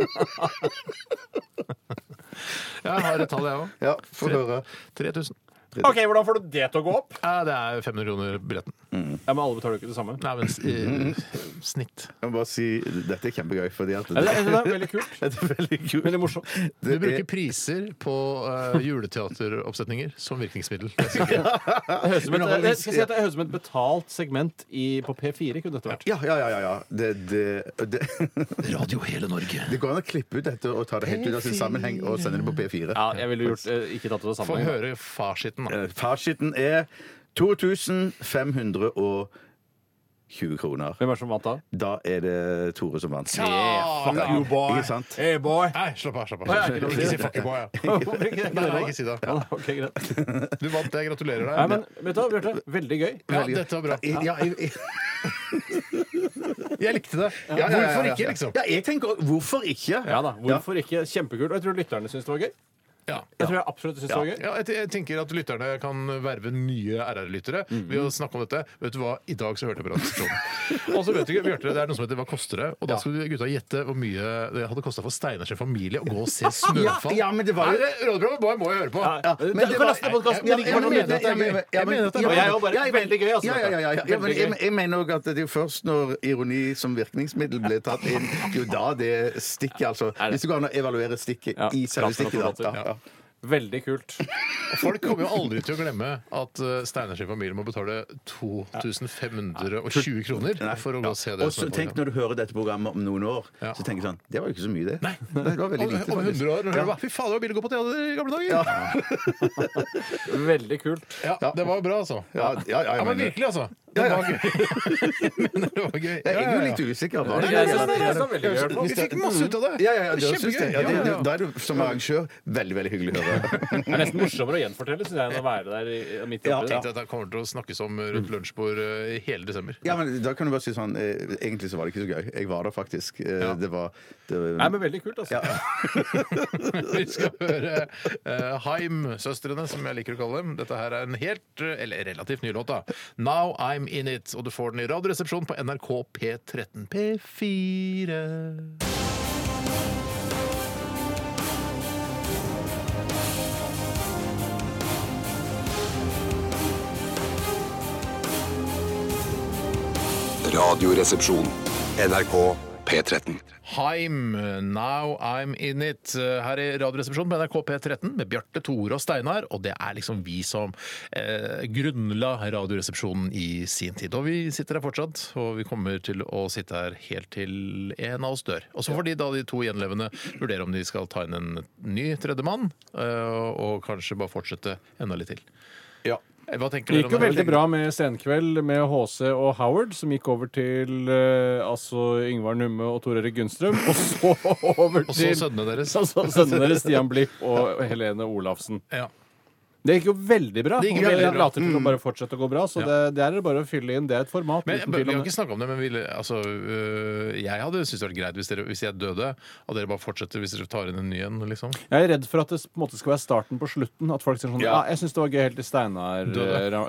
Speaker 4: Jeg har et tall, jeg òg.
Speaker 6: Ja, få høre.
Speaker 4: 3000.
Speaker 5: OK, hvordan får du det til å gå opp?
Speaker 4: Ja, det er 500 kroner billetten.
Speaker 5: Ja, Men alle betaler jo ikke det samme.
Speaker 4: Nei, men s- i- snitt.
Speaker 6: Jeg må bare si Dette er kjempegøy, fordi at
Speaker 5: Ja, det, er, det er veldig kult.
Speaker 6: Dette er veldig kult.
Speaker 5: Veldig morsomt.
Speaker 4: Du
Speaker 6: Det
Speaker 4: bruker
Speaker 6: er,
Speaker 4: priser på eh, juleteateroppsetninger som virkningsmiddel. Det er sikkert.
Speaker 5: Det høres ut som et, jeg skal si at det høres ut som et betalt segment i, på P4. kunne dette vært.
Speaker 6: ja, ja, ja, ja, ja. Det, det, det,
Speaker 4: Radio Hele Norge.
Speaker 6: det går an å klippe ut dette og ta det helt ut av sin sammenheng og sende det på P4.
Speaker 5: Ja, jeg ville gjort, eh, ikke tatt det
Speaker 4: Få
Speaker 5: sammen.
Speaker 4: høre farsitten, da.
Speaker 6: Eh, Fasiten er 2520 kroner.
Speaker 5: Hvem er det som vant da?
Speaker 6: Da er det Tore som vant.
Speaker 4: Ja,
Speaker 6: Ja,
Speaker 5: you boy.
Speaker 6: Ikke sant?
Speaker 5: Hey boy!
Speaker 4: Nei, slapp av. slapp av.
Speaker 5: Å, ja, ikke lov.
Speaker 4: Ikke si fucking boy, ja.
Speaker 5: Hvorfor ikke?
Speaker 4: Nei, nei, ikke si det.
Speaker 5: Ja, ok, greit.
Speaker 4: Du vant det. Gratulerer
Speaker 5: Nei,
Speaker 4: deg.
Speaker 5: men vet du hva, Bjarte? Veldig gøy.
Speaker 4: Ja, dette var bra.
Speaker 6: Ja, jeg, jeg,
Speaker 4: Jeg likte det.
Speaker 6: ja, ja, ja, ja.
Speaker 4: Hvorfor ikke, liksom?
Speaker 6: Ja, jeg tenker også, hvorfor ikke?
Speaker 5: Ja da, hvorfor ikke? Kjempekult. Og jeg tror lytterne syns det var gøy.
Speaker 4: Ja.
Speaker 5: Jeg tror jeg absolutt syns det var gøy.
Speaker 4: Ja, jeg, jeg tenker at lytterne kan verve nye RR-lyttere ved
Speaker 6: Mhm.
Speaker 4: å snakke om dette. Vet du hva, i dag så hørte jeg på radioresepsjonen. Og så vet du ikke, Bjarte, det er noe som heter Hva koster det? Og da skulle gutta gjette hvor mye det hadde kosta for Steinars familie å gå og se Snøfall.
Speaker 6: Ja, men det var jo-
Speaker 4: Nei, det- Radioprogrammet bare må jeg høre på.
Speaker 5: Ja.
Speaker 6: men
Speaker 5: Men du
Speaker 6: det var-
Speaker 5: kan laste ned podkasten.
Speaker 6: Ja,
Speaker 5: Det
Speaker 6: men-
Speaker 5: ligger på
Speaker 6: ja, men-
Speaker 5: nettet.
Speaker 6: ja, men-
Speaker 4: Jeg
Speaker 6: ja, men-
Speaker 4: mener dette er
Speaker 5: Og
Speaker 4: bra.
Speaker 5: jeg er jo bare
Speaker 6: Ja, jeg mener-
Speaker 5: veldig gøy, altså.
Speaker 6: Ja, ja, ja, ja, ja.
Speaker 5: Veldig
Speaker 6: ja, men jeg,
Speaker 5: gøy.
Speaker 6: jeg mener òg at det er først når ironi som virkningsmiddel ble tatt inn, jo da det stikker, altså. Hvis det går an å evaluere stikket
Speaker 5: Ja,
Speaker 6: i selve stikket, da.
Speaker 5: platen og
Speaker 6: Ja, ja.
Speaker 5: Veldig kult.
Speaker 4: Folk kommer jo aldri til å glemme at eh, Steinars familie må betale 2520 kroner for å gå og se det.
Speaker 6: Og så tenk når du hører dette programmet om noen år,
Speaker 4: Ja.
Speaker 6: så tenker du sånn Det var jo ikke så mye, det.
Speaker 4: Nei.
Speaker 6: det var veldig
Speaker 4: Om
Speaker 6: lite.
Speaker 4: om
Speaker 6: faktisk.
Speaker 4: 100 år. når du
Speaker 6: Ja.
Speaker 4: bare, Fy fader, det var billig å gå på teater i gamle dager!
Speaker 5: Veldig kult.
Speaker 4: Ja, det var bra, altså.
Speaker 6: Ja, ja, ja,
Speaker 4: Ja,
Speaker 6: jeg
Speaker 4: men
Speaker 6: mener-
Speaker 4: virkelig, altså. Det var gøy. Men det var gøy.
Speaker 6: Jeg
Speaker 4: Ja,
Speaker 6: er jo
Speaker 4: ja, ja.
Speaker 6: litt usikker.
Speaker 4: Ja,
Speaker 6: Var
Speaker 4: ja, ja,
Speaker 6: det gøy, eller?
Speaker 4: ja, ja. Vi fikk masse ut av det.
Speaker 6: Ja, ja, ja, det syns
Speaker 4: Kjempegøy.
Speaker 6: jeg. Ja,
Speaker 4: Ja,
Speaker 6: det,
Speaker 4: ja.
Speaker 6: da er du som arrangør veldig veldig hyggelig å høre.
Speaker 5: Det er nesten morsommere å gjenfortelle, syns jeg, enn å være der i- midt
Speaker 4: Jeg
Speaker 5: oppi.
Speaker 4: tenkte
Speaker 5: det, da.
Speaker 4: at det kommer til å snakkes om rundt lunsjbord eh, i hele desember.
Speaker 6: Ja, men da kan du bare si sånn eh, Egentlig så var det ikke så gøy. Jeg var der faktisk. Eh, Det var, det var
Speaker 5: Nei, men veldig kult, altså.
Speaker 4: Vi skal høre eh, Haim-søstrene, som jeg liker å kalle dem. Dette her er en helt, eh, eller relativt ny låt, da. Now I'm In It. Og du får den i Radioresepsjonen på NRK P13 P4.
Speaker 1: Radioresepsjon. NRK P13.
Speaker 4: Haim, Now I'm In It, eh, her i Radioresepsjonen på NRK P13 med Bjarte, Tore og Steinar. Og det er liksom vi som eh, grunnla Radioresepsjonen i sin tid. Og vi sitter her fortsatt, og vi kommer til å sitte her helt til en av oss dør. Og så får de da de to gjenlevende vurdere om de skal ta inn en ny tredjemann, eh, og kanskje bare fortsette enda litt til. Eh, Hva tenker
Speaker 5: Det
Speaker 4: dere
Speaker 5: gikk jo
Speaker 4: om
Speaker 5: veldig bra med Senkveld med HC og Howard, som gikk over til eh, altså Yngvar Numme og Tor Erik Gunnstrøm. Og så over
Speaker 4: Og så
Speaker 5: til
Speaker 4: sønnene deres.
Speaker 5: så- så sønnene deres Stian Blipp og Helene Olafsen.
Speaker 4: Ja.
Speaker 5: Det gikk jo veldig bra.
Speaker 4: Det gikk
Speaker 5: og det
Speaker 4: veldig bra. Mm.
Speaker 5: later til å bare fortsette å gå bra, så det, det er det bare å fylle inn. Det er et format.
Speaker 4: Men,
Speaker 5: uten
Speaker 4: men,
Speaker 5: tvil
Speaker 4: vi
Speaker 5: om
Speaker 4: har
Speaker 5: det.
Speaker 4: ikke snakket om det, men ville- altså, øh, jeg hadde syntes det var greit hvis, dere, hvis jeg døde, og dere bare fortsetter hvis dere tar inn en ny en. Liksom.
Speaker 5: Jeg er redd for at det på en måte skal være starten på slutten. At folk sier sånn Ja, jeg syns det var gøy helt til Steinar
Speaker 4: Døde.
Speaker 5: eh, døde.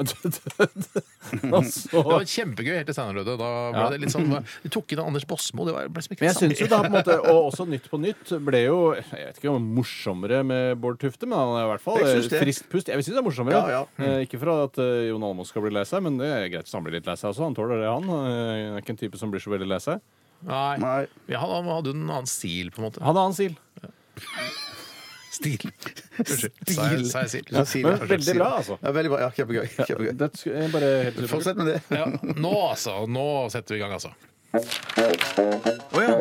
Speaker 5: Og så-
Speaker 4: Det var kjempegøy helt til Steinar døde. Da ble
Speaker 5: Ja.
Speaker 4: det litt sånn, de tok inn Anders Bosmo. Det var, ble liksom ikke
Speaker 5: Men jeg
Speaker 4: det
Speaker 5: syns jo da på en måte Og også Nytt på nytt ble jo Jeg vet ikke om morsommere med Bård Tufte, men han er i hvert fall
Speaker 6: Jeg syns det.
Speaker 5: friskt pust. Jeg syns det er morsommere.
Speaker 6: Ja, Mm. ja.
Speaker 5: Eh, Ikke for at eh, Jon Almaas skal bli lei seg, men det er greit hvis han blir litt lei seg også. Han tåler det, han. Eh, Han er ikke en type som blir så veldig lei seg.
Speaker 4: Nei.
Speaker 6: Nei.
Speaker 4: Ja, han, han hadde jo en annen stil, på en måte.
Speaker 5: Han er annen sil.
Speaker 4: Stil. Unnskyld. Sa jeg- sa jeg stil?
Speaker 6: Ja, si det.
Speaker 5: Men veldig bra, altså.
Speaker 6: Ja, veldig bra. Ja, kjempegøy. kjempegøy.
Speaker 5: Det skulle jeg bare helt
Speaker 6: Fortsett med det.
Speaker 4: Ja, nå, altså. Nå setter vi i gang, altså.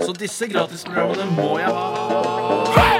Speaker 2: Så disse gratisprogrammene må jeg ha.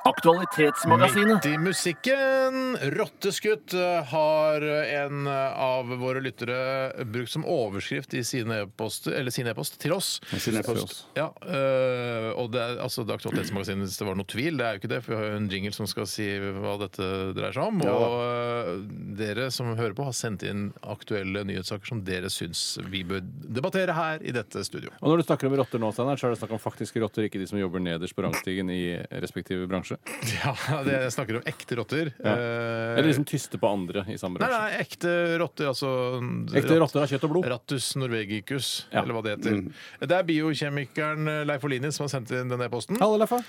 Speaker 2: Aktualitetsmagasinet.
Speaker 4: Midt i musikken. Rotteskutt eh, har en av våre lyttere brukt som overskrift i sine e-post eller sin e-post til oss.
Speaker 6: Siden jeg først-
Speaker 4: Ja, øh, og det er altså det er Aktualitetsmagasinet, hvis det var noe tvil. Det er jo ikke det, for vi har jo en jingle som skal si hva dette dreier seg om. Og øh, dere som hører på, har sendt inn aktuelle nyhetssaker som dere syns vi bør debattere her i dette studio.
Speaker 5: Og når du snakker om rotter nå, Steinar, så er det snakk om faktiske rotter, ikke de som jobber nederst på rangstigen i respektive bransje.
Speaker 4: Ja, det jeg snakker om ekte rotter. Eh,
Speaker 5: Eller de som tyster på andre i samme
Speaker 4: Nei,
Speaker 5: bransje.
Speaker 4: nei, ekte rotter, altså
Speaker 5: Ekte
Speaker 4: rat-
Speaker 5: rotter av kjøtt og blod.
Speaker 4: Rattus norvegicus,
Speaker 5: Ja.
Speaker 4: eller hva det heter. Det er biokjemikeren Leif Olini som har sendt inn denne posten.
Speaker 5: Hallo, Leffa.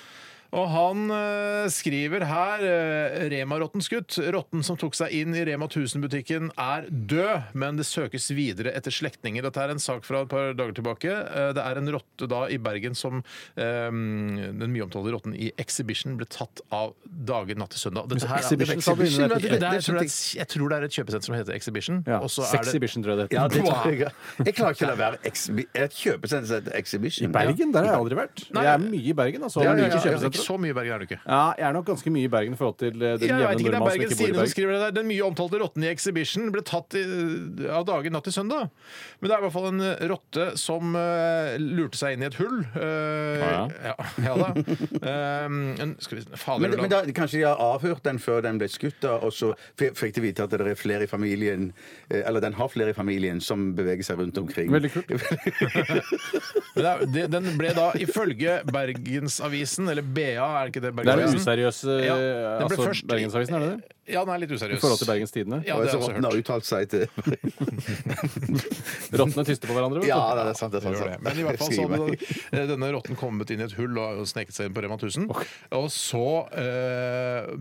Speaker 4: Og han eh, skriver her eh, Rema-rottens gutt. Rotten som tok seg inn i Rema 1000-butikken er død, men det søkes videre etter slektninger. Dette er en sak fra et par dager tilbake. Eh, det er en rotte da i Bergen som eh, den mye omtalte rotten i Exhibition ble tatt av dager natt til søndag. Dette her,
Speaker 5: Exhibition, sa du
Speaker 4: Exhibition,
Speaker 5: inne
Speaker 4: vet
Speaker 5: der.
Speaker 4: du, det er, jeg, tror det er, et- jeg tror det er et kjøpesenter som heter Exhibition.
Speaker 5: Ja.
Speaker 4: og så er det-
Speaker 5: Sexhibition, tror jeg det heter.
Speaker 6: Ja, det tror jeg. Jeg klarer ikke å la være exhibi- et kjøpesenter som heter Exhibition.
Speaker 5: Bergen? Der har jeg aldri vært. Jeg er mye i Bergen. altså.
Speaker 4: Ja,
Speaker 5: Jeg
Speaker 4: ja, ja,
Speaker 5: liker
Speaker 4: ja.
Speaker 5: kjøpesentre.
Speaker 4: Ikke så mye i Bergen er du ikke.
Speaker 5: Ja, jeg er nok ganske mye i Bergen i forhold til eh,
Speaker 4: Jeg
Speaker 5: den jevne
Speaker 4: vet ikke, det er
Speaker 5: nordmann som
Speaker 4: Bergens
Speaker 5: ikke bor i
Speaker 4: Tidende som
Speaker 5: Bergen.
Speaker 4: skriver det der. Den mye omtalte rotten i Exhibition ble tatt i, av dagen natt til søndag. Men det er i hvert fall en eh, rotte som eh, lurte seg inn i et hull.
Speaker 5: Ah,
Speaker 4: Eh, ja. ja da. Ehm, en, skal vi Fader
Speaker 6: Men, men
Speaker 4: Ulland.
Speaker 6: da, kanskje de har avhørt den før den ble skutt, da, og så f- fikk de vite at det er flere i familien eh, Eller den har flere i familien som beveger seg rundt omkring.
Speaker 5: Veldig kult.
Speaker 4: Men det er- det- Den ble da ifølge Bergensavisen, eller BA, er det ikke det?
Speaker 5: Det er
Speaker 4: Bergensavisen?
Speaker 5: den useriøse
Speaker 4: Ja,
Speaker 5: eh,
Speaker 4: den ble
Speaker 5: altså,
Speaker 4: først-
Speaker 5: Bergensavisen, er det det?
Speaker 4: Ja, den er litt useriøs.
Speaker 5: I forhold til Bergens Tidende?
Speaker 4: Ja,
Speaker 6: Og
Speaker 4: det
Speaker 6: så
Speaker 4: har jeg også
Speaker 6: rotten har
Speaker 4: hørt.
Speaker 6: uttalt seg til
Speaker 5: Rottene tyster på hverandre, vet du.
Speaker 6: Ja, det er sant. det er sant,
Speaker 4: Gjør det. Altså, Men i hvert fall så hadde denne rotten kommet inn i et hull og sneket seg inn på Rema 1000. Og så eh,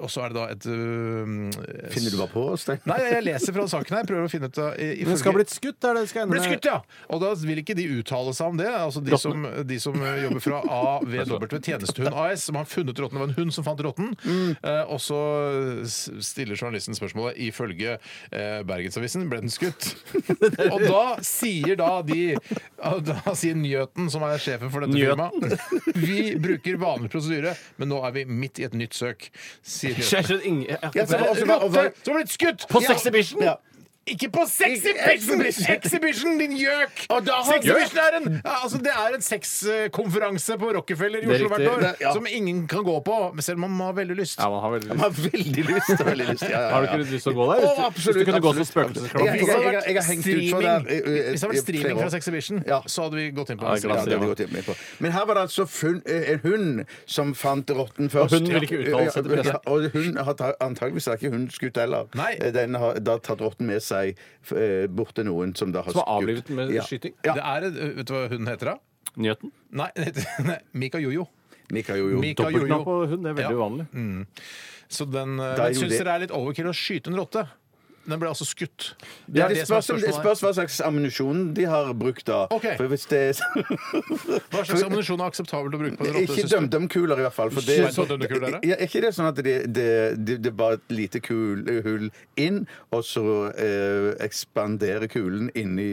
Speaker 4: Og så er det da et eh,
Speaker 6: Finner du bare på, Stein?
Speaker 4: Nei, jeg leser fra saken her. Prøver å finne ut av i-
Speaker 5: Men
Speaker 4: ifølge-
Speaker 5: det skal ha blitt skutt, er det det skal ende
Speaker 4: ble skutt, ja! Og da vil ikke de uttale seg om det. Altså De som, de som eh, jobber fra AVW Tjenestehund AS, som har funnet rotten. Det var en hund som fant rotten. Eh, og så s- stiller journalisten spørsmålet ifølge eh, Bergensavisen ble den skutt. Og da sier da de ja, Da sier Njøten, som er sjefen for dette firmaet Vi bruker vanlig prosedyre, men nå er vi midt i et nytt søk, sier Njøten.
Speaker 12: Jeg skjønner ingen- jeg-
Speaker 6: Ja, så-
Speaker 4: Det er en
Speaker 6: og- og-
Speaker 4: rotte som har blitt skutt!
Speaker 12: På Sexhibition?
Speaker 6: Ja.
Speaker 4: Ikke på Sexhibition! Exhibition, din gjøk!
Speaker 6: har-
Speaker 4: Sexhibition er en, ja, altså, det er en sexkonferanse på Rockefeller i
Speaker 12: Det er
Speaker 4: Oslo hvert
Speaker 12: riktig.
Speaker 4: år
Speaker 6: Det- ja.
Speaker 4: som ingen kan gå på, men selv om man har veldig lyst.
Speaker 5: Ja, man har veldig
Speaker 6: Jeg
Speaker 5: lyst.
Speaker 6: har veldig lyst. jeg har Veldig lyst. Ja, ja, ja.
Speaker 5: Har du ikke litt lyst til å gå der? Hvis du-
Speaker 6: Å,
Speaker 5: Hvis
Speaker 6: absolutt,
Speaker 5: du kunne gå som
Speaker 6: absolutt.
Speaker 5: spøkelsesklovn.
Speaker 6: Jeg- jeg- jeg- jeg- jeg har hengt ut for
Speaker 4: Streaming.
Speaker 6: det her, eh,
Speaker 4: Hvis
Speaker 6: eh,
Speaker 4: det hadde
Speaker 6: i
Speaker 4: vært streaming
Speaker 6: flere
Speaker 4: fra
Speaker 6: år.
Speaker 4: Sexhibition,
Speaker 6: Ja.
Speaker 4: så hadde vi gått inn på
Speaker 5: Ja,
Speaker 4: det.
Speaker 6: Ja, det har vi
Speaker 5: ja.
Speaker 6: gått inn på. Men her var det altså funn, eh, en hund som fant rotten først.
Speaker 5: Og hunden vil ikke uttale seg til pressen.
Speaker 6: Ja, og hun har ta- antageligvis er ikke hun skutt heller.
Speaker 4: Nei.
Speaker 6: Eh, Den har da tatt rotten med seg f- eh, bort til noen som da har
Speaker 5: Som har
Speaker 6: skutt.
Speaker 5: avlivet den med
Speaker 6: ja.
Speaker 5: skyting?
Speaker 6: Ja.
Speaker 4: Det er, et- eh, vet du hva hunden heter, da?
Speaker 5: Nyheten?
Speaker 4: Nei, den heter- nei, Mika Jojo.
Speaker 6: Mika Jojo.
Speaker 4: Mika
Speaker 5: Dobbeltknapp
Speaker 4: Jojo.
Speaker 5: på hund, det er veldig
Speaker 4: Ja.
Speaker 5: uvanlig.
Speaker 4: Så den eh,
Speaker 6: Da
Speaker 4: men
Speaker 6: gjorde
Speaker 4: Syns
Speaker 6: det.
Speaker 4: dere det er litt overkill å skyte en rotte? Den ble altså skutt. Det
Speaker 6: Ja,
Speaker 4: er
Speaker 6: det,
Speaker 4: det som er
Speaker 6: spørs om, det
Speaker 4: spørsmålet.
Speaker 6: spørs hva slags ammunisjon de har brukt da.
Speaker 4: Ok.
Speaker 6: For hvis det sånn-
Speaker 4: Hva slags ammunisjon er akseptabelt å bruke på en rotte?
Speaker 6: Ikke
Speaker 4: synes du?
Speaker 6: dømdømkuler, i hvert fall. For det,
Speaker 4: Ikke sånn dømdømkuler, da?
Speaker 6: ja, er ikke det sånn at det, det, det, det er bare et lite kul, eh, hull inn, og så eh, ekspanderer kulen inni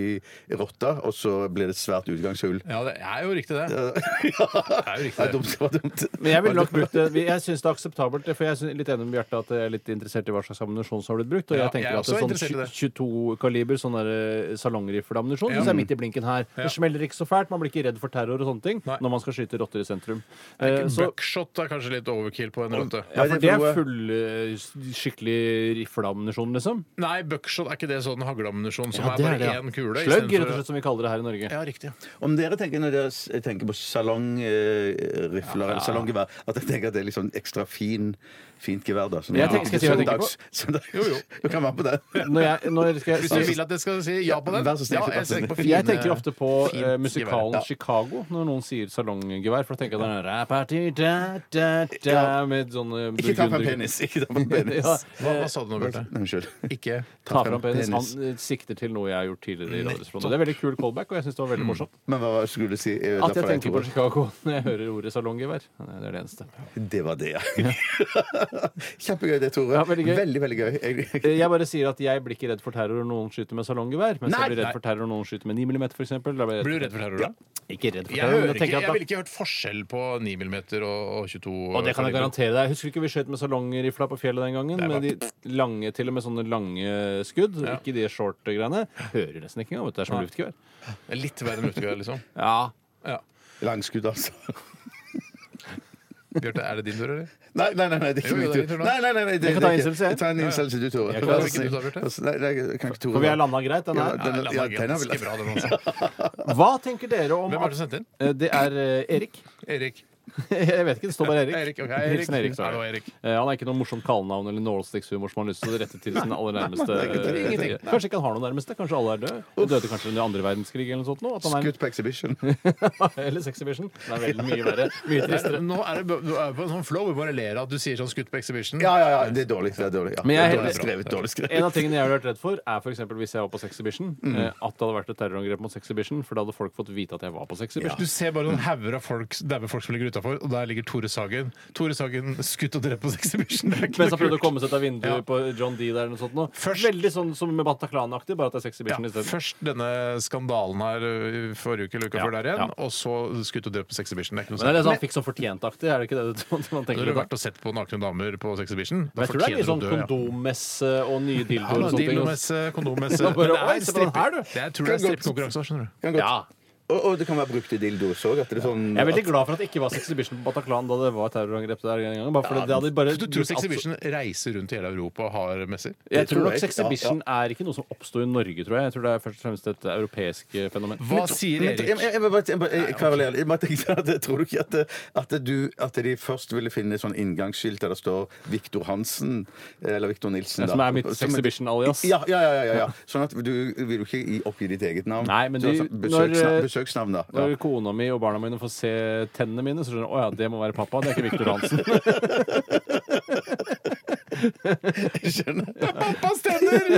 Speaker 6: rotta, og så blir det et svært utgangshull?
Speaker 4: Ja, det er jo riktig, det.
Speaker 6: Ja, det
Speaker 4: er jo riktig, det.
Speaker 6: dumt, det var dumt.
Speaker 5: Men jeg ville nok brukt det Jeg syns det er akseptabelt. For jeg er litt enig med Bjarte at jeg er litt interessert i hva slags ammunisjon som har blitt brukt. Og
Speaker 4: Ja,
Speaker 5: jeg tenker
Speaker 4: jeg er
Speaker 5: at en
Speaker 4: også
Speaker 5: sånn
Speaker 4: interessert i det.
Speaker 5: 22-kaliber sånn der, eh, salongrifleammunisjon syns jeg er midt i blinken her.
Speaker 4: Ja.
Speaker 5: Det smeller ikke så fælt, man blir ikke redd for terror og sånne ting
Speaker 4: Nei.
Speaker 5: når man skal skyte rotter i sentrum. Eh, så-
Speaker 4: Buckshot er kanskje litt overkill på en rotte.
Speaker 5: ja, for
Speaker 6: Hva er det
Speaker 5: det
Speaker 6: for
Speaker 5: er
Speaker 6: noe?
Speaker 5: full, eh, skikkelig rifleammunisjon, liksom.
Speaker 4: Nei, buckshot er ikke det sånn hagleammunisjon som
Speaker 5: Ja,
Speaker 4: er
Speaker 5: det
Speaker 4: bare
Speaker 5: det, ja.
Speaker 4: én kule?
Speaker 5: Sløgg,
Speaker 4: istedenfor-
Speaker 5: rett og slett, som vi kaller det her i Norge.
Speaker 4: Ja, riktig.
Speaker 6: Om dere tenker når dere s- tenker på salongrifler eller salonggevær, at dere tenker at det er litt sånn ekstra fin, fint gevær, da. Sånn,
Speaker 5: Jeg tenker- skal jeg si hva jeg tenker på?
Speaker 6: søndags- søndags-
Speaker 4: Jo, jo.
Speaker 6: Du kan være med på det.
Speaker 5: Når jeg, når skal jeg
Speaker 4: Hvis du vil at jeg skal si ja på den?
Speaker 6: Vær så snill,
Speaker 4: Ja,
Speaker 6: vær
Speaker 4: jeg
Speaker 6: så snill.
Speaker 4: tenker på fine
Speaker 5: Jeg tenker ofte på
Speaker 4: fint
Speaker 5: eh, musikalen
Speaker 4: gevær. Ja.
Speaker 5: Chicago når noen sier salonggevær. For da tenker jeg den rapparty, da, da, da, med sånn eh,
Speaker 6: Ikke ta fram
Speaker 5: burgunder-
Speaker 6: penis! Ikke ta fram penis.
Speaker 5: Ja,
Speaker 4: Hva, hva sa du nå, Bjarte?
Speaker 6: Nei, Unnskyld.
Speaker 4: Ikke
Speaker 5: ta fram penis. Han eh, sikter til noe jeg har gjort tidligere. i Radiosporene. Det er veldig kul callback, og jeg syns det var
Speaker 4: Mm.
Speaker 5: veldig morsomt.
Speaker 6: Men hva skulle du si? eh,
Speaker 5: At jeg
Speaker 6: derfor
Speaker 5: tenker på
Speaker 6: tror-
Speaker 5: Chicago når jeg hører ordet salonggevær. Nei, Det er det eneste.
Speaker 6: Det var det, ja. Kjempegøy det, Tore.
Speaker 5: Ja, veldig gøy.
Speaker 6: Veldig, veldig gøy. Jeg-
Speaker 5: Eh, Jeg bare sier at jeg blir ikke redd for terror når noen skyter med salonggevær. Mens
Speaker 4: Nei,
Speaker 5: jeg blir
Speaker 4: nei.
Speaker 5: redd for terror når noen skyter med 9 mm, f.eks.
Speaker 4: Blir du redd for terror, da?
Speaker 5: Ikke redd for
Speaker 4: Jeg,
Speaker 5: terror, men
Speaker 4: hører
Speaker 5: jeg
Speaker 4: ikke,
Speaker 5: tenker
Speaker 4: jeg
Speaker 5: at da
Speaker 4: ville ikke hørt forskjell på 9 mm og og 22
Speaker 5: Og det kan jeg garantere deg. Husker du ikke vi skjøt med salongrifla på fjellet den gangen?
Speaker 4: Det er
Speaker 5: Med de lange, til og med sånne lange skudd. Ikke de short-greiene. Hører nesten ikke engang. vet du, Det er som luftgevær.
Speaker 4: Litt verre enn luftgevær, liksom.
Speaker 5: Ja.
Speaker 6: Langskudd, altså.
Speaker 4: Bjarte, er det din tur, eller?
Speaker 6: Nei, nei, nei, nei, det er
Speaker 4: Jo, jo,
Speaker 6: ikke
Speaker 4: det
Speaker 6: min
Speaker 4: er
Speaker 6: tur.
Speaker 4: din tur nå.
Speaker 6: Nei, nei, nei, nei, det,
Speaker 5: Jeg kan ta
Speaker 6: det er
Speaker 5: en innstillelse,
Speaker 6: ikke-
Speaker 5: jeg.
Speaker 6: Ta en innstillelse du, Tore.
Speaker 5: Jeg kan
Speaker 6: Vær
Speaker 5: ta-
Speaker 6: så snill.
Speaker 4: Ikke du, Tore.
Speaker 6: Vær så- Nei, nei, jeg kan ikke Tore.
Speaker 5: For vi har landa greit, den
Speaker 6: Ja,
Speaker 5: her.
Speaker 6: den, ja, den har vi
Speaker 4: ganske bra,
Speaker 6: lagt.
Speaker 4: den altså.
Speaker 5: Hva tenker dere om
Speaker 4: Hvem er det
Speaker 5: at
Speaker 4: som sendte inn?
Speaker 5: Eh, Det er eh, Erik.
Speaker 4: Erik.
Speaker 5: Jeg vet ikke, det står bare Erik.
Speaker 4: Erik, ok, Erik.
Speaker 5: Hilsen Erik, står det.
Speaker 4: Hallo, Erik.
Speaker 5: Eh, Han er ikke noe morsomt kallenavn eller nålestikkshumor som han har lyst til å rette til sin aller nærmeste. eh,
Speaker 4: Ingenting.
Speaker 5: Kanskje ikke han har noen nærmeste. Kanskje alle er døde. Døde kanskje under andre verdenskrig eller noe sånt. Nå, at han er
Speaker 6: Skutt på Exhibition.
Speaker 5: Eller Sexhibition. Det er veldig mye verre. Mye
Speaker 4: Det
Speaker 5: tristere.
Speaker 4: er- Nå er det du er på en sånn flow. Vi bare ler av at du sier sånn skutt på Exhibition.
Speaker 6: Ja, ja, ja. Det er dårlig. Det er dårlig, ja.
Speaker 5: Men jeg er
Speaker 6: Det er dårlig
Speaker 5: helt-
Speaker 6: skrevet. Dårlig skrevet.
Speaker 5: En av tingene jeg ville vært redd for, er for eksempel hvis jeg var på Sexhibition.
Speaker 4: Mm.
Speaker 5: eh, At det hadde vært et terrorangrep mot Sexhibition, for da hadde folk fått vite at jeg var på Sexhibition.
Speaker 4: Du ser bare noen hauger av folk, daue folk som ligger utafor, og der ligger Tore Sagen. Tore Sagen skutt og drept på Exhibition. Det er ikke noe
Speaker 5: Mens han prøvde å
Speaker 4: kult.
Speaker 5: komme seg ut av vinduet
Speaker 4: Ja.
Speaker 5: på John D. der eller noe sånt nå.
Speaker 4: Først-
Speaker 5: Veldig sånn som med Bataclan-aktig, bare at det er
Speaker 4: Ja,
Speaker 5: Sexhibition isteden.
Speaker 4: først denne skandalen her ø, i forrige uke eller uka
Speaker 5: Ja,
Speaker 4: før der igjen,
Speaker 5: ja.
Speaker 4: og så skutt og drept på Sexhibition. Det er ikke noe
Speaker 5: Men det er det
Speaker 4: særlig.
Speaker 5: sånn han fikk som fortjentaktig, er det ikke det du- man
Speaker 4: Når
Speaker 5: tenker?
Speaker 4: du har
Speaker 5: litt
Speaker 4: vært og sett på nakne damer på Sexhibition,
Speaker 5: på?
Speaker 4: da
Speaker 5: Jeg tror det er
Speaker 4: fortjener
Speaker 5: litt
Speaker 4: du å
Speaker 5: sånn
Speaker 4: dø. ja.
Speaker 5: kondommesse og nye
Speaker 4: Ja,
Speaker 5: dildoer og sånne ting.
Speaker 4: Dildomesse, kondommesse
Speaker 5: Da
Speaker 4: Men
Speaker 5: bare,
Speaker 4: det er
Speaker 5: oi, se på den
Speaker 4: stripping.
Speaker 5: her, du.
Speaker 4: Det er- Jeg tror det er strippekonkurranse òg, skjønner du.
Speaker 6: Kan godt.
Speaker 5: Ja.
Speaker 6: Og, og det kan være brukt i dildos òg. At det er sånn
Speaker 5: Jeg er veldig glad for at det ikke var Sexhibition på Bataclan da det var terrorangrep der en gang. Bare fordi det hadde bare
Speaker 4: Du tror Sexhibition reiser rundt i hele Europa og har messer?
Speaker 5: Jeg tror
Speaker 6: tror
Speaker 5: nok
Speaker 6: jeg.
Speaker 5: Sexhibition er ikke noe som oppsto i Norge, tror jeg. Jeg tror det er først og fremst et europeisk eh, fenomen.
Speaker 4: Hva sier
Speaker 6: Men, jeg,
Speaker 4: Erik?
Speaker 6: jeg, jeg, må bare- jeg, må- jeg, kvarulerer. jeg, bare tenkte at jeg tror du ikke at, det- at, det du, at de først ville finne sånn inngangsskilt der det står Victor Hansen eller Victor Nilsen?
Speaker 5: Ja, som
Speaker 6: da.
Speaker 5: er mitt
Speaker 6: Som-
Speaker 5: Sexhibition-alias.
Speaker 6: Ja, ja, ja, ja, ja. Sånn at du vil jo ikke gi- oppgi ditt eget navn.
Speaker 5: Nei, men
Speaker 6: Så
Speaker 5: de-
Speaker 6: altså, besøksnavn,
Speaker 5: når, eh,
Speaker 6: besøksnavn, da. Ja.
Speaker 5: Når kona mi og barna mine får se tennene mine, så skjønner de å ja, det må være pappa. Det er ikke Victor Hansen.
Speaker 6: Jeg skjønner.
Speaker 4: Pappas tenner!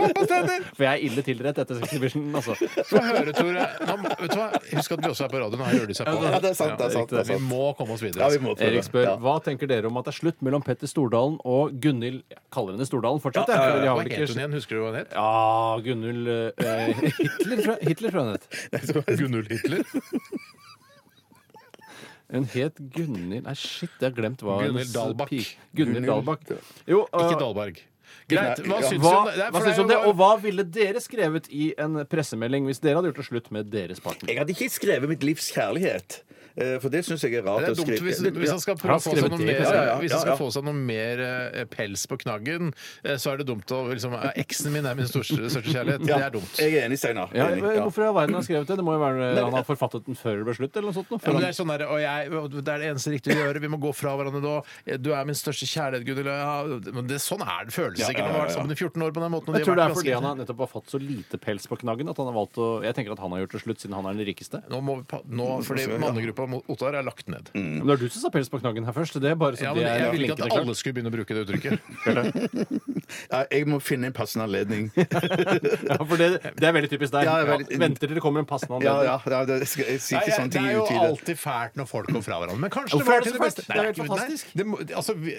Speaker 4: Pappas tenner!
Speaker 5: For jeg er ille tilrett etter Sexhibition, altså.
Speaker 4: Få høre, Tore. Nå, vet du hva? Husk at vi også er på radioen, og her hører de seg på.
Speaker 6: Ja, det er sant, det er sant, det er sant.
Speaker 4: Vi må komme oss videre.
Speaker 6: Ja, vi må prøve.
Speaker 5: Erik spør hva tenker dere om at det er slutt mellom Petter Stordalen og Gunhild Jeg kaller henne Stordalen fortsatt, jeg. for de har
Speaker 4: Hva
Speaker 5: vel
Speaker 4: het hun
Speaker 5: ikke-
Speaker 4: igjen? Husker du hva hun het?
Speaker 5: Ja, Gunhild eh, Hitler, tror jeg- Hitler, tror jeg hun het.
Speaker 4: Gunnul Hitler?
Speaker 5: Hun het Gunhild Nei, shit, jeg har glemt hva
Speaker 4: Gunhild
Speaker 5: hennes
Speaker 4: Dahlbakk.
Speaker 5: pi- Gunhild Dahlbakk. Jo, eh,
Speaker 4: Ikke Dahlberg. Greit. Hva syns du
Speaker 5: hva,
Speaker 4: om det? Nei, for
Speaker 5: hva syns du om
Speaker 4: er
Speaker 5: det?
Speaker 4: jo
Speaker 5: Og hva ville dere skrevet i en pressemelding hvis dere hadde gjort det slutt med deres partner?
Speaker 6: Jeg hadde ikke skrevet mitt livs kjærlighet, eh, for det syns jeg er rart
Speaker 4: Det er
Speaker 6: å
Speaker 4: dumt
Speaker 6: skrive.
Speaker 4: hvis, hvis han skal prøve å
Speaker 5: Har han
Speaker 4: få seg
Speaker 5: skrevet
Speaker 4: noe
Speaker 5: det?
Speaker 4: mer,
Speaker 6: Ja, ja, ja.
Speaker 4: hvis han
Speaker 6: Ja,
Speaker 4: skal
Speaker 6: ja.
Speaker 4: få seg noe mer eh, pels på knaggen, eh, så er det dumt å liksom eh, Eksen min er min største, største kjærlighet. Det er dumt.
Speaker 6: Jeg er enig, Steinar.
Speaker 5: Ja,
Speaker 6: Enig, ja.
Speaker 5: hvorfor i all verden har han skrevet det? Det må jo være Han har forfattet den før det ble slutt, eller noe sånt? Noe,
Speaker 4: Ja,
Speaker 5: før
Speaker 4: men det,
Speaker 5: han-
Speaker 4: er sånn der, og jeg, og det er det eneste riktige å gjøre. Vi må gå fra hverandre nå. Eh, Du er min største kjærlighet, Gunhild. Ja, men det, sånn er det føles sikkert. De har vært sammen i 14 år på den måten. og de har
Speaker 5: jeg tror det
Speaker 4: vært
Speaker 5: er fordi
Speaker 4: ganske-
Speaker 5: han har nettopp har fått så lite pels på knaggen at han har valgt å Jeg tenker at han har gjort det slutt, siden han er den rikeste.
Speaker 4: nå må vi, pa- nå, fordi Mannegruppa mot Ottar er lagt ned.
Speaker 5: Men det er du som sa pels på knaggen her først. Det er bare Mm,
Speaker 4: Mm.
Speaker 5: så
Speaker 4: Ja,
Speaker 5: det
Speaker 4: men
Speaker 5: er
Speaker 4: jeg vil ikke
Speaker 5: klinkende
Speaker 4: at
Speaker 5: klart.
Speaker 4: alle skulle begynne å bruke det uttrykket.
Speaker 6: Ja, jeg må finne en passende anledning.
Speaker 5: Ja, for det, det er veldig typisk deg.
Speaker 6: Ja,
Speaker 5: Ja,
Speaker 6: veldig-
Speaker 5: Venter til det kommer en passende
Speaker 6: Ja,
Speaker 5: anledning.
Speaker 6: ja, ja det skal, jeg sier
Speaker 4: Nei,
Speaker 6: ikke
Speaker 4: jeg-
Speaker 6: sånne ting i
Speaker 4: det er jo
Speaker 6: utide.
Speaker 4: alltid fælt når folk går fra hverandre. Men kanskje det
Speaker 5: Hvorfor
Speaker 4: var
Speaker 5: er det
Speaker 4: til
Speaker 5: så
Speaker 4: det beste.
Speaker 5: fælt? Det er helt
Speaker 4: ikke-
Speaker 5: fantastisk.
Speaker 4: det må, altså, vi-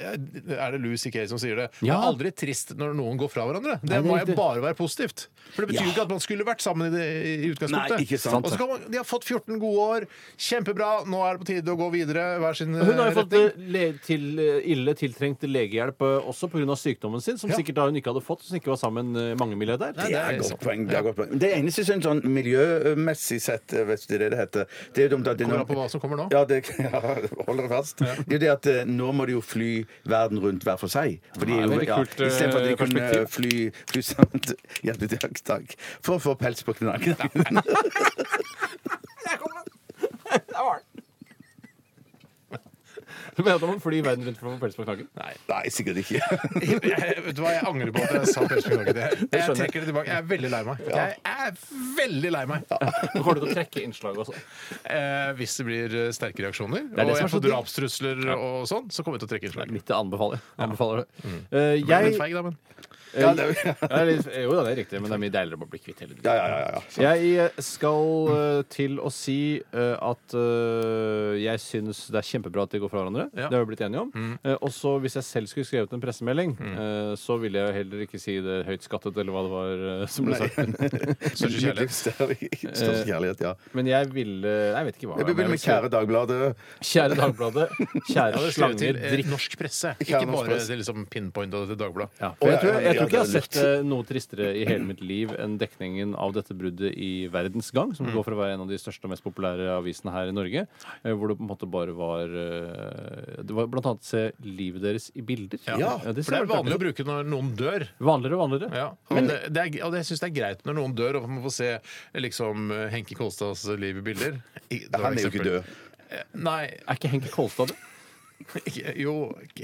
Speaker 4: er det Louis C.K. som sier det? Det er
Speaker 5: Ja.
Speaker 4: aldri trist når noen går fra hverandre. Det,
Speaker 5: det er
Speaker 4: må jo
Speaker 5: riktig.
Speaker 4: bare være positivt. For det betyr jo ikke at man skulle vært sammen i, det, i utgangspunktet.
Speaker 6: Nei, ikke sant.
Speaker 4: Og så kan man, de har fått 14 gode år. Kjempebra. Nå er det på tide å gå videre hver sin
Speaker 5: Hun har jo fått
Speaker 4: retning.
Speaker 5: eh, le til, eh, ille tiltrengt legehjelp eh, også pga. sykdommen sin, som
Speaker 4: Ja.
Speaker 5: sikkert da hun ikke hadde fått, som ikke var sammen eh, mange milliardær.
Speaker 6: Det
Speaker 4: det
Speaker 6: er
Speaker 4: er
Speaker 6: godt
Speaker 4: sant.
Speaker 6: poeng. Det, er godt poeng. det eneste synes sånn miljømessig sett, eh, hvis det er det det heter Det er jo dumt at det
Speaker 4: Kommer an på hva som kommer nå.
Speaker 6: Ja, det, ja holder det fast. Det er jo det at eh, nå må de jo fly verden rundt hver for seg. For de er jo,
Speaker 5: veldig
Speaker 6: ja,
Speaker 5: kult, eh,
Speaker 6: Istedenfor at de kunne
Speaker 5: perspektiv.
Speaker 6: fly, fly sammen Hjertelig takk, takk. For å få pels på knaggen.
Speaker 5: Du mener at man flyr verden rundt for å få pels på knaggen?
Speaker 6: Nei, sikkert ikke.
Speaker 4: Jeg, vet du hva, jeg angrer på at jeg sa pelsbyrået. Jeg, jeg
Speaker 5: skjønner jeg.
Speaker 4: trekker det tilbake. Jeg er veldig lei meg. Jeg er veldig lei meg.
Speaker 5: Nå kommer du til å trekke innslaget også.
Speaker 4: Eh, hvis det blir eh, sterke reaksjoner,
Speaker 5: er det
Speaker 4: og
Speaker 5: som
Speaker 4: jeg
Speaker 5: er så
Speaker 4: får
Speaker 5: digg.
Speaker 4: drapstrusler og sånn, så kommer jeg til å trekke
Speaker 5: Det er
Speaker 4: innslag.
Speaker 5: mitt det anbefaler jeg. anbefaler. det. Eh,
Speaker 4: Jeg...
Speaker 5: jeg,
Speaker 4: Feig, da, men.
Speaker 5: ja, det, er litt, jo da, det er riktig, men det er mye deiligere å bli kvitt hele tiden.
Speaker 6: Ja, ja, ja, ja. Så-
Speaker 5: Jeg skal eh, til å si eh, at eh, jeg syns det er kjempebra at de går fra hverandre.
Speaker 4: Ja.
Speaker 5: Det har vi blitt enige om. Eh, og så hvis jeg selv skulle skrevet en pressemelding, eh, så ville jeg jo heller ikke si det høyt skattet, eller hva det var eh, som ble sagt.
Speaker 4: Største kjærlighet.
Speaker 6: Største kjærlighet, ja.
Speaker 5: Men jeg ville Jeg vet ikke hva.
Speaker 6: Jeg begynner med Kjære Dagbladet.
Speaker 5: Kjære Dagbladet. Kjære
Speaker 4: Jeg skrev
Speaker 5: slanger,
Speaker 4: til eh,
Speaker 5: drikk.
Speaker 4: norsk presse,
Speaker 6: Ikke
Speaker 4: ikke
Speaker 6: norsk
Speaker 4: bare
Speaker 6: presse.
Speaker 4: til liksom pinpointa til Dagbladet.
Speaker 5: Ja, for jeg,
Speaker 6: Å, ja,
Speaker 5: tror, jeg
Speaker 6: ja, ja,
Speaker 5: tror ikke jeg har
Speaker 6: det er
Speaker 5: sett eh, noe tristere i hele mitt liv enn dekningen av dette bruddet i Verdens Gang, som går for å være en av de største og mest populære avisene her i Norge. eh, Hvor det på en måte bare var eh, Det var blant annet se livet deres i bilder. det
Speaker 4: for det
Speaker 5: ser
Speaker 4: er
Speaker 5: veldig
Speaker 4: vanlig å
Speaker 5: artig ut.
Speaker 4: bruke når noen dør.
Speaker 5: Vanligere og vanligere.
Speaker 4: Ja, og det, det er, og det syns jeg er greit når noen dør, og man får se eh, liksom eh, Henki Kolstads liv i bilder. I- det var
Speaker 6: Han er jo
Speaker 4: eksempel.
Speaker 6: ikke død.
Speaker 4: Eh, Nei,
Speaker 5: Er ikke Henke Kolstad det?
Speaker 4: ikke, jo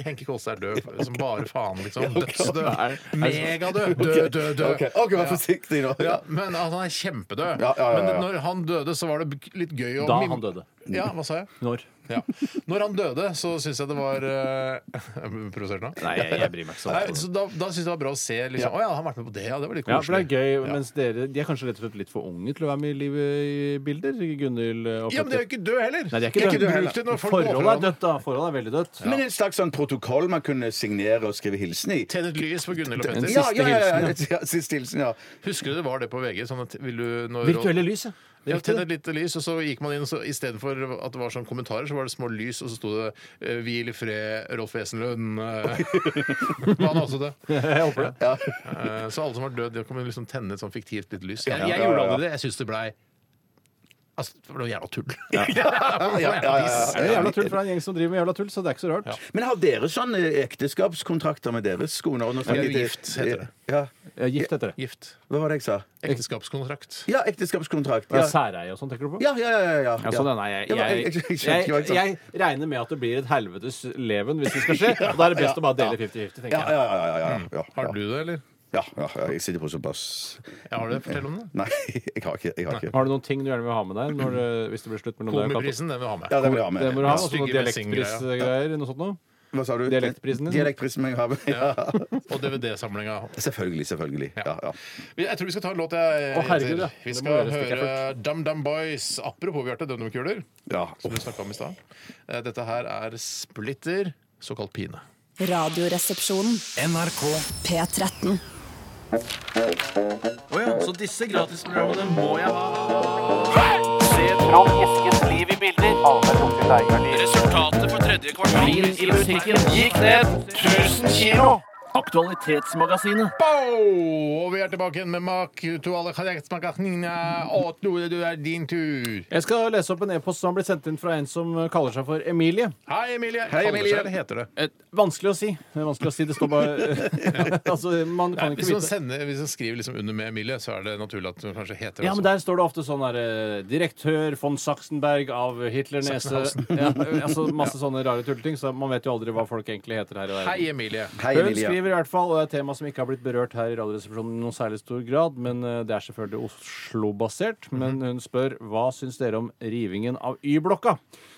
Speaker 4: Henki Kolstad er død som bare faen, liksom.
Speaker 5: Nei,
Speaker 4: Dødsdød.
Speaker 5: er-
Speaker 4: Megadød. Død, død, død.
Speaker 6: Ok, ok, vær forsiktig nå.
Speaker 4: Ja, men at han er kjempedød.
Speaker 6: Ja, ja, ja, ja.
Speaker 4: Men når han døde, så var det b- litt gøy å
Speaker 5: Da
Speaker 4: mim-
Speaker 5: han døde.
Speaker 4: Ja, hva sa jeg?
Speaker 5: Når?
Speaker 4: Ja. Når han døde, så syns jeg det var uh, Provosert nå?
Speaker 5: Nei, jeg, jeg bryr meg ikke
Speaker 4: Nei,
Speaker 5: sånn.
Speaker 4: så da da syns jeg det var bra å se. Liksom, Å ja, han har vært med på det, ja. Det var litt
Speaker 5: Ja, for
Speaker 4: koselig.
Speaker 5: det er gøy, mens dere De er kanskje rett og slett litt for unge til å være med i livet i bilder? Gunhild eh, og
Speaker 4: Ja, men de er jo ikke død heller!
Speaker 5: Nei, de er ikke død.
Speaker 4: Bruk det når folk går
Speaker 5: Forholdet
Speaker 4: fra
Speaker 5: er dødt, da. Forholdet er veldig dødt.
Speaker 6: Men en slags sånn protokoll man kunne signere og skrive hilsen i.
Speaker 4: Tenn et lys for Gunhild og
Speaker 5: Den
Speaker 4: Petter.
Speaker 6: Ja, ja, ja, ja,
Speaker 5: hilsen,
Speaker 6: ja. Siste hilsen, ja.
Speaker 4: Husker du det var det på VG? Sånn at vil du når,
Speaker 5: Virtuelle lys, ja. Det
Speaker 4: Ja,
Speaker 5: er viktig,
Speaker 4: tenn
Speaker 5: det.
Speaker 4: et lite lys, og så gikk man inn, og så istedenfor at det var sånn kommentarer, så var det små lys, og så sto det eh, 'Hvil i fred, Rolf Wesenlund'. eh. Var han også det?
Speaker 5: Jeg håper det.
Speaker 4: Eh, Så alle som var død, de kunne liksom tenne et sånn fiktivt lite lys. Jeg,
Speaker 6: Ja,
Speaker 4: jeg
Speaker 6: ja,
Speaker 4: gjorde
Speaker 6: ja.
Speaker 4: aldri det. Jeg syns det blei Altså, det var noe jævla tull.
Speaker 6: ja, ja, ja,
Speaker 5: Det er jævla tull fra en gjeng som driver med jævla tull, så det er ikke så rart.
Speaker 6: Men har dere sånne ekteskapskontrakter med deres koner? Nå snakker
Speaker 4: Vi er jo
Speaker 6: jeg-
Speaker 4: gift, heter det.
Speaker 6: Ja.
Speaker 5: Jeg er Eh, gift etter det.
Speaker 4: Gift.
Speaker 6: Hva var det jeg sa?
Speaker 4: Ekteskapskontrakt.
Speaker 6: Ja, ekteskapskontrakt.
Speaker 5: Ja.
Speaker 6: Ja,
Speaker 5: Særeie og sånn, tenker du på?
Speaker 6: ja, ja. ja, ja, ja.
Speaker 5: Ja, sånn, ja, nei, jeg,
Speaker 6: Ja, men
Speaker 5: jeg,
Speaker 6: jeg- jeg
Speaker 5: jeg,
Speaker 6: skjønte ikke hva jeg sa.
Speaker 5: regner med at det blir et helvetes leven hvis det skal skje. Og da er det best å bare dele 50-50,
Speaker 6: Ja,
Speaker 5: tenker jeg.
Speaker 6: ja, ja, ja, ja, ja,
Speaker 4: Har
Speaker 6: ja.
Speaker 4: du det, eller?
Speaker 6: Ja, ja, ja, jeg sitter på såpass
Speaker 4: Jeg har det. Fortell om det.
Speaker 6: Nei, jeg har ikke. Jeg har ikke.
Speaker 5: Har du noen ting du gjerne vil ha med deg når, eh, det- hvis det blir slutt mellom deg og Cato?
Speaker 4: Komiprisen, den vil jeg ha med.
Speaker 6: Ja, det må jeg ha med.
Speaker 5: Det må du ha.
Speaker 6: Ja.
Speaker 5: Også
Speaker 4: Stygge
Speaker 5: noen dialektprisgreier, noe sånt noe.
Speaker 6: Hva sa du?
Speaker 5: Dialektprisen, liksom?
Speaker 6: Dialektprisen jeg har. Ja.
Speaker 4: Og DVD-samlinga.
Speaker 6: Selvfølgelig, selvfølgelig. Ja, ja.
Speaker 4: Jeg tror vi skal ta en låt, jeg.
Speaker 5: Å, herregud, ja.
Speaker 4: Jenter. Vi
Speaker 5: Det må
Speaker 4: skal
Speaker 5: gjøres, det er
Speaker 4: høre DumDum Boys. Apropos Bjarte, DumDum-kuler,
Speaker 6: ja.
Speaker 4: som du snakka om i stad. Eh, Dette her er Splitter, såkalt pine.
Speaker 7: Radioresepsjonen.
Speaker 13: NRK
Speaker 7: P13.
Speaker 2: Så disse gratisprogrammene må jeg ha. Resultatet for tredje kvartal i musikken gikk ned 1000 kilo. Aktualitetsmagasinet.
Speaker 4: Bow! Og vi er tilbake igjen med Mak to alle karakterene. Å, Tore, du er din tur.
Speaker 5: Jeg skal lese opp en e-post som har blitt sendt inn fra en som kaller seg for Emilie.
Speaker 4: Hei, Emilie.
Speaker 6: Hei, Emilie.
Speaker 4: Kaller seg, heter det.
Speaker 5: Et, vanskelig å si. Det er vanskelig å si. Det står bare Altså, man kan
Speaker 4: Hvis
Speaker 5: ikke
Speaker 4: man,
Speaker 5: vite.
Speaker 4: sender, hvis man skriver liksom under med Emilie, så er det naturlig at hun kanskje heter det.
Speaker 5: Ja, men
Speaker 4: også.
Speaker 5: der står det ofte sånn her eh, Direktør von Sachsenberg av Hitler-nese. Ja, altså masse sånne rare tulleting, så man vet jo aldri hva folk egentlig heter her i verden.
Speaker 4: Hei, Emilie.
Speaker 6: Hei,
Speaker 5: Hun
Speaker 6: Emilie.
Speaker 5: skriver i hvert fall, og det er et tema som ikke har blitt berørt her i Radioresepsjonen i noen særlig stor grad, men eh, det er selvfølgelig Oslo-basert. Men hun spør hva syns dere om rivingen av Y-blokka?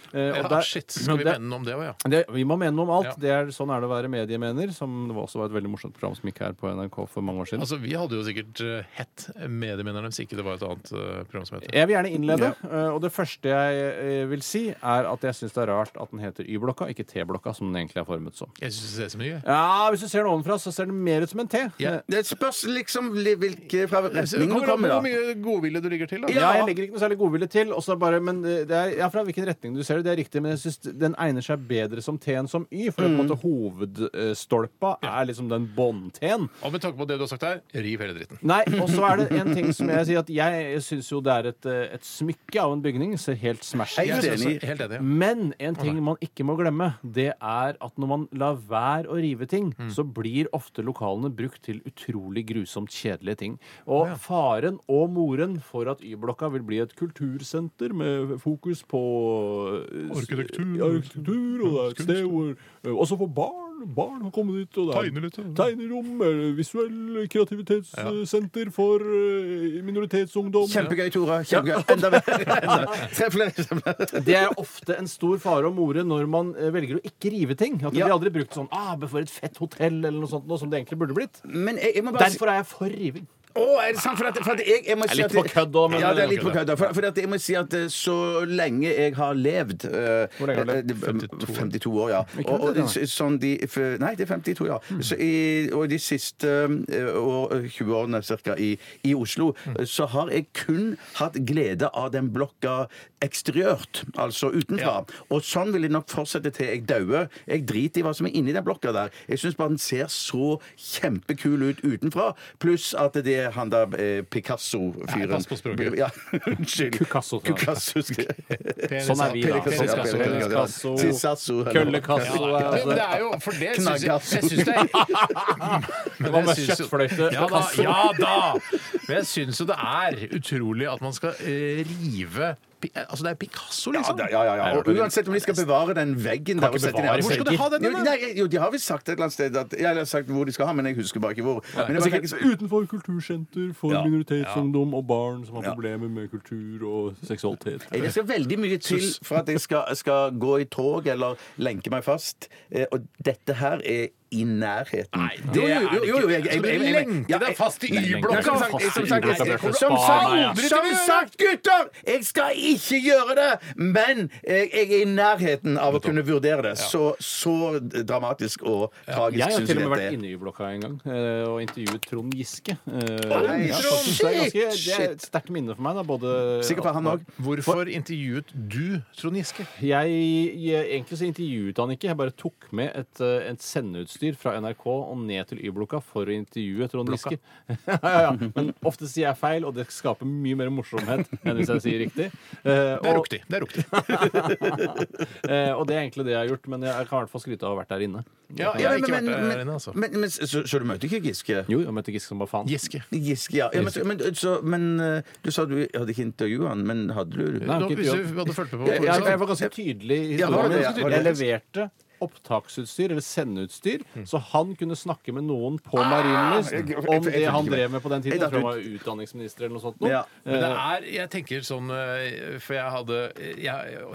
Speaker 5: Eh, og
Speaker 4: Ja,
Speaker 5: der-
Speaker 4: shit, skal vi
Speaker 5: det-
Speaker 4: mene noe om det òg, ja?
Speaker 5: det, vi må mene noe om alt.
Speaker 4: Ja.
Speaker 5: Det er, sånn er det å være mediemener. Som det var også var et veldig morsomt program som gikk her på NRK for mange år siden.
Speaker 4: Altså, Vi hadde jo sikkert eh, hett Mediemennene hvis ikke det var et annet eh, program som het det.
Speaker 5: jeg vil gjerne innlede, eh, og det første jeg eh, vil si, er at jeg syns det er rart at den heter Y-blokka, ikke T-blokka, som den egentlig er formet som.
Speaker 4: Jeg syns det ser så mye jeg.
Speaker 5: Ja, Hvis du ser den ovenfra, så ser den mer ut som en T.
Speaker 4: Ja.
Speaker 6: Det spørs liksom li- hvilke fra
Speaker 4: Jeg synes-
Speaker 6: retning
Speaker 4: Det
Speaker 6: hun
Speaker 4: kommer an på hvor
Speaker 6: kommer, da.
Speaker 4: mye godvilje du ligger til. da.
Speaker 5: Ja, jeg legger ikke noe særlig godvilje til. Og så bare, men eh, det er, ja, Fra hvilken retning du ser det, det er riktig. Men jeg syns den egner seg bedre som T enn som Y. For på en måte hovedstolpa er liksom den bånd-T-en.
Speaker 4: Og med tanke på det du har sagt her, riv hele dritten.
Speaker 5: Nei, og så er det en ting som jeg sier at jeg syns jo det er et, eh, et smykke av en bygning. Ser helt smash
Speaker 6: Helt
Speaker 4: Jeg synes
Speaker 6: enig.
Speaker 4: også- Helt enig. ja.
Speaker 5: Men en ting man ikke må glemme, det er at når man lar være å rive ting, så blir ofte lokalene brukt til utrolig grusomt kjedelige ting. Og faren og moren for at Y-blokka vil bli et kultursenter med fokus på eh,
Speaker 4: Arkitektur.
Speaker 5: ja, arkitektur og det er et sted hvor eh, Også for barn. Barn har kommet dit. Og det er
Speaker 4: Tegner litt, ja.
Speaker 5: tegnerom, eh, visuell kreativitetssenter for eh, minoritetsungdom.
Speaker 6: Kjempegøy, Tore. Kjempegøy. Enda mer. Enda mer. Tre flere eksempler.
Speaker 5: Det er ofte en stor fare og more når man eh, velger å ikke rive ting. At det
Speaker 6: Ja.
Speaker 5: blir aldri brukt sånn ah, for et fett hotell eller noe sånt noe som det egentlig burde blitt.
Speaker 6: Men jeg, jeg må bare si-
Speaker 5: Derfor er jeg for riving.
Speaker 6: Å, er det sant? For, at, for at jeg, jeg må si
Speaker 5: litt
Speaker 6: at
Speaker 5: på kødd også, men-
Speaker 6: Ja, det er litt på kødd. da. For, for at jeg må si at eh, så lenge jeg har levd eh,
Speaker 5: Hvor lenge har du levd?
Speaker 6: eh, det- 52 år, ja.
Speaker 5: Ikke Mm.
Speaker 6: Og, og,
Speaker 5: 52,
Speaker 6: s- sånn de for, Nei, det er 52, ja. Så i, og de siste eh, år, 20 årene cirka i, i Oslo,
Speaker 5: Mm.
Speaker 6: eh, så har jeg kun hatt glede av den blokka eksteriørt, altså utenfra. Og sånn vil jeg nok fortsette til jeg dauer. Jeg driter i hva som er inni den blokka der. Jeg syns bare den ser så kjempekul ut utenfra. Pluss at det er han der eh, Picasso-fyren
Speaker 4: Nei, pass på språket.
Speaker 6: Ja, Unnskyld.
Speaker 5: Picasso, tror jeg.
Speaker 6: Picasso, skal jeg-
Speaker 5: Sånn er vi, da.
Speaker 6: Picasso, ja,
Speaker 5: Picasso,
Speaker 6: Picasso, Picasso, eller-
Speaker 5: Køllekasso er
Speaker 4: Men
Speaker 5: altså
Speaker 4: det er jo, for det syns jeg,
Speaker 6: Knaggass.
Speaker 4: jeg synes det er Men
Speaker 5: Hva med
Speaker 4: jeg synes jo-
Speaker 5: kjøttfløyte?
Speaker 4: Ja da, ja da! Men jeg syns jo det er utrolig at man skal eh, rive Pi- Altså, det er Picasso,
Speaker 6: Ja,
Speaker 4: liksom.
Speaker 6: da, ja, ja, ja. Og uansett om de skal bevare den veggen der og sette den
Speaker 5: bevare
Speaker 6: der.
Speaker 5: Hvor skal de
Speaker 4: ha den,
Speaker 6: Jo,
Speaker 4: da?
Speaker 6: nei, jo, de har vel sagt et eller annet sted at, Jeg har sagt hvor de skal ha, men jeg husker bare ikke hvor. Men jeg bare
Speaker 5: Sikkert
Speaker 6: tenker så-
Speaker 5: sånn, utenfor kultursenter for
Speaker 6: Ja.
Speaker 5: minoritetsungdom og barn som har problemer med kultur og seksualitet.
Speaker 6: det skal veldig mye til for at jeg skal, skal gå i tog eller lenke meg fast. Eh, og dette her er i nærheten. Nei,
Speaker 4: det er Altså, det ikke. Skal du lenke deg fast i Y-blokka?
Speaker 6: Som sagt, som sagt,
Speaker 5: Nei, jeg kommer-
Speaker 6: som
Speaker 5: Spar meg, ja.
Speaker 6: sagt, som sagt, gutter! Jeg skal ikke gjøre det! Men jeg, jeg er i nærheten av å kunne vurdere det. Så, så dramatisk og tragisk
Speaker 5: Jeg har
Speaker 6: syns
Speaker 5: til og
Speaker 6: jeg
Speaker 5: med
Speaker 6: dette
Speaker 5: vært
Speaker 6: er.
Speaker 5: inne i blokka en gang eh, og intervjuet Trond Giske. Eh,
Speaker 6: Oi,
Speaker 5: ja,
Speaker 6: Trond,
Speaker 5: faktisk, det, er ganske, det er
Speaker 6: shit!
Speaker 5: et sterkt minne for meg. Da, både
Speaker 6: Sikkert for han òg.
Speaker 4: Hvorfor intervjuet du Trond Giske?
Speaker 5: Jeg, jeg, egentlig så intervjuet han ikke. Jeg bare tok med et, eh, et sendeutstyr fra NRK og ned til Y-blokka for å intervjue Trond Giske. ja, ja, ja. Men ofte sier jeg feil, og det skaper mye mer morsomhet enn hvis jeg sier riktig. Eh,
Speaker 4: Det er
Speaker 5: og,
Speaker 4: riktig. Det er riktig.
Speaker 5: eh, og det er egentlig det jeg har gjort, men jeg kan i hvert fall skryte av å ha vært der inne.
Speaker 4: Ja, jeg
Speaker 6: Ja,
Speaker 4: har
Speaker 6: men,
Speaker 4: ikke
Speaker 6: men,
Speaker 4: vært der
Speaker 6: men,
Speaker 4: inne, altså.
Speaker 6: men, men, så, så du møtte ikke Giske?
Speaker 5: Jo, jeg møtte Giske som bare faen.
Speaker 4: Giske.
Speaker 6: Giske, ja. ja men, så- men, så, men eh, du sa du hadde ikke intervjua han, men hadde du
Speaker 5: Nei,
Speaker 4: Nå,
Speaker 5: ikke
Speaker 4: hvis
Speaker 5: intervjuet.
Speaker 4: du hadde fulgt med på
Speaker 5: Jeg, jeg,
Speaker 4: hva
Speaker 5: jeg
Speaker 4: du sa.
Speaker 5: var ganske tydelig i
Speaker 6: Ja, var
Speaker 5: historien
Speaker 6: det
Speaker 5: min.
Speaker 6: det?
Speaker 5: Jeg leverte opptaksutstyr eller sendeutstyr, så han kunne snakke med noen på Marienlyst
Speaker 6: jeg- jeg-
Speaker 5: om
Speaker 6: jeg-
Speaker 5: det
Speaker 6: jeg-
Speaker 5: han drev med på den tiden. Jeg
Speaker 6: Jeg
Speaker 5: tror
Speaker 6: datt
Speaker 5: han var utdanningsminister eller noe Eh, sånt. Nå.
Speaker 6: Ja.
Speaker 4: Men det er, jeg tenker sånn eh, For jeg hadde Jeg,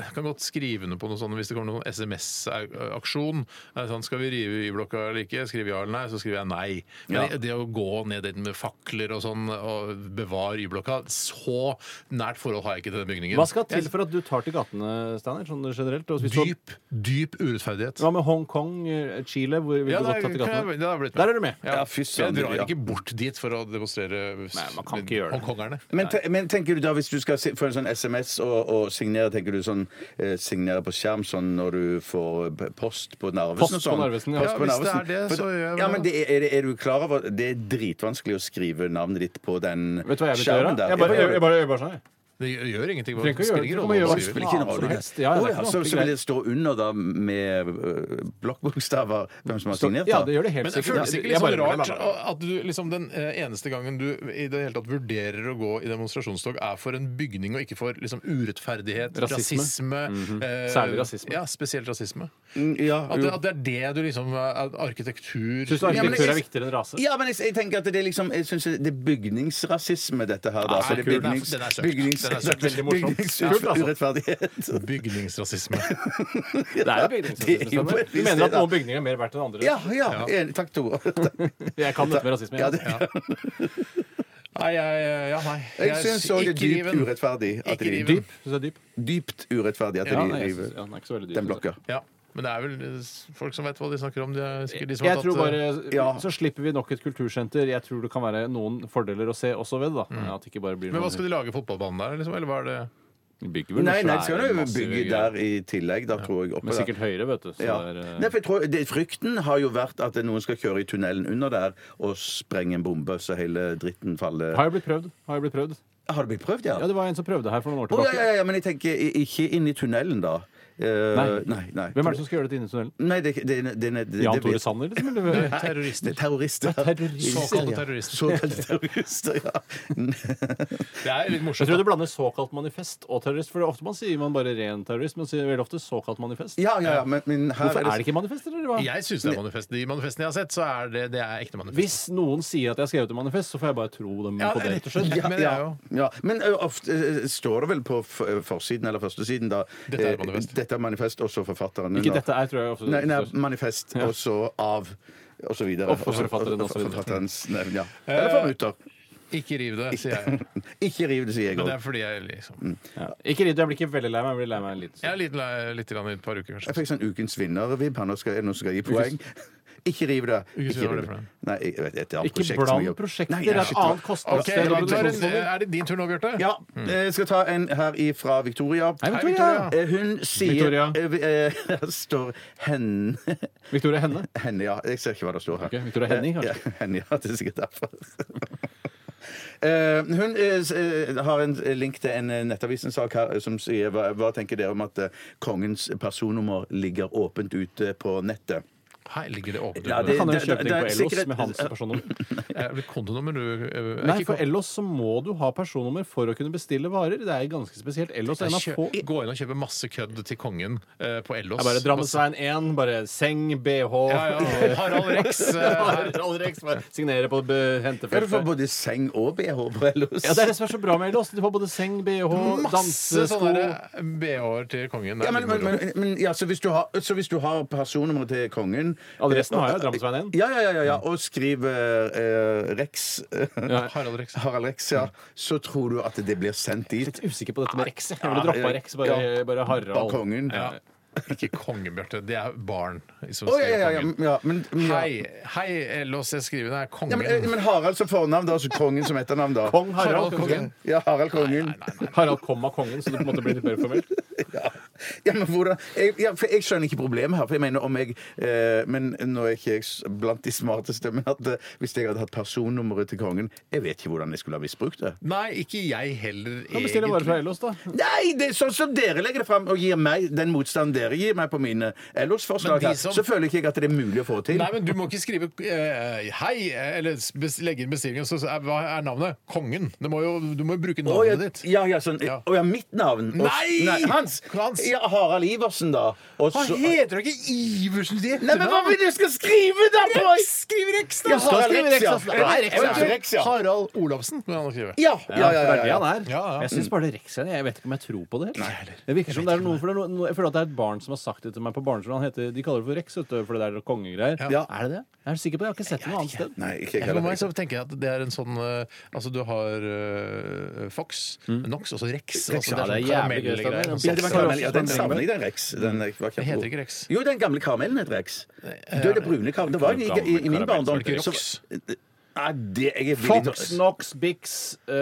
Speaker 4: jeg kan godt skrive under på noe sånt hvis det kommer noen SMS-aksjon. Eh, Sånn, skal vi rive Y-blokka eller ikke? Skriver ja eller nei, så skriver jeg nei. Men
Speaker 6: Ja.
Speaker 4: det, det å gå ned dit med fakler og sånn og bevare Y-blokka Så nært forhold har jeg ikke til den bygningen.
Speaker 5: Hva skal til for at du tar til gatene, Steinar, sånn generelt? Og hvis du-
Speaker 4: Dyp, dyp urettferdighet.
Speaker 5: Hva med Hongkong, eh, Chile? Hvor vil
Speaker 4: Ja,
Speaker 5: du
Speaker 4: det
Speaker 5: godt ta
Speaker 4: er-
Speaker 5: til
Speaker 4: kan jeg-
Speaker 5: gatene?
Speaker 4: det har jeg blitt med.
Speaker 5: Der er du med.
Speaker 4: Ja.
Speaker 6: Ja, fy søren,
Speaker 4: jeg drar
Speaker 6: ja.
Speaker 4: ikke bort dit for å demonstrere
Speaker 5: Nei, man kan ikke gjøre det.
Speaker 4: hongkongerne.
Speaker 6: Men, te men tenker du da, hvis du skal si- få en sånn SMS og, og signere, tenker du sånn eh, signere på skjerm sånn når du får p- post på Narvesen
Speaker 5: Post
Speaker 6: og
Speaker 5: på
Speaker 6: sånn?
Speaker 5: Narvesen, ja.
Speaker 6: Post på
Speaker 4: Ja, hvis det er
Speaker 6: Narvesen.
Speaker 4: det,
Speaker 6: For-
Speaker 4: så gjør jeg
Speaker 6: ja,
Speaker 4: det.
Speaker 6: men det er, er, det, er du klar over det er dritvanskelig å skrive navnet ditt på den
Speaker 5: Vet du hva jeg vil gjøre?
Speaker 6: skjermen der?
Speaker 5: Jeg bare, jeg,
Speaker 6: Ja,
Speaker 5: jeg bare, jeg bare sånn, jeg.
Speaker 4: Det gjør- gjør ingenting.
Speaker 5: Trenger ikke å
Speaker 4: spiller ingen
Speaker 5: gjøre- trenger
Speaker 4: rolle hva du
Speaker 5: ikke å gjøre-
Speaker 6: det
Speaker 4: skriver.
Speaker 6: spiller ingen
Speaker 5: Faen,
Speaker 6: rolle.
Speaker 5: som helst. Ja, det er
Speaker 6: Å,
Speaker 5: ikke noe
Speaker 6: så, så vil
Speaker 5: greit.
Speaker 6: det stå under da med øh, blokkbokstaver hvem som har signert?
Speaker 5: Ja,
Speaker 6: da.
Speaker 5: det gjør det helt
Speaker 4: Men det
Speaker 5: sikkert.
Speaker 4: føles ikke
Speaker 5: Jeg
Speaker 4: litt sånn
Speaker 5: bare-
Speaker 4: rart at du liksom den eh, eneste gangen du i det hele tatt vurderer å gå i demonstrasjonstog, er for en bygning og ikke for liksom urettferdighet,
Speaker 5: Rasisme. Mhm.
Speaker 4: rasisme, eh,
Speaker 5: Særlig rasisme.
Speaker 4: Ja, spesielt rasisme.
Speaker 6: Mm, ja,
Speaker 4: At
Speaker 6: jo.
Speaker 4: det, at det er det du liksom eh, Arkitektur
Speaker 5: Syns du
Speaker 6: Ja, men
Speaker 5: arkitektur er
Speaker 6: jeg-
Speaker 5: viktigere enn rase?
Speaker 6: Ja, men jeg, jeg tenker at det er liksom Jeg synes det er bygningsrasisme, dette her. Da.
Speaker 4: Ah,
Speaker 6: Så det er
Speaker 4: kult. Den er-
Speaker 6: bygnings,
Speaker 4: den er søkt.
Speaker 6: bygnings,
Speaker 4: Den er søkt. Veldig morsomt.
Speaker 5: Kult, altså.
Speaker 6: Bygningsurettferdighet.
Speaker 4: Bygningsrasisme.
Speaker 5: Det er jo bygningsrasisme.
Speaker 6: Det er jo
Speaker 5: sånn Du mener at
Speaker 6: da.
Speaker 5: noen bygninger er mer verdt enn andre?
Speaker 6: Ja, ja. Enig. Takk, Tore.
Speaker 5: Jeg kan dette med rasisme.
Speaker 6: Ja,
Speaker 5: Ja.
Speaker 6: det,
Speaker 4: Nei, jeg, eh, ja, nei.
Speaker 6: jeg syns òg det er
Speaker 4: ikke
Speaker 6: dypt
Speaker 4: riven.
Speaker 6: urettferdig. At
Speaker 4: Ikke
Speaker 6: de,
Speaker 4: riven.
Speaker 5: Dyp. Syns jeg er dyp.
Speaker 6: dypt urettferdig at
Speaker 5: Ja,
Speaker 6: de
Speaker 5: nei, jeg
Speaker 6: river
Speaker 5: synes, ja, den er ikke så veldig dyp.
Speaker 6: den blokka.
Speaker 4: Ja, men det er vel eh, s- folk som vet hva de snakker om. De er sikkert de som
Speaker 5: Jeg
Speaker 4: har
Speaker 5: tror
Speaker 4: tatt eh,
Speaker 5: bare,
Speaker 6: Ja.
Speaker 5: Så slipper vi nok et kultursenter. Jeg tror det kan være noen fordeler å se også ved det. da. At det ikke bare blir
Speaker 4: Men hva
Speaker 5: noen-
Speaker 4: skal de lage fotballbanen der, liksom? Eller hva er det
Speaker 5: Vi bygger vel
Speaker 6: Nei, nei,
Speaker 5: svære,
Speaker 6: skal du jo
Speaker 5: massive
Speaker 6: bygge
Speaker 5: greier.
Speaker 6: der i tillegg, da, tror jeg. oppe
Speaker 5: Men
Speaker 6: der.
Speaker 5: sikkert høyere, vet du. Så
Speaker 6: Ja.
Speaker 5: det er, eh,
Speaker 6: Nei, for jeg tror, det, frykten har jo vært at noen skal kjøre i tunnelen under der og sprenge en bombe, så hele dritten faller
Speaker 5: har jo blitt prøvd. Har jo blitt prøvd.
Speaker 6: Har det blitt prøvd, ja?
Speaker 5: Ja, det var en som prøvde her for noen år
Speaker 6: Å, ja,
Speaker 5: tilbake.
Speaker 6: ja, ja, men jeg tenker i- ikke inn i tunnelen, da. Eh,
Speaker 5: Nei.
Speaker 6: nei, nei.
Speaker 5: Hvem er det som skal gjøre dette inne i tunnelen?
Speaker 6: Nei, det, det, det, det, det,
Speaker 5: Jan
Speaker 6: det-
Speaker 5: Tore Sanner, liksom? Eller?
Speaker 4: terrorister?
Speaker 6: Det er terrorister.
Speaker 5: terrorister,
Speaker 4: Såkalte terrorister.
Speaker 6: Såkalte terrorister, ja.
Speaker 4: Det er litt
Speaker 5: Jeg
Speaker 4: morsomt.
Speaker 5: tror du blander såkalt manifest og terrorist. For det er ofte man sier man bare ren terrorist, men sier veldig ofte såkalt manifest.
Speaker 6: Ja, ja, ja, men, men her
Speaker 5: Hvorfor er det ikke manifest, eller hva?
Speaker 4: Jeg syns det er manifest. De manifestene jeg har sett, så er det, det er ekte manifest.
Speaker 5: Hvis noen sier at jeg har skrevet et manifest, så får jeg bare tro dem
Speaker 4: Ja,
Speaker 5: på det.
Speaker 4: rett og slett.
Speaker 6: Ja,
Speaker 4: Men det er
Speaker 6: ja,
Speaker 4: jo
Speaker 6: ja. Men ø, ofte ø, står det vel på f ø, forsiden eller førstesiden da
Speaker 4: Dette er
Speaker 6: eh,
Speaker 4: manifest.
Speaker 6: Dette er manifest, og så forfatteren.
Speaker 5: Ikke
Speaker 6: under.
Speaker 5: dette er, tror jeg ofte.
Speaker 6: Nei, nei mm. manifest, og så av, og så videre.
Speaker 5: Og for forfatteren, og så videre.
Speaker 6: Forfatterens navn, ja.
Speaker 4: Eh,
Speaker 6: Eller formutter.
Speaker 4: Ikke riv det, sier jeg.
Speaker 6: Ikke riv det, sier jeg
Speaker 4: Men det
Speaker 6: òg.
Speaker 4: er fordi jeg liksom
Speaker 5: ja. Ikke ridd, jeg blir ikke veldig lei meg. Jeg blir lei meg litt.
Speaker 4: Jeg er litt, lei- litt grann i et par uker,
Speaker 6: Jeg
Speaker 4: kanskje.
Speaker 6: fikk sånn Ukens vinner-vibb. Han skal, er det noen som skal gi poeng. Ikke riv det.
Speaker 4: Ukens
Speaker 6: Ikke
Speaker 4: vinner, hva er det
Speaker 6: riv
Speaker 4: for
Speaker 6: det.
Speaker 4: noe?
Speaker 6: Nei, jeg vet, et annet
Speaker 5: Ikke
Speaker 6: prosjekt som jeg
Speaker 5: bland
Speaker 6: jobber-
Speaker 5: prosjekter.
Speaker 6: Nei,
Speaker 5: Det er et
Speaker 6: shit, hva-
Speaker 5: annet
Speaker 4: Ok,
Speaker 5: kostnadssted.
Speaker 4: da
Speaker 5: og
Speaker 4: tar en,
Speaker 5: produksjonsformer.
Speaker 4: Er det din tur nå, Bjarte?
Speaker 6: Ja, Mm. jeg skal ta en her fra Victoria.
Speaker 5: Hei,
Speaker 4: Hei,
Speaker 5: Victoria.
Speaker 6: Eh, Hun sier
Speaker 5: Victoria.
Speaker 6: eh, vi- eh, Her står henne
Speaker 5: Victoria Henne.
Speaker 6: Henne, ja. Jeg ser ikke hva det står her.
Speaker 5: Ok, Victoria Henning, kanskje?
Speaker 6: Eh, Ja, Henning, ja, det er sikkert derfor. Eh, hun eh, s- eh, har en link til en eh, nettavisensak her eh, som sier hva, hva tenker dere om at eh, kongens personnummer ligger åpent ute på nettet?
Speaker 4: Her ligger det åpent.
Speaker 6: Ja,
Speaker 5: Da
Speaker 6: det-
Speaker 4: under.
Speaker 5: kan jeg jo
Speaker 6: det-
Speaker 5: kjøpe
Speaker 6: det
Speaker 5: ting
Speaker 6: er
Speaker 5: på Ellos
Speaker 6: sikkert-
Speaker 5: med hans personnummer.
Speaker 4: Er det kontonummer, du? eh,
Speaker 5: Nei,
Speaker 4: ikke
Speaker 5: for Ellos så må du ha personnummer for å kunne bestille varer. Det er ganske spesielt. Ellos er en av
Speaker 4: Kjø-
Speaker 5: få
Speaker 4: Gå inn og kjøpe masse kødd til kongen eh, på Ellos.
Speaker 5: Jeg bare Drammensveien 1, bare seng, BH
Speaker 4: Ja, ja. Harald Rex. eh,
Speaker 5: Harald Rex, bare Signere på be-
Speaker 6: Ja, du får
Speaker 5: hentefeltet.
Speaker 6: både seng og BH på Ellos.
Speaker 5: Ja, det er det som er så bra med Ellos. Du får både seng, BH,
Speaker 4: Masse
Speaker 5: dansesko
Speaker 4: sånne BH-er til kongen. Det
Speaker 6: Ja,
Speaker 4: er
Speaker 6: men,
Speaker 4: litt
Speaker 6: men,
Speaker 4: moro.
Speaker 6: men, men ja, så, hvis du har, så hvis du har personnummeret til kongen eh,
Speaker 5: Adressen har jeg, Drammensveien 1.
Speaker 6: Ja, ja, ja, ja, ja. Og skriver eh, Rex
Speaker 5: Ja.
Speaker 4: Harald Rex.
Speaker 6: Harald Rex, ja. Så tror du at det blir sendt dit.
Speaker 5: Usikker på dette med Rex. jeg. Jeg ville droppa Rex, bare,
Speaker 6: Ja.
Speaker 5: bare
Speaker 6: Av
Speaker 5: Harald.
Speaker 6: kongen.
Speaker 4: Ja. Ikke kongen, Bjarte. Det er barn. som
Speaker 6: Å,
Speaker 4: skriver
Speaker 6: ja, ja, ja,
Speaker 4: kongen.
Speaker 6: ja, men, ja.
Speaker 4: Hei, hei, eh, Ellos. Jeg skriver det er
Speaker 6: Ja,
Speaker 4: kongen.
Speaker 6: men, eh, men Harald som fornavn, da, så kongen som etternavn, da.
Speaker 5: Kong Harald.
Speaker 4: Harald Kongen.
Speaker 6: Ja, Harald kongen.
Speaker 5: Harald komma kongen, så det på en måte blir litt mer formelt.
Speaker 6: Ja, men hvordan jeg, ja, for jeg skjønner ikke problemet her. For jeg mener om jeg eh, Men nå er ikke jeg s- blant de smarteste, men at eh, hvis jeg hadde hatt personnummeret til kongen Jeg vet ikke hvordan jeg skulle ha misbrukt det.
Speaker 4: Nei, ikke jeg heller.
Speaker 5: Kan bestille varer fra Ellos, da.
Speaker 6: Nei, det er sånn som dere legger det fram og gir meg den motstanden dere gir meg på mine
Speaker 4: Men
Speaker 6: LOS-forslag,
Speaker 4: de
Speaker 6: her,
Speaker 4: som-
Speaker 6: så føler ikke jeg at det er mulig å få til.
Speaker 4: Nei, men Du må ikke skrive eh, 'hei' eller bes- legge inn bestillingen. Så er, hva er navnet? Kongen. Det må jo, du må jo bruke
Speaker 6: Å, ja,
Speaker 4: navnet ditt.
Speaker 6: ja, ja, sånn,
Speaker 4: Ja.
Speaker 6: å, ja, mitt navn. Og-
Speaker 4: Nei!
Speaker 6: Hans!
Speaker 4: Hans.
Speaker 6: Ja, Harald Iversen, da. Og så-
Speaker 4: heter jo ikke Iversen til
Speaker 6: Nei, men hva vil du skal skrive, da? Boy?
Speaker 4: Skriv Rex,
Speaker 6: Ja, Harald Rex, ja.
Speaker 4: Nei,
Speaker 6: Rex, ja. Rex, ja.
Speaker 4: Harald Olafsen. må han skrive.
Speaker 6: Ja, ja, ja,
Speaker 8: Det er
Speaker 6: ja,
Speaker 8: det
Speaker 6: ja.
Speaker 8: han er.
Speaker 4: Ja, ja.
Speaker 8: Jeg syns bare det rekker seg. Jeg vet ikke om jeg tror på det. helt. Det virker som det er noen, for det er noen, jeg føler at det er et barn som har sagt det til meg på barneskolen. Han heter, de kaller det for Rex, vet du, for det der kongegreier.
Speaker 6: Ja.
Speaker 8: Er det det? Jeg er sikker på det. Jeg har ikke sett det noe annet sted.
Speaker 6: Nei, ikke
Speaker 4: For meg
Speaker 6: heller.
Speaker 4: så tenker jeg at det er en sånn eh, Altså, du har eh, Fox, Nox og så Rex. altså,
Speaker 8: ja,
Speaker 4: sånn
Speaker 8: det er jævlig
Speaker 4: karamellgreier,
Speaker 8: gøy, Steinar.
Speaker 4: sånn
Speaker 6: Ja, det var
Speaker 4: saft-
Speaker 6: karamell. Ja, den savner jeg, den Rex. Den er- var
Speaker 4: Det heter
Speaker 6: kjempegod.
Speaker 4: ikke Rex.
Speaker 6: Jo, den gamle karamellen het Rex. Døde brune karamell. Det var jo i, i, i min barndom.
Speaker 4: Var det ikke
Speaker 6: så-
Speaker 4: Rox?
Speaker 6: Nei, det jeg er villig til
Speaker 8: Fox, Nox, Bix eh,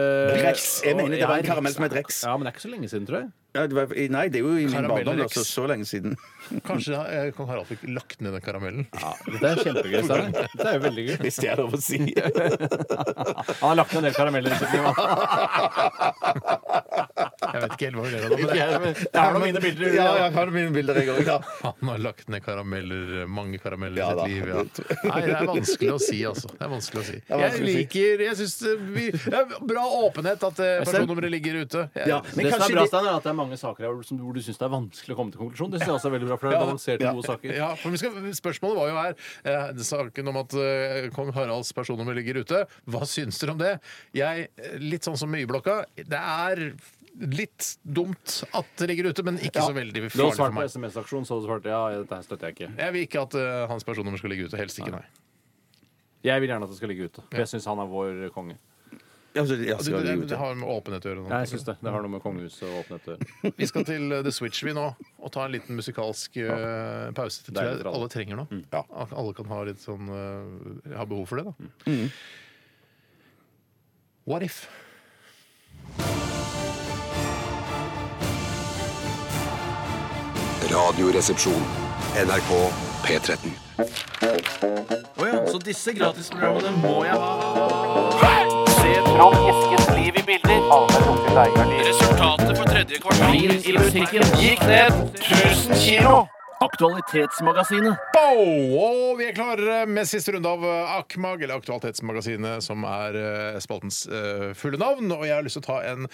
Speaker 6: Rex. Jeg mener det var en
Speaker 8: ja,
Speaker 6: karamell som het Rex.
Speaker 8: Ja, men det er ikke så lenge siden, tror jeg.
Speaker 6: Ja, det var, nei, det er jo i min
Speaker 4: Karamell og
Speaker 6: barndom,
Speaker 4: Rex.
Speaker 6: altså. Så lenge siden.
Speaker 4: Kanskje eh, kong Harald fikk lagt ned den karamellen.
Speaker 8: Dette er kjempegøy. Steinar. Dette er jo veldig gøy.
Speaker 6: Hvis det er lov å si.
Speaker 8: Han har lagt ned en del karameller. i sitt liv, han.
Speaker 4: Jeg vet ikke helt hva vi ler av.
Speaker 8: Ikke
Speaker 4: men-
Speaker 8: jeg, men Jeg har noen mine bilder.
Speaker 6: Ja, jeg har mine bilder, jeg òg.
Speaker 4: Han har lagt ned karameller, eh, mange karameller
Speaker 6: Ja,
Speaker 4: i
Speaker 6: da.
Speaker 4: sitt liv. Ja. Nei, det er vanskelig å si, altså. Det er vanskelig å si.
Speaker 6: er
Speaker 4: Jeg
Speaker 6: vanskelig å si.
Speaker 4: liker Jeg syns det vi- det er bra åpenhet at eh, personnummeret ligger ute. Jeg-
Speaker 6: Ja, men
Speaker 8: det som er
Speaker 6: kanskje
Speaker 8: bra,
Speaker 6: det-
Speaker 8: Stein, er at det er mange saker her som- hvor du syns det er vanskelig å komme til konklusjon. Det synes jeg også er veldig bra, for det er balanserte, gode saker.
Speaker 4: Ja, for vi skal, Spørsmålet var jo her eh, saken om at eh, kong Haralds personnummer ligger ute. Hva syns dere om det? Jeg, eh, Litt sånn som med Y-blokka. Det er litt dumt at det ligger ute, men ikke så veldig
Speaker 8: Du har
Speaker 4: farlig
Speaker 8: svart
Speaker 4: for
Speaker 8: på
Speaker 4: meg.
Speaker 8: SMS-aksjonen, så har du svart ja, dette her støtter jeg ikke.
Speaker 4: Jeg vil ikke at eh, hans personnummer skal ligge ute. Helst ikke, nei.
Speaker 8: Jeg vil gjerne at det skal ligge ute. For jeg syns han er vår konge.
Speaker 6: Ja, så- ja,
Speaker 4: Det,
Speaker 6: skal
Speaker 4: det,
Speaker 6: det
Speaker 4: det
Speaker 6: jo-
Speaker 4: har med åpenhet å gjøre. nå.
Speaker 8: Jeg synes Det Det har noe med kongehuset å åpne etter.
Speaker 4: Vi skal til eh, The Switch vi nå og ta en liten musikalsk eh, pause. Det tror
Speaker 8: Deilig
Speaker 4: jeg
Speaker 8: drall.
Speaker 4: alle trenger nå. Al- Alle kan ha litt sånn eh, ha behov for det, da. Mm. What if?
Speaker 1: Radioresepsjon. NRK P13.
Speaker 2: Resultatet for tredje kvartal i musikken gikk ned 1000 kilo. Aktualitetsmagasinet.
Speaker 4: Bow! Og vi er klare med siste runde av eh, AKMAG, eller Aktualitetsmagasinet, som er eh, spaltens eh, fulle navn. Og jeg har lyst til å ta en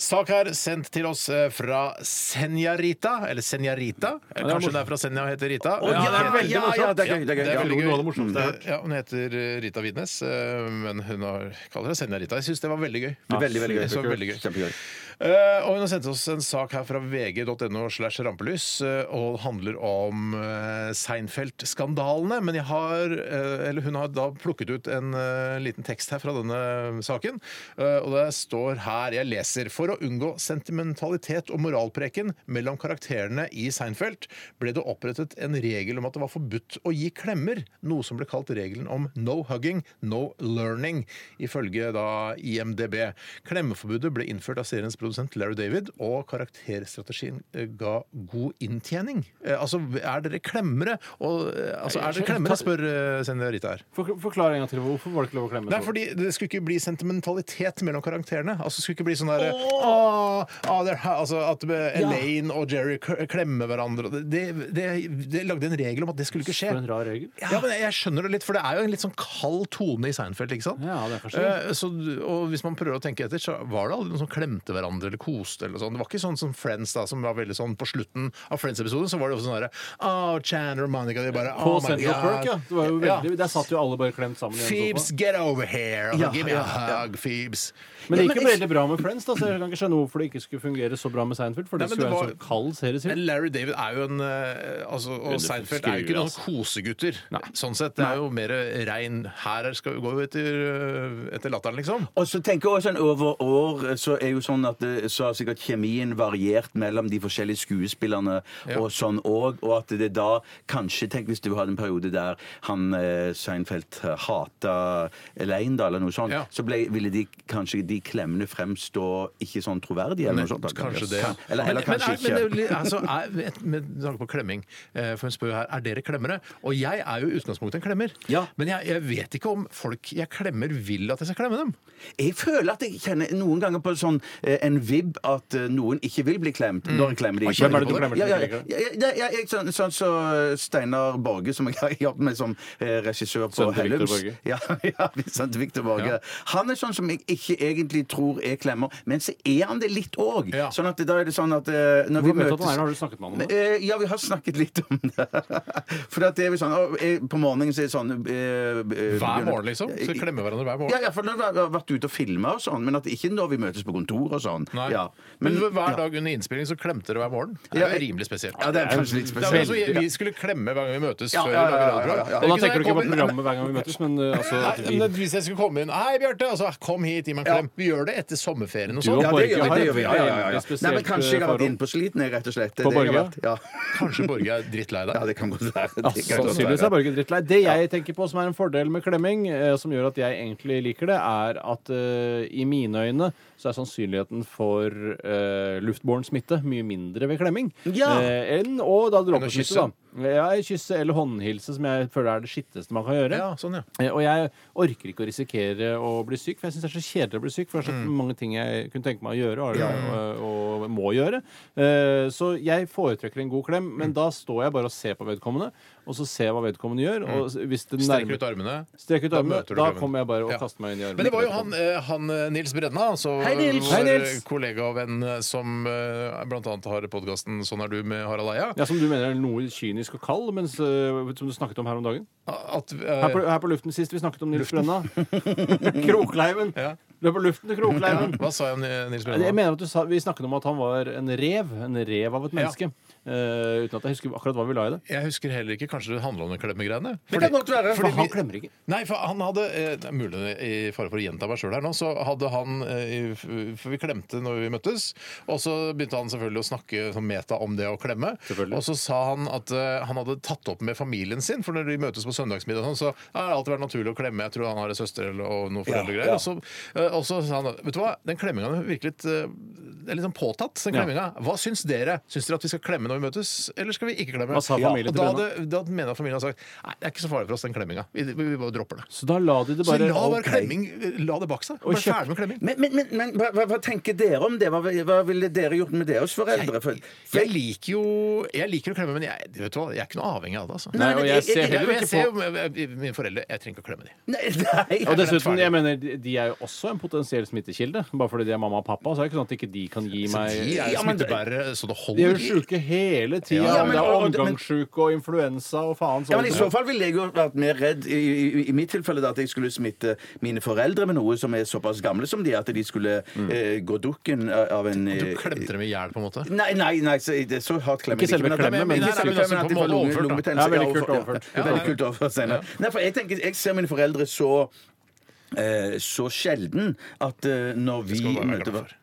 Speaker 4: sak her sendt til oss eh, fra Senjarita. Eller Senjarita. Eh, Kanskje det er fra Senja og heter Rita.
Speaker 6: ja, det er
Speaker 4: Hun heter-
Speaker 6: veldig morsomt. Ja, det er gøy, det er gøy.
Speaker 4: det
Speaker 6: Ja, Mm.
Speaker 4: er veldig
Speaker 6: noe- noe av
Speaker 4: gøy.
Speaker 6: det morsomste jeg har hørt.
Speaker 4: Ja, hun heter eh, Rita Widnes, eh, men hun har, kaller seg Senjarita. Jeg syns det var veldig gøy.
Speaker 6: Veldig, veldig gøy.
Speaker 4: Det var veldig gøy.
Speaker 6: Kjempegøy.
Speaker 4: Eh, og Hun har sendt oss en sak her fra vg.no slash rampelys, eh, og det handler om eh, Seinfeld-skandalene. Men jeg har, eh, eller hun har da plukket ut en eh, liten tekst her fra denne saken. eh, og det står her, jeg leser For å unngå sentimentalitet og moralpreken mellom karakterene i Seinfeld ble det opprettet en regel om at det var forbudt å gi klemmer, noe som ble kalt regelen om no hugging, no learning, ifølge da IMDb. Klemmeforbudet ble innført av seriens produsent Larry David, og karakterstrategien eh, ga god inntjening. Eh, Altså, er dere klemmere? Og, eh, altså, er dere klemmere, spør eh, seniorita her.
Speaker 8: For, forklar en gang til. Hvorfor var det ikke lov å klemme?
Speaker 4: Nei,
Speaker 8: så?
Speaker 4: fordi Det skulle ikke bli sentimentalitet mellom karakterene. Altså, det skulle ikke bli sånn derre «Åh, ah, det er her», altså, At eh, Elaine og Jerry k- klemmer hverandre. Det, det, det, det lagde en regel om at det skulle ikke skje.
Speaker 8: For en rar regel.
Speaker 4: Ja, men jeg skjønner det litt, for det er jo en litt sånn kald tone i Seinfeld. ikke sant?
Speaker 8: Ja, det er kanskje det.
Speaker 4: Eh, så, og hvis man prøver å tenke etter, så var det aldri noen som klemte hverandre eller koste. eller sånn. Det var ikke sånn som Friends, da, som var veldig sånn på slutten av Friends-episoden. Så var det jo sånn derre Oh, Chandler og Monica, de bare
Speaker 8: På
Speaker 4: oh my
Speaker 8: Central Perk,
Speaker 4: God.
Speaker 8: ja. Det var jo
Speaker 4: Ja.
Speaker 8: veldig, Der satt jo alle bare klemt sammen. i en
Speaker 4: Phoebes,
Speaker 8: sofa.
Speaker 4: get over here! Og
Speaker 6: Ja,
Speaker 4: give me
Speaker 6: ja,
Speaker 4: a hug, Phoebes.
Speaker 8: Men det
Speaker 6: Ja,
Speaker 8: gikk jo
Speaker 6: men
Speaker 8: veldig bra med Friends, da, så jeg kan ikke skjønne hvorfor det ikke skulle fungere så bra med Seinfeld. For det
Speaker 4: Nei, men
Speaker 8: skulle være
Speaker 4: det
Speaker 8: en
Speaker 4: var-
Speaker 8: sånn kald
Speaker 4: Men
Speaker 8: serieserie.
Speaker 4: Larry David er jo en eh, altså, Og
Speaker 8: Underfull
Speaker 4: Seinfeld er jo ikke
Speaker 8: skruer,
Speaker 4: noen
Speaker 8: altså.
Speaker 4: kosegutter. Sånn sett. Det er jo mer rein Her skal vi gå etter, eh, etter latteren, liksom.
Speaker 6: Og så tenker jeg også sånn Over år så er jo sånn at det, så har sikkert kjemien variert mellom de forskjellige skuespillerne og sånn òg, og at det da kanskje Tenk hvis du hadde en periode der han eh, Seinfeld hata Elaine, da, eller noe sånt,
Speaker 4: Ja.
Speaker 6: så ble, ville de kanskje de klemmene fremstå ikke sånn troverdige, eller noe sånt. da,
Speaker 4: Kanskje det. ja.
Speaker 6: Eller, eller
Speaker 4: men,
Speaker 6: kanskje
Speaker 4: men, er-
Speaker 6: ikke.
Speaker 4: Men, det er jo litt- altså, er, et- med tanke på klemming, eh, for hun spør jo her er dere klemmere. Og jeg er jo i utgangspunktet en klemmer.
Speaker 6: Ja.
Speaker 4: Men jeg, jeg vet ikke om folk jeg klemmer, vil at jeg skal klemme dem.
Speaker 6: Jeg føler at jeg kjenner noen ganger på sånn eh, en en vibb at eh, noen ikke vil bli klemt når en klemmer de ikke.
Speaker 4: Mm. Hvem er det du klemmer
Speaker 6: Ja,
Speaker 4: som
Speaker 6: ja,
Speaker 4: ikke
Speaker 6: ja, ja, ja, ja, jeg- sånn sånn som Steinar Borge, som jeg har jobbet med som eh, regissør på
Speaker 5: Sønnen til Victor
Speaker 6: Hellums.
Speaker 5: Borge.
Speaker 6: Ja, ja, sønnen til Victor Borge. Han er sånn som jeg ikke egentlig tror er klemmer, men så er han det litt òg.
Speaker 4: Ja.
Speaker 6: Sånn at da er det sånn at eh, når vi
Speaker 5: Hvordan vet du at
Speaker 6: møtes
Speaker 5: han er? Har du snakket med han om det?
Speaker 6: Eh, ja, vi har snakket litt om det. For at det er jo sånn, å, eh, På morgenen så er det sånn eh, eh,
Speaker 4: Hver morgen, liksom? Så klemmer hverandre hver
Speaker 6: Ja,
Speaker 4: morgen?
Speaker 6: ja, for når vi har vært ute og filma og sånn, men at ikke når vi møtes på kontor og sånn.
Speaker 4: Nei.
Speaker 6: Ja.
Speaker 4: Men hver
Speaker 6: ja.
Speaker 4: dag under innspilling så klemte dere hver morgen. Det
Speaker 6: Ja,
Speaker 4: er
Speaker 6: jeg-
Speaker 4: jo rimelig spesielt.
Speaker 6: Ja, det er kanskje litt
Speaker 4: Det er vel
Speaker 6: spesielt.
Speaker 4: altså, vi skulle klemme hver gang vi møtes
Speaker 6: Ja,
Speaker 4: før vi
Speaker 6: ja, ja,
Speaker 4: lager
Speaker 6: ja, ja, ja.
Speaker 4: radioprogram.
Speaker 6: Og
Speaker 5: Og da
Speaker 4: Ikke når jeg
Speaker 5: tenker du ikke på
Speaker 4: kommer-
Speaker 5: programmet hver gang vi møtes, men uh, altså at
Speaker 4: Nei,
Speaker 5: vi
Speaker 4: men Hvis jeg skulle komme inn Hei, Bjarte! Altså, kom hit, gi meg en klem. Vi gjør det etter sommerferien og
Speaker 5: Du
Speaker 4: sånn.
Speaker 5: og
Speaker 6: Ja, det gjør vi. Det gjør vi. Ja, ja, ja,
Speaker 5: Veldig
Speaker 6: ja.
Speaker 5: spesielt, eh,
Speaker 6: Nei, men kanskje jeg har vært
Speaker 5: forhold.
Speaker 6: innpåsliten, jeg, rett og slett.
Speaker 5: På
Speaker 6: Det jeg har
Speaker 5: Borge?
Speaker 6: vært- Ja.
Speaker 4: Kanskje Borge er drittlei
Speaker 6: ja,
Speaker 4: deg.
Speaker 6: det kan godt være. sånn Det
Speaker 5: Ja,
Speaker 6: kan godt
Speaker 5: Sannsynligvis
Speaker 6: være.
Speaker 5: er Borge drittlei. Det jeg tenker på som er en fordel med klemming, eh, som gjør at jeg egentlig liker det, er at eh, i mine øyne så er sannsynligheten for eh, luftbåren smitte mye mindre ved klemming.
Speaker 6: Ja.
Speaker 5: Eh, enn, og da dråpesmitte,
Speaker 4: kysse.
Speaker 5: da. Ja, kysse eller håndhilse, som jeg føler er det skitteste man kan gjøre.
Speaker 4: Ja, sånn, ja.
Speaker 5: Eh, Og jeg orker ikke å risikere å bli syk, for jeg syns det er så kjedelig å bli syk. For det er
Speaker 4: Mm.
Speaker 5: så mange ting jeg kunne tenke meg å gjøre og, og, og må gjøre. Eh, Så jeg foretrekker en god klem,
Speaker 4: Mm.
Speaker 5: men da står jeg bare og ser på vedkommende. Og så ser jeg hva vedkommende gjør. Og s- hvis det
Speaker 4: Mm. Strekker
Speaker 5: nærmer
Speaker 4: ut armene.
Speaker 5: Strekker ut
Speaker 4: Da
Speaker 5: armene,
Speaker 4: møter du
Speaker 5: da
Speaker 4: klemmen.
Speaker 5: kommer jeg bare og
Speaker 4: Ja.
Speaker 5: kaster meg inn i armene.
Speaker 4: Men det var jo
Speaker 5: på
Speaker 4: han,
Speaker 5: vedkommende.
Speaker 4: eh, han eh, Nils Bredna, altså
Speaker 6: Hei, Nils.
Speaker 4: vår
Speaker 6: Hei, Nils.
Speaker 4: eh, kollega og venn eh, som eh, blant annet har podkasten 'Sånn er du' med Harald Eia.
Speaker 5: Ja, Som du mener er noe kynisk og kald, mens, eh, som du snakket om her om dagen?
Speaker 4: At, eh,
Speaker 5: Her på, her på luften sist vi snakket om Nils Brenna. Krokleiven!
Speaker 4: Ja.
Speaker 5: Du er på luften til
Speaker 4: ja,
Speaker 5: Krokleiven!
Speaker 4: hva sa jeg, Nils
Speaker 5: Nei, Jeg
Speaker 4: Bredna?
Speaker 5: mener at du sa, Vi snakket om at han var en rev. En rev av et menneske. Eh, uten at jeg husker akkurat hva vi la i det.
Speaker 4: Jeg husker heller ikke. Kanskje det handla om den klemmegreiene?
Speaker 6: Det kan godt være.
Speaker 5: For han klemmer ikke.
Speaker 4: Nei, for han hadde eh, det er Mulig i fare for å gjenta meg sjøl her nå, så hadde han eh, i- For vi klemte når vi møttes, og så begynte han selvfølgelig å snakke sånn meta om det å klemme.
Speaker 5: Selvfølgelig.
Speaker 4: Og så sa han at eh, han hadde tatt opp med familien sin, for når de møtes på søndagsmiddag, og sånn, så har det alltid vært naturlig å klemme. Jeg tror han har en søster eller og noen foreldregreier.
Speaker 6: ja.
Speaker 4: Og, så, eh, og så sa han Vet du hva, den klemminga er virkelig litt, eh, det er litt sånn påtatt. den
Speaker 5: Ja.
Speaker 4: klemmingen. Hva syns dere? Syns dere at vi skal klemme når vi møtes, eller skal vi ikke klemme?
Speaker 5: Hva sa familien
Speaker 4: og
Speaker 5: til
Speaker 4: da
Speaker 5: Brenna?
Speaker 4: hadde da mener jeg familien har sagt Nei, det er ikke så farlig for oss, den klemminga. Vi, vi, vi bare dropper det.
Speaker 5: Så da la de det
Speaker 4: Så
Speaker 5: bare
Speaker 4: la bare
Speaker 5: ok.
Speaker 4: klemming La det bak seg.
Speaker 5: Og
Speaker 4: Bare
Speaker 5: kjøp-
Speaker 4: ferdig med klemming.
Speaker 6: Men, men, men, men hva, hva- hva tenker dere om det? Hva, hva ville dere gjort med deres foreldre? For,
Speaker 4: Jeg liker jo Jeg liker å klemme, men jeg, vet du hva, jeg er ikke noe avhengig av det. altså
Speaker 5: Nei, og jeg
Speaker 6: jeg-
Speaker 5: ser
Speaker 6: jeg-
Speaker 4: Jeg,
Speaker 5: heller
Speaker 4: jeg
Speaker 5: ikke
Speaker 4: ser
Speaker 5: på
Speaker 4: jo med- med- mine foreldre Jeg trenger ikke å klemme dem.
Speaker 6: nei, nei,
Speaker 5: og dessuten, jeg mener, de- De er jo også en potensiell smittekilde. Bare fordi de er mamma og pappa, så er det ikke sånn at ikke de kan gi meg
Speaker 4: De er jo
Speaker 6: Ja, men-
Speaker 4: smittebærere, så det
Speaker 5: De er
Speaker 4: holder.
Speaker 5: jo sjuke hele tida.
Speaker 6: Ja, men-
Speaker 5: det er
Speaker 6: og- og- men-
Speaker 5: omgangssjuke og influensa og faen
Speaker 6: Ja,
Speaker 5: sånn.
Speaker 6: men I så fall ville jeg jo vært mer redd i, i, i mitt tilfelle da, at jeg skulle smitte mine foreldre med noe som er såpass gamle som de, at de skulle eh, gå dukken av en
Speaker 4: Du
Speaker 6: eh,
Speaker 4: klemte dem i hjel, på en måte.
Speaker 6: Nei, nei, nei så, det er så hardt klemmer
Speaker 5: Ikke selve
Speaker 6: at-
Speaker 5: klemmen, men-
Speaker 6: Ikke selve
Speaker 4: Nei, nei, men
Speaker 6: klemmen, at
Speaker 4: altså,
Speaker 6: de
Speaker 4: på
Speaker 6: får
Speaker 4: en måte
Speaker 6: lunge-
Speaker 4: overført, da.
Speaker 6: lungebetennelse.
Speaker 5: Ja, veldig kult
Speaker 6: overfor-
Speaker 5: overført.
Speaker 6: Ja, veldig kult overført senere. Nei, for jeg tenker, jeg ser mine foreldre så eh, så sjelden at eh, når vi
Speaker 4: skal man være glad
Speaker 6: møter
Speaker 4: for.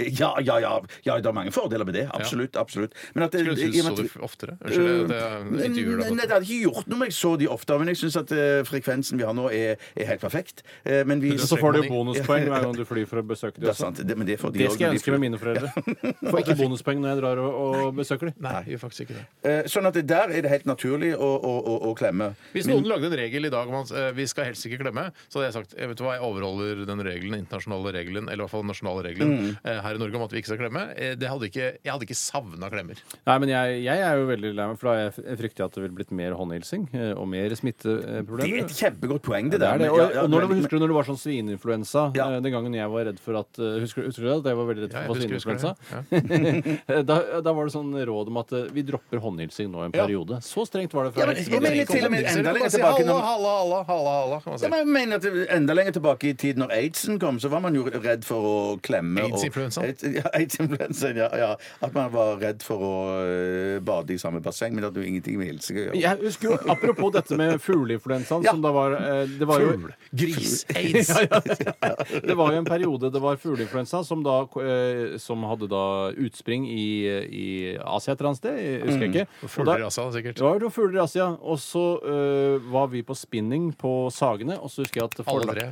Speaker 6: ja, ja, ja, ja, det er mange fordeler med det. Absolutt. absolutt. Men at,
Speaker 4: Skulle du
Speaker 6: i og med
Speaker 4: så
Speaker 6: at
Speaker 4: det
Speaker 6: vi-
Speaker 4: f- oftere? Unnskyld, det er intervjuer
Speaker 6: Um, Nei, det
Speaker 4: deg.
Speaker 6: hadde ikke gjort noe om jeg så de ofte, men jeg syns at eh, frekvensen vi har nå, er, er helt perfekt. Eh, men vi
Speaker 5: Så får du jo bonuspoeng hver gang du flyr for å besøke
Speaker 6: Det
Speaker 5: dem.
Speaker 6: er sant. Det, men det, er for de
Speaker 5: Det
Speaker 6: også,
Speaker 5: skal
Speaker 6: når
Speaker 5: jeg
Speaker 6: de
Speaker 5: ønske
Speaker 6: flyr.
Speaker 5: med mine foreldre. Får ikke bonuspoeng når jeg drar og, og besøker dem.
Speaker 4: Nei, jeg gjør faktisk ikke det.
Speaker 6: Eh, sånn at det der er det helt naturlig å, å, å, å klemme.
Speaker 4: Hvis noen lagde en regel i dag om at eh, vi skal helst ikke glemme, så hadde jeg sagt jeg vet du hva, jeg overholder den regelen, internasjonale regelen, eller i hvert fall den nasjonale regelen
Speaker 6: Mm.
Speaker 4: eh, her i Norge om at vi ikke skal klemme. Eh, Det hadde ikke, jeg hadde ikke savna klemmer.
Speaker 5: Nei, men jeg, jeg er jo veldig lei meg, for da er jeg f- jeg frykter jeg at det ville blitt mer håndhilsing eh, og mer
Speaker 6: Det er
Speaker 5: smitteproblemer.
Speaker 6: et kjempegodt poeng, det
Speaker 5: Det
Speaker 6: der.
Speaker 5: er det.
Speaker 6: men-
Speaker 5: Og,
Speaker 6: ja, ja,
Speaker 5: og når det,
Speaker 6: men-
Speaker 5: husker du når det var sånn svineinfluensa?
Speaker 6: Ja.
Speaker 5: eh, Den gangen jeg var redd for at eh, Husker, husker du det? At jeg var veldig redd
Speaker 4: Ja, jeg
Speaker 5: for
Speaker 4: husker-
Speaker 5: svineinfluensa?
Speaker 4: husker
Speaker 5: da, da var det sånn råd om at eh, vi dropper håndhilsing nå en
Speaker 4: Ja.
Speaker 5: periode. Så strengt var det
Speaker 6: Ja,
Speaker 5: fra
Speaker 6: men-
Speaker 5: helsemyndighetene.
Speaker 6: ja, men litt til og med enda lenger tilbake
Speaker 4: Halla,
Speaker 6: når-
Speaker 4: halla, halla, halla, halla, kan man
Speaker 6: Ja,
Speaker 4: si.
Speaker 6: men jeg mener at Enda lenger tilbake i tid, når aidsen kom, så var man jo redd for å klemme. og-
Speaker 4: AIDS-influensaen?
Speaker 6: Aids- Ja, AIDS-influensaen, ja, ja. At man var redd for å eh, bade i samme basseng, men det hadde jo ingenting med hilsing å gjøre.
Speaker 5: Jeg husker jo, Apropos dette med fugleinfluensaen, som da var eh, Det var jo
Speaker 4: Gris, aids.
Speaker 5: Det var jo en periode det var fugleinfluensa som, da, eh, som hadde da utspring i, i Asia et eller annet sted. Jeg husker ikke. Og da-
Speaker 4: Fugler i Asia, altså, sikkert.
Speaker 5: Det var noen fugler i Asia. Og så eh, var vi på spinning på Sagene. Og så husker jeg at
Speaker 4: Alle
Speaker 5: forlag,
Speaker 4: tre.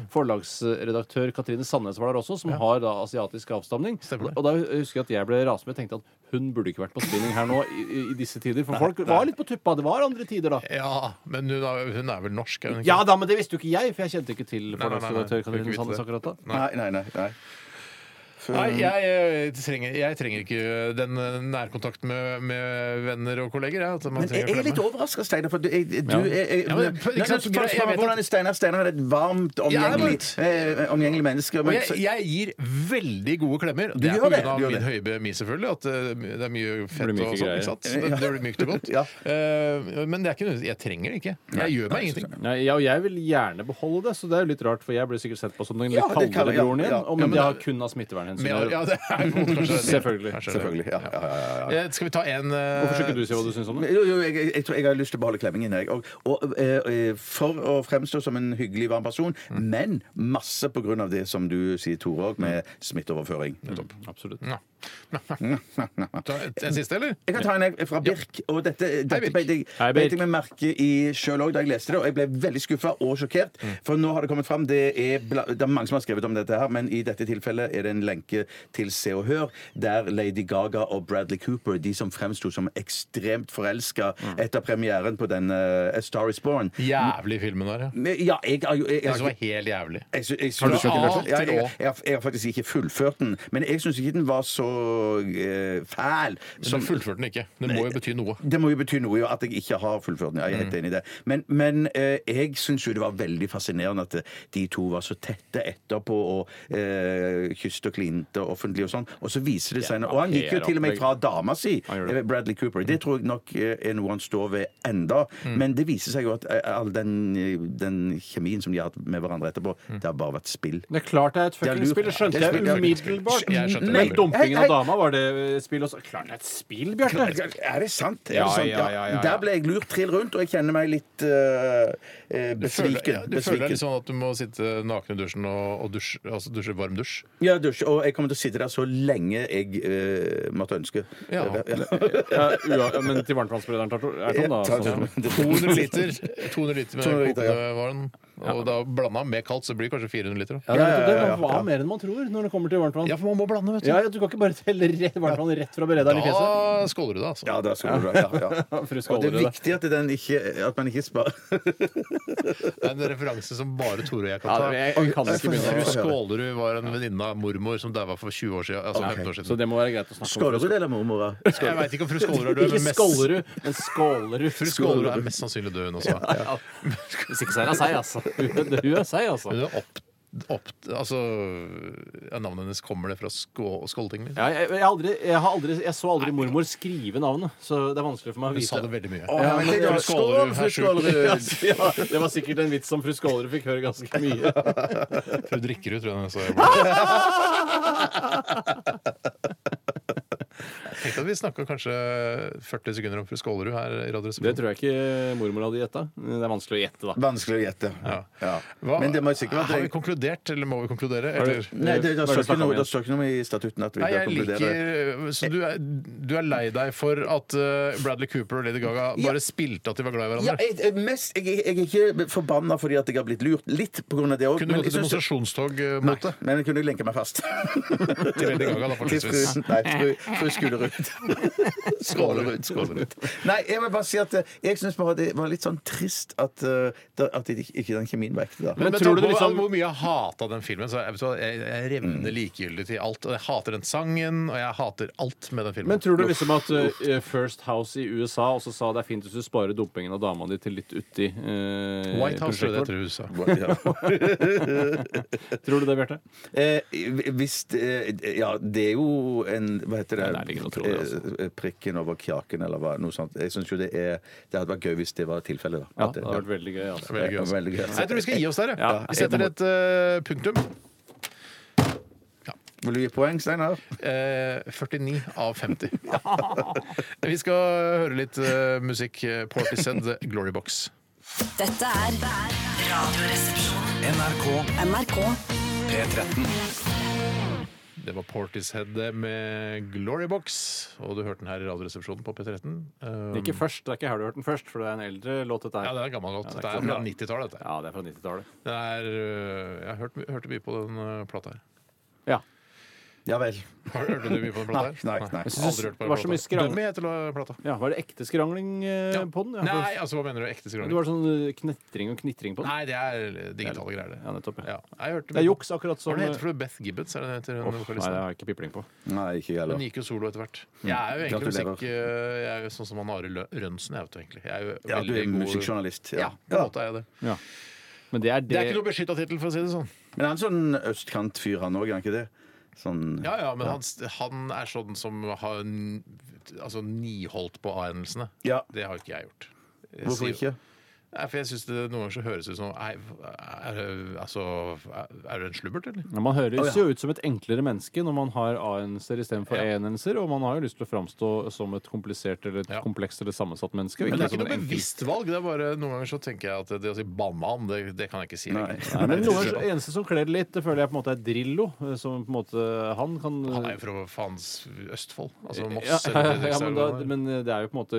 Speaker 5: forlagsredaktør Katrine Sandnes var der også, som har da asiatisk avstamning.
Speaker 4: Stemmer det.
Speaker 5: Og da husker jeg at jeg ble rasende. Jeg tenkte at hun burde ikke vært på spinning her nå i, i- i disse tider. For folk var litt på tuppa. Det var andre tider da.
Speaker 4: Ja, men hun er, hun er vel norsk, er hun ikke?
Speaker 5: Ja da, men det visste jo ikke jeg, for jeg kjente ikke til
Speaker 4: nei, nei, nei.
Speaker 5: forlagsredaktør
Speaker 4: Du kunne
Speaker 5: Katrine
Speaker 4: ikke vite
Speaker 5: Sandnes
Speaker 4: det.
Speaker 5: akkurat da.
Speaker 6: Nei, nei, nei. nei. før
Speaker 4: Nei, jeg, eh, trenger, jeg trenger ikke den eh, nærkontakten med, med venner og kolleger. Jeg, at man
Speaker 6: Men jeg,
Speaker 4: trenger å
Speaker 6: jeg er litt
Speaker 4: klemme.
Speaker 6: overraska, Steinar. For du, jeg, du
Speaker 4: Ja.
Speaker 6: jeg, jeg,
Speaker 4: Ja, men, ikke
Speaker 6: Nei,
Speaker 4: sant,
Speaker 6: men
Speaker 4: greit, jeg vet
Speaker 6: Hvordan er Steinar? Steinar er et varmt, omgjengelig,
Speaker 4: varmt.
Speaker 6: eh, omgjengelig menneske.
Speaker 4: Og
Speaker 6: Men,
Speaker 4: jeg, jeg gir veldig gode klemmer. Det er
Speaker 6: gjør det,
Speaker 4: pga.
Speaker 6: du gjør
Speaker 4: min
Speaker 6: det.
Speaker 4: høye BMI, selvfølgelig. At eh, det er mye fett
Speaker 5: myke
Speaker 4: og sånn.
Speaker 5: greier.
Speaker 4: Ikke sant? Men Det blir mykt og godt.
Speaker 6: Ja.
Speaker 4: Eh, men det er ikke nødvendig. jeg trenger det ikke. Jeg gjør meg ingenting.
Speaker 5: Nei, ja, og jeg vil gjerne beholde det, så det er jo litt rart, for jeg blir sikkert sett på som den litt
Speaker 6: Ja, det kan-
Speaker 5: kaldere
Speaker 6: ja,
Speaker 5: broren igjen,
Speaker 6: ja.
Speaker 5: og
Speaker 6: Ja,
Speaker 4: men
Speaker 5: men det
Speaker 4: da-
Speaker 5: har kun av smittevernhensyn. å
Speaker 4: Men, ja,
Speaker 5: gjøre.
Speaker 4: det er jo kanskje det.
Speaker 5: Selvfølgelig.
Speaker 4: Kanskje det.
Speaker 6: selvfølgelig. Ja, ja, ja, ja.
Speaker 4: Eh, Skal vi ta en eh,
Speaker 5: Hvorfor skal ikke du si hva du syns om det?
Speaker 6: Men Jo, jo, jeg, jeg, jeg tror jeg har lyst til å beholde klemmingen. Jeg. Og, og, eh, eh, for å fremstå som en hyggelig, varm person,
Speaker 4: Mm.
Speaker 6: men masse på grunn av det som du sier, Tore, også, med smitteoverføring.
Speaker 5: Absolutt.
Speaker 4: Nå. Ta en siste, eller?
Speaker 6: Jeg kan ta en jeg, fra Birk. og Dette, dette
Speaker 4: Birk.
Speaker 6: beit jeg,
Speaker 5: Hei, Birk.
Speaker 6: beit jeg meg merke i sjøl òg da jeg leste det, og jeg ble veldig skuffa og sjokkert. For nå har det kommet fram det er, bla- det er mange som har skrevet om dette, her, men i dette tilfellet er det en lenke til Se og Hør, der Lady Gaga og Bradley Cooper, de som fremsto som ekstremt forelska etter premieren på den eh, A Star Is Born
Speaker 4: Jævlig filmen der, ja.
Speaker 6: Men Ja, jeg har jo jeg,
Speaker 4: Jeg synes det
Speaker 6: jeg,
Speaker 4: var helt jævlig.
Speaker 6: jeg, sy- jeg,
Speaker 4: Har du
Speaker 6: syns-
Speaker 4: sett den
Speaker 6: Ja,
Speaker 4: først?
Speaker 6: jeg, jeg, jeg, har- jeg har faktisk ikke fullført den. Men jeg syns ikke den var så eh, fæl
Speaker 4: Som
Speaker 6: som
Speaker 4: fullførte den ikke. Det må jo bety noe.
Speaker 6: det må jo bety noe jo at jeg ikke har fullført den. Ja, Jeg er helt
Speaker 5: Mm.
Speaker 6: enig i det. Men, men eh, jeg syns jo det var veldig fascinerende at eh, de to var så tette etterpå og eh, kysset og klinte offentlig og sånn. Og så viser det seg nå- Og han gikk jo til og med fra dama si,
Speaker 5: Han gjorde det. Mm.
Speaker 6: eh, Bradley Cooper. Det tror jeg nok eh, er noe han står ved enda. Men det viser seg jo at eh, all den, eh, den kjemien som de har hatt med hverandre etterpå,
Speaker 5: Mm.
Speaker 6: det har bare vært spill.
Speaker 5: Det er klart det er et
Speaker 6: er
Speaker 5: fucking
Speaker 6: lurt.
Speaker 5: spill, det skjønte
Speaker 6: Det er
Speaker 5: jeg
Speaker 6: spill, det er
Speaker 5: umiddelbart.
Speaker 4: Jeg skjønte det.
Speaker 5: Men dumpingen
Speaker 6: Hei, hei.
Speaker 5: av dama, var det eh, spill også? Klart det er et spill, Bjarte!
Speaker 6: Er det sant? Er det
Speaker 5: Ja,
Speaker 6: sant?
Speaker 5: ja, ja, ja, ja.
Speaker 6: Der ble jeg lurt trill rundt, og jeg kjenner meg litt eh, eh,
Speaker 4: Du føler,
Speaker 6: besviken.
Speaker 4: ja, du føler
Speaker 6: besviken.
Speaker 4: litt sånn at du må sitte naken i dusjen og, og dusje, altså dusje varm dusj.
Speaker 6: Ja, dusj, og jeg kommer til å sitte der så lenge jeg eh, måtte ønske.
Speaker 4: Ja.
Speaker 5: Ja, ua, men til varmtvannsberederen tar to- er sånn, da.
Speaker 6: Eh, Ja,
Speaker 5: Sånn.
Speaker 4: 200 liter, 200 liter med
Speaker 6: 200 liter, ja.
Speaker 4: kokende vann. Og da blanda med kaldt, så blir det kanskje 400 liter. da.
Speaker 5: Ja, det, er nettopp det, men hva mer enn man tror når det kommer til varmtvann?
Speaker 4: Ja, for man må blande, vet du.
Speaker 5: Ja, ja, du kan ikke bare telle rett, varmtvann rett fra berederen i fjeset.
Speaker 4: Da skåler du det, altså.
Speaker 6: Ja, da skal du dra. Ja, ja.
Speaker 5: Fru
Speaker 6: Og det
Speaker 5: Skålerud,
Speaker 6: er
Speaker 5: da.
Speaker 6: viktig at, den ikke, at man ikke sparer
Speaker 4: Det er en referanse som bare Tore og jeg kan
Speaker 5: Ja,
Speaker 4: ta.
Speaker 5: det- jeg- jeg kan ikke
Speaker 4: Fru
Speaker 5: begynne å-
Speaker 4: Skålerud var en venninne av mormor som daua for 20 år siden. Altså 15 år
Speaker 5: Så
Speaker 4: siden.
Speaker 5: det må være greit å snakke om.
Speaker 6: Skåler du det, eller mormora?
Speaker 4: Jeg veit ikke om fru Skålerud er død,
Speaker 5: Ikke
Speaker 4: men mest,
Speaker 5: Skålerud, men Skålerud.
Speaker 4: fru Skålerud er mest sannsynlig død, hun også.
Speaker 5: Hvis ikke så er hun seig, altså. Hun er- Hun er seig, altså.
Speaker 4: Hun er opp, opp, altså, ja, navnet hennes kommer det fra skå, Skålting? Liksom.
Speaker 5: Ja, jeg, jeg, har aldri, jeg, har aldri, jeg så aldri mormor skrive navnet, så det er vanskelig for meg å
Speaker 4: Hun sa
Speaker 5: vite.
Speaker 4: det veldig mye.
Speaker 6: Ja, men det er jo-
Speaker 4: Skålerud,
Speaker 6: Skål,
Speaker 4: vær
Speaker 6: fru
Speaker 4: så
Speaker 6: Skålerud!
Speaker 5: Ja, det var sikkert en vits som fru Skålerud fikk høre ganske mye.
Speaker 4: Fru Drikkerud, tror jeg hun sa. Tenk at vi snakka kanskje 40 sekunder om fru Skålerud her i
Speaker 5: Det
Speaker 4: Radioresepsjonen.
Speaker 5: tror jeg ikke mormor hadde gjetta. Det er vanskelig å gjette, da.
Speaker 6: Vanskelig å gjette. Ja.
Speaker 4: Hva-
Speaker 6: Men det må sikkert
Speaker 4: Har vi
Speaker 6: være
Speaker 4: konkludert, eller må vi konkludere? Eller?
Speaker 6: Nei, det, det,
Speaker 5: Hva er det du snakker
Speaker 6: står ikke
Speaker 5: om
Speaker 6: noe,
Speaker 5: igjen?
Speaker 6: det står ikke noe i statutten at vi
Speaker 4: Nei,
Speaker 6: bør
Speaker 4: jeg
Speaker 6: konkludere.
Speaker 4: liker Så du er, du er lei deg for at eh, Bradley Cooper og Lady Gaga
Speaker 6: Ja.
Speaker 4: bare spilte at de var glad i
Speaker 6: Ja,
Speaker 4: hverandre?
Speaker 6: jeg, jeg- mest, jeg, jeg er ikke forbanna fordi at jeg har blitt lurt. Litt på grunn av det òg.
Speaker 4: Kunne du gått i demonstrasjonstog eh, mot det?
Speaker 6: Men jeg kunne lenke meg fast.
Speaker 4: Til Lady Gaga, da, fortrinnsvis.
Speaker 6: Til fru- Nei, fru, fru Skulerud. Skålerud. Skålerud. Nei, jeg vil bare si at eh, jeg syns bare det var litt sånn trist at, eh, da- at det ikke- ikke den kjemien var ekte, da.
Speaker 4: Men,
Speaker 5: Men
Speaker 4: med
Speaker 5: tror
Speaker 4: tanke
Speaker 5: du
Speaker 4: på
Speaker 5: liksom- Mm.
Speaker 4: hvor mye jeg hata den filmen, så jeg, vet du hva, jeg, jeg revner likegyldig til alt. Og jeg hater den sangen, og jeg hater alt med den filmen.
Speaker 5: Men tror du liksom at eh, First House i USA også sa det er fint hvis du sparer dumpingen av dama di til litt uti eh,
Speaker 4: White House tror jeg det
Speaker 5: prosjektet vårt?
Speaker 4: heter i USA.
Speaker 6: Ja.
Speaker 5: Tror du det, Bjarte?
Speaker 6: Eh, hvis eh, Ja, det er jo en Hva heter det?
Speaker 5: Nei, det er ikke noe trolig, altså.
Speaker 6: Eh, Prikken over kjaken, eller hva, noe sånt. Jeg syns jo det er Det hadde vært gøy hvis det var tilfellet, da.
Speaker 5: Ja,
Speaker 6: At eh,
Speaker 5: det hadde vært veldig gøy. Altså.
Speaker 4: Veldig gøy.
Speaker 6: Ja, veldig gøy.
Speaker 4: Nei, Jeg tror vi skal gi oss der, jeg.
Speaker 5: Ja.
Speaker 4: Vi setter et eh, punktum.
Speaker 6: Vil du gi poeng, Steinar?
Speaker 4: Eh, 49 av 50. Vi skal høre litt eh, musikk. eh, Portishead, Glory Box.
Speaker 7: Dette er Radioresepsjonen. NRK. NRK.
Speaker 4: Det var Portishead med Glory Box, og du hørte den her i Radioresepsjonen på P13. Eh,
Speaker 5: Ikke først, det er ikke her du har hørt den først, for det er en eldre låt, dette
Speaker 4: ja,
Speaker 5: her.
Speaker 4: det er gammel låt.
Speaker 5: Ja, det
Speaker 4: det
Speaker 5: er ikke
Speaker 4: er
Speaker 5: så
Speaker 4: fra
Speaker 5: bra.
Speaker 4: 90-tallet. dette.
Speaker 5: Ja, det er fra 90-tallet.
Speaker 4: Det er, øh, Jeg har hørt, my- hørte mye på den øh, plata her.
Speaker 5: Ja.
Speaker 6: Ja vel.
Speaker 4: Hørte du mye på den plata? her?
Speaker 6: Nei, nei, nei.
Speaker 4: Jeg
Speaker 5: synes
Speaker 4: aldri hørt på
Speaker 5: det
Speaker 4: den
Speaker 5: var så
Speaker 4: plata.
Speaker 5: mye skrang-
Speaker 4: Dummy heter la- plata.
Speaker 5: Ja, Var det ekte skrangling eh, på den? Ja, for-
Speaker 4: Nei, altså hva mener du? Ekte
Speaker 5: Det
Speaker 4: skrangling?
Speaker 5: var sånn eh, knetring og knitring på den?
Speaker 4: Nei, det er digitale greier, det.
Speaker 5: Ja, nettopp.
Speaker 4: Ja,
Speaker 5: Ja.
Speaker 4: jeg hørte
Speaker 5: Det er juks, akkurat
Speaker 4: Hva
Speaker 5: som
Speaker 4: er det heter for noe? Beth Gibbons? Er det det heter hun
Speaker 5: Uff, Nei, det
Speaker 4: vokalisten?
Speaker 5: har jeg ikke pipling på.
Speaker 6: Nei, ikke jeg
Speaker 4: Hun
Speaker 6: heller.
Speaker 4: gikk jo solo etter hvert. Jeg er jo egentlig
Speaker 6: Gratulerer.
Speaker 4: musikk... eh, Jeg er jo sånn som han Are Lø- Rønsen, jeg vet du egentlig. Jeg er jo
Speaker 6: Ja, du
Speaker 4: veldig
Speaker 6: er
Speaker 4: god-
Speaker 6: musikkjournalist.
Speaker 4: Ja,
Speaker 6: Ja.
Speaker 4: på en måte er jeg det.
Speaker 5: Men det er det,
Speaker 4: Det er ikke noe beskytta tittel, for å si det sånn.
Speaker 6: Men han er en sånn østkantfyr, han òg, er han ikke det? Sånn
Speaker 4: Ja, ja, men han, han er sånn som har n- altså, niholdt på a-endelsene.
Speaker 6: Ja.
Speaker 4: Det har jo ikke jeg gjort. Jeg
Speaker 6: Hvorfor
Speaker 4: sier-
Speaker 6: ikke?
Speaker 4: Nei, for jeg synes det Noen ganger så høres det ut som Nei, er, er, altså, er, er du en slubbert, eller?
Speaker 5: Ja, man høres
Speaker 6: Å, ja.
Speaker 5: jo ut som et enklere menneske når man har A-endelser istedenfor E-endelser, og man har jo lyst til å framstå som et komplisert eller et
Speaker 4: Ja.
Speaker 5: komplekst eller sammensatt menneske. og
Speaker 4: Men det er
Speaker 5: som
Speaker 4: ikke noe
Speaker 5: en enkel-
Speaker 4: bevisst valg. Det er bare Noen ganger så tenker jeg at det å si 'banan', det, det kan jeg ikke si.
Speaker 6: Nei.
Speaker 4: egentlig.
Speaker 5: Nei, men
Speaker 4: det
Speaker 5: noe
Speaker 4: synes jeg.
Speaker 5: det eneste som kler det litt, det føler jeg på en måte er Drillo. eh, Som på en måte han kan
Speaker 4: Han er jo fra faens Østfold. Altså Moss.
Speaker 5: ja, ja,
Speaker 4: eller
Speaker 5: ja, men, da,
Speaker 4: Fredrikstad, eller hva det er.
Speaker 5: men eh, det er jo på en måte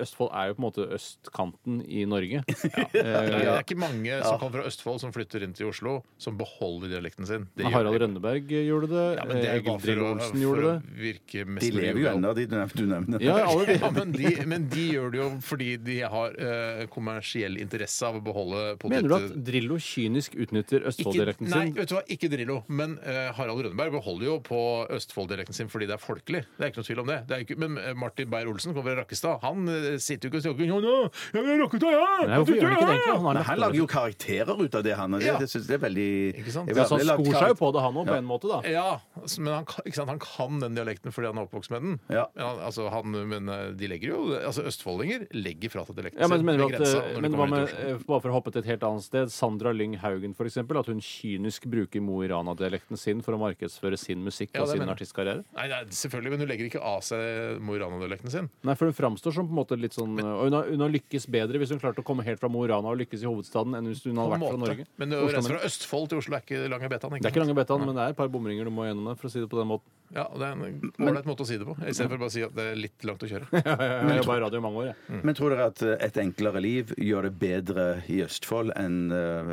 Speaker 5: Østfold er jo på en måte østkanten i Norge.
Speaker 4: Det er,
Speaker 5: Eh,
Speaker 4: det er ikke mange som kommer fra Østfold som flytter inn til Oslo, som beholder dialekten sin. Det gjør
Speaker 5: Harald
Speaker 4: de.
Speaker 5: Rønneberg gjorde det.
Speaker 4: Ja, men det er jo
Speaker 5: Egil
Speaker 4: bare for
Speaker 5: Drillo
Speaker 4: å,
Speaker 5: Olsen
Speaker 4: for
Speaker 5: gjorde
Speaker 4: å
Speaker 5: det.
Speaker 4: virke mest
Speaker 6: De lever jo
Speaker 4: mulig.
Speaker 6: ennå, de du nevner. Du nevner.
Speaker 5: Ja, alle de.
Speaker 4: Ja, men de, men de gjør det jo fordi de har eh, kommersiell interesse av å beholde
Speaker 5: Mener du at Drillo kynisk
Speaker 4: Ikke,
Speaker 5: utnytter Østfold-dialekten
Speaker 4: nei,
Speaker 5: sin?
Speaker 4: vet du hva, ikke Drillo. Men eh, Harald Rønneberg beholder jo på Østfold-dialekten sin fordi det er folkelig. Det er ikke noe tvil om det. det er ikke, men eh, Martin Beyer-Olsen kommer fra Rakkestad. Han eh, sitter jo ikke og snakker «Ja, nå, jeg er Rakkestad, ja!
Speaker 5: Nei, hvorfor gjør han ikke det egentlig? Han har
Speaker 6: Nei, han
Speaker 5: lagt
Speaker 6: lager
Speaker 5: over.
Speaker 6: jo karakterer ut av det, han. Og det,
Speaker 4: Ja.
Speaker 6: det synes jeg er veldig
Speaker 4: Ikke sant?
Speaker 6: Jeg
Speaker 5: Ja,
Speaker 6: vil
Speaker 5: så
Speaker 6: aldri
Speaker 5: han
Speaker 6: lage
Speaker 5: skor seg jo
Speaker 6: karakter-
Speaker 5: på det, han òg, på en måte, da.
Speaker 4: Ja, altså, men han, kan- ikke sant, han kan den dialekten fordi han er oppvokst med den.
Speaker 6: Ja.
Speaker 4: Men, han, altså, han, men eh, de legger jo altså, Østfoldinger legger fra seg dialekten
Speaker 5: Ja, men,
Speaker 4: sin
Speaker 5: mener du
Speaker 4: ved
Speaker 5: at,
Speaker 4: grensa når
Speaker 5: eh,
Speaker 4: de
Speaker 5: men hva
Speaker 4: kommer
Speaker 5: med,
Speaker 4: ut til Oslo.
Speaker 5: eh, bare for å hoppe til et helt annet sted, Sandra Lyng Haugen for eksempel, at hun kynisk bruker Mo i Rana-dialekten sin for å markedsføre sin musikk
Speaker 4: Ja,
Speaker 5: og
Speaker 4: det
Speaker 5: sin
Speaker 4: mener jeg.
Speaker 5: artistkarriere?
Speaker 4: Nei, nei, selvfølgelig, men hun legger ikke av seg Mo i Rana-dialekten sin.
Speaker 5: Nei, for hun framstår som på en måte litt sånn og hun, har, hun har lykkes bedre hvis hun klarte å komme helt fra Mo i Rana og lykkes i hovedstaden enn hvis hun
Speaker 4: På
Speaker 5: hadde
Speaker 4: en
Speaker 5: vært fra
Speaker 4: måte.
Speaker 5: Norge.
Speaker 4: Men å
Speaker 5: Oslo,
Speaker 4: reise
Speaker 5: men-
Speaker 4: fra Østfold til Oslo er ikke lange betaen.
Speaker 5: Det er ikke
Speaker 4: sant?
Speaker 5: lange betaen, men det er et par bomringer du må gjennom der, for å si det på den måten.
Speaker 4: Ja, og det er en ålreit måte å si det på. Istedenfor bare å si at det er litt langt å kjøre.
Speaker 5: Jeg har jobba i radio i mange år, jeg.
Speaker 6: Men tror dere at eh, et enklere liv gjør det bedre i Østfold enn eh,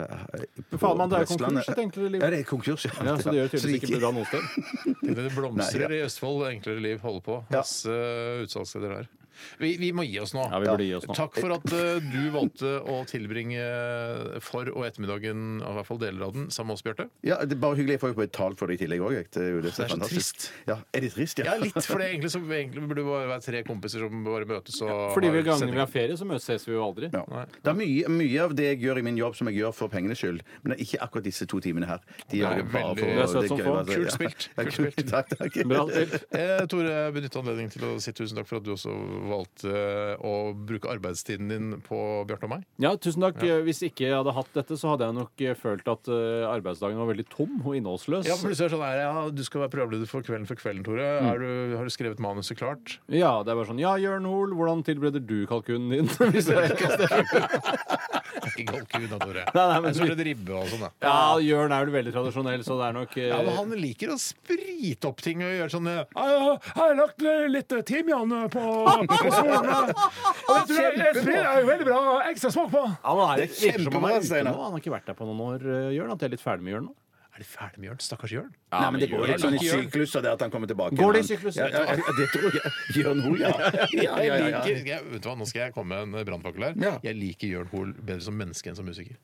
Speaker 6: på,
Speaker 5: Faen, man, det er jo
Speaker 6: på Vestlandet?
Speaker 5: konkurs, et enklere liv.
Speaker 6: Ja, det er konkurs, ja.
Speaker 5: Ja, så det gjør tydeligvis
Speaker 6: det
Speaker 5: ikke bra noe sted.
Speaker 4: Det blomstrer
Speaker 6: Nei,
Speaker 4: i Østfold, enklere liv holder på. Masse eh, utsalgssteder der. Vi, vi må gi oss nå.
Speaker 5: Ja, vi burde gi oss nå.
Speaker 4: Takk for at eh, du valgte å tilbringe eh, for- og ettermiddagen, og i hvert fall deler av den, sammen med oss, Bjarte.
Speaker 6: Ja, det er bare hyggelig. Jeg får jo betalt for det i tillegg òg. Det er jo det som
Speaker 4: Det er så
Speaker 6: fantastisk.
Speaker 4: trist.
Speaker 6: Ja, er det trist, ja?
Speaker 4: Ja, litt, for det egentlig, så, egentlig burde det bare være tre kompiser som bare møtes og
Speaker 5: Fordi vi
Speaker 4: har
Speaker 5: gangene
Speaker 4: sending.
Speaker 5: vi har ferie, så møtes ses vi jo aldri.
Speaker 6: Ja. Det er mye, mye av det jeg gjør i min jobb som jeg gjør for pengenes skyld, men det er ikke akkurat disse to timene her. De gjør
Speaker 4: Nei,
Speaker 6: det bare
Speaker 4: veldig-
Speaker 6: for
Speaker 4: Det
Speaker 5: er søtt som
Speaker 6: gøy,
Speaker 5: faen.
Speaker 6: altså.
Speaker 4: Kult spilt.
Speaker 6: Ja,
Speaker 4: Kult
Speaker 6: kult.
Speaker 4: spilt.
Speaker 6: Takk, takk.
Speaker 5: Bra spilt.
Speaker 4: Eh, Tore, benytt anledningen til å si tusen takk for at du også valgte eh, å bruke arbeidstiden din på Bjarte og meg.
Speaker 5: Ja, tusen takk. Hvis ikke jeg hadde hatt dette, så hadde jeg nok eh, følt at eh, arbeidsdagen var veldig tom og innholdsløs.
Speaker 4: Ja, for plutselig er det sånn her, ja, Du skal være programleder for Kvelden for kvelden, Tore. Er du, har du skrevet manuset klart?
Speaker 5: Ja, det er bare sånn Ja, Jørn Hoel, hvordan tilbereder du kalkunen din? Hvis jeg ikke
Speaker 4: Ikke kalkun da, Tore.
Speaker 5: Nei, nei, men-
Speaker 4: Jeg tror det er ribbe og sånn, da.
Speaker 5: Ja, Jørn er jo veldig tradisjonell, så det er nok eh,
Speaker 4: Ja, men Han liker å sprite opp ting og gjøre sånn eh, «Ja, Jeg har lagt eh, litt timian eh, på, på solene. Og det er jo veldig bra ekstra smak på.
Speaker 5: han er,
Speaker 6: Det er
Speaker 5: virker som han er
Speaker 6: kjempebra,
Speaker 5: ute
Speaker 6: Steinar.
Speaker 5: nå. Han har ikke vært der på noen år, eh, Jørn. At jeg er litt ferdig med Jørn nå.
Speaker 4: Er det ferdig med Jørn? Stakkars Jørn.
Speaker 6: Nei, men det går
Speaker 4: Jørn-
Speaker 6: litt sånn i
Speaker 4: Jørn-
Speaker 6: sykluser det at han kommer tilbake.
Speaker 5: Går det i
Speaker 6: igjen.
Speaker 5: sykluser?
Speaker 6: Ja, ja, ja, det tror jeg. Jørn Hoel, ja. Ja, ja, ja,
Speaker 4: Jeg
Speaker 6: ja.
Speaker 4: liker, jeg, vet du hva, Nå skal jeg komme med en brannfakkel her.
Speaker 6: Ja.
Speaker 4: Jeg liker Jørn Hoel bedre som menneske enn som musiker.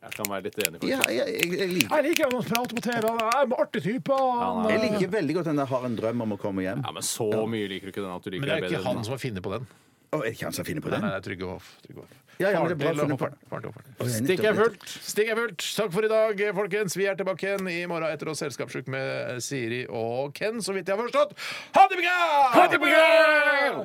Speaker 5: Jeg kan være litt enig.
Speaker 6: Ja,
Speaker 5: kanskje.
Speaker 6: jeg, jeg, jeg, liker.
Speaker 4: Jeg liker han prater på TV. Han er en artig type.
Speaker 6: jeg liker veldig godt den der 'har en drøm om å komme hjem'.
Speaker 5: Ja, men så mye liker du ikke den at du
Speaker 4: Men
Speaker 5: liker
Speaker 4: det
Speaker 5: deg
Speaker 4: er jo
Speaker 5: bedre.
Speaker 4: ikke han
Speaker 5: enn
Speaker 4: som har funnet på den.
Speaker 6: Å, er det ikke han som finner på
Speaker 4: Nei,
Speaker 6: den?
Speaker 4: nei, det er Trygve Hoff. Trygve Hoff.
Speaker 6: Ja, ja, men det er bra
Speaker 4: Faren til
Speaker 6: funnet på.
Speaker 4: hopperen. Faren til hopperen.
Speaker 5: Stikk er fullt.
Speaker 4: Stig er fullt. Takk for i dag, folkens. Vi er tilbake igjen i morgen etter oss Selskapssjuk med Siri og Ken, så vidt jeg har forstått. Ha det bra! Ha det bra!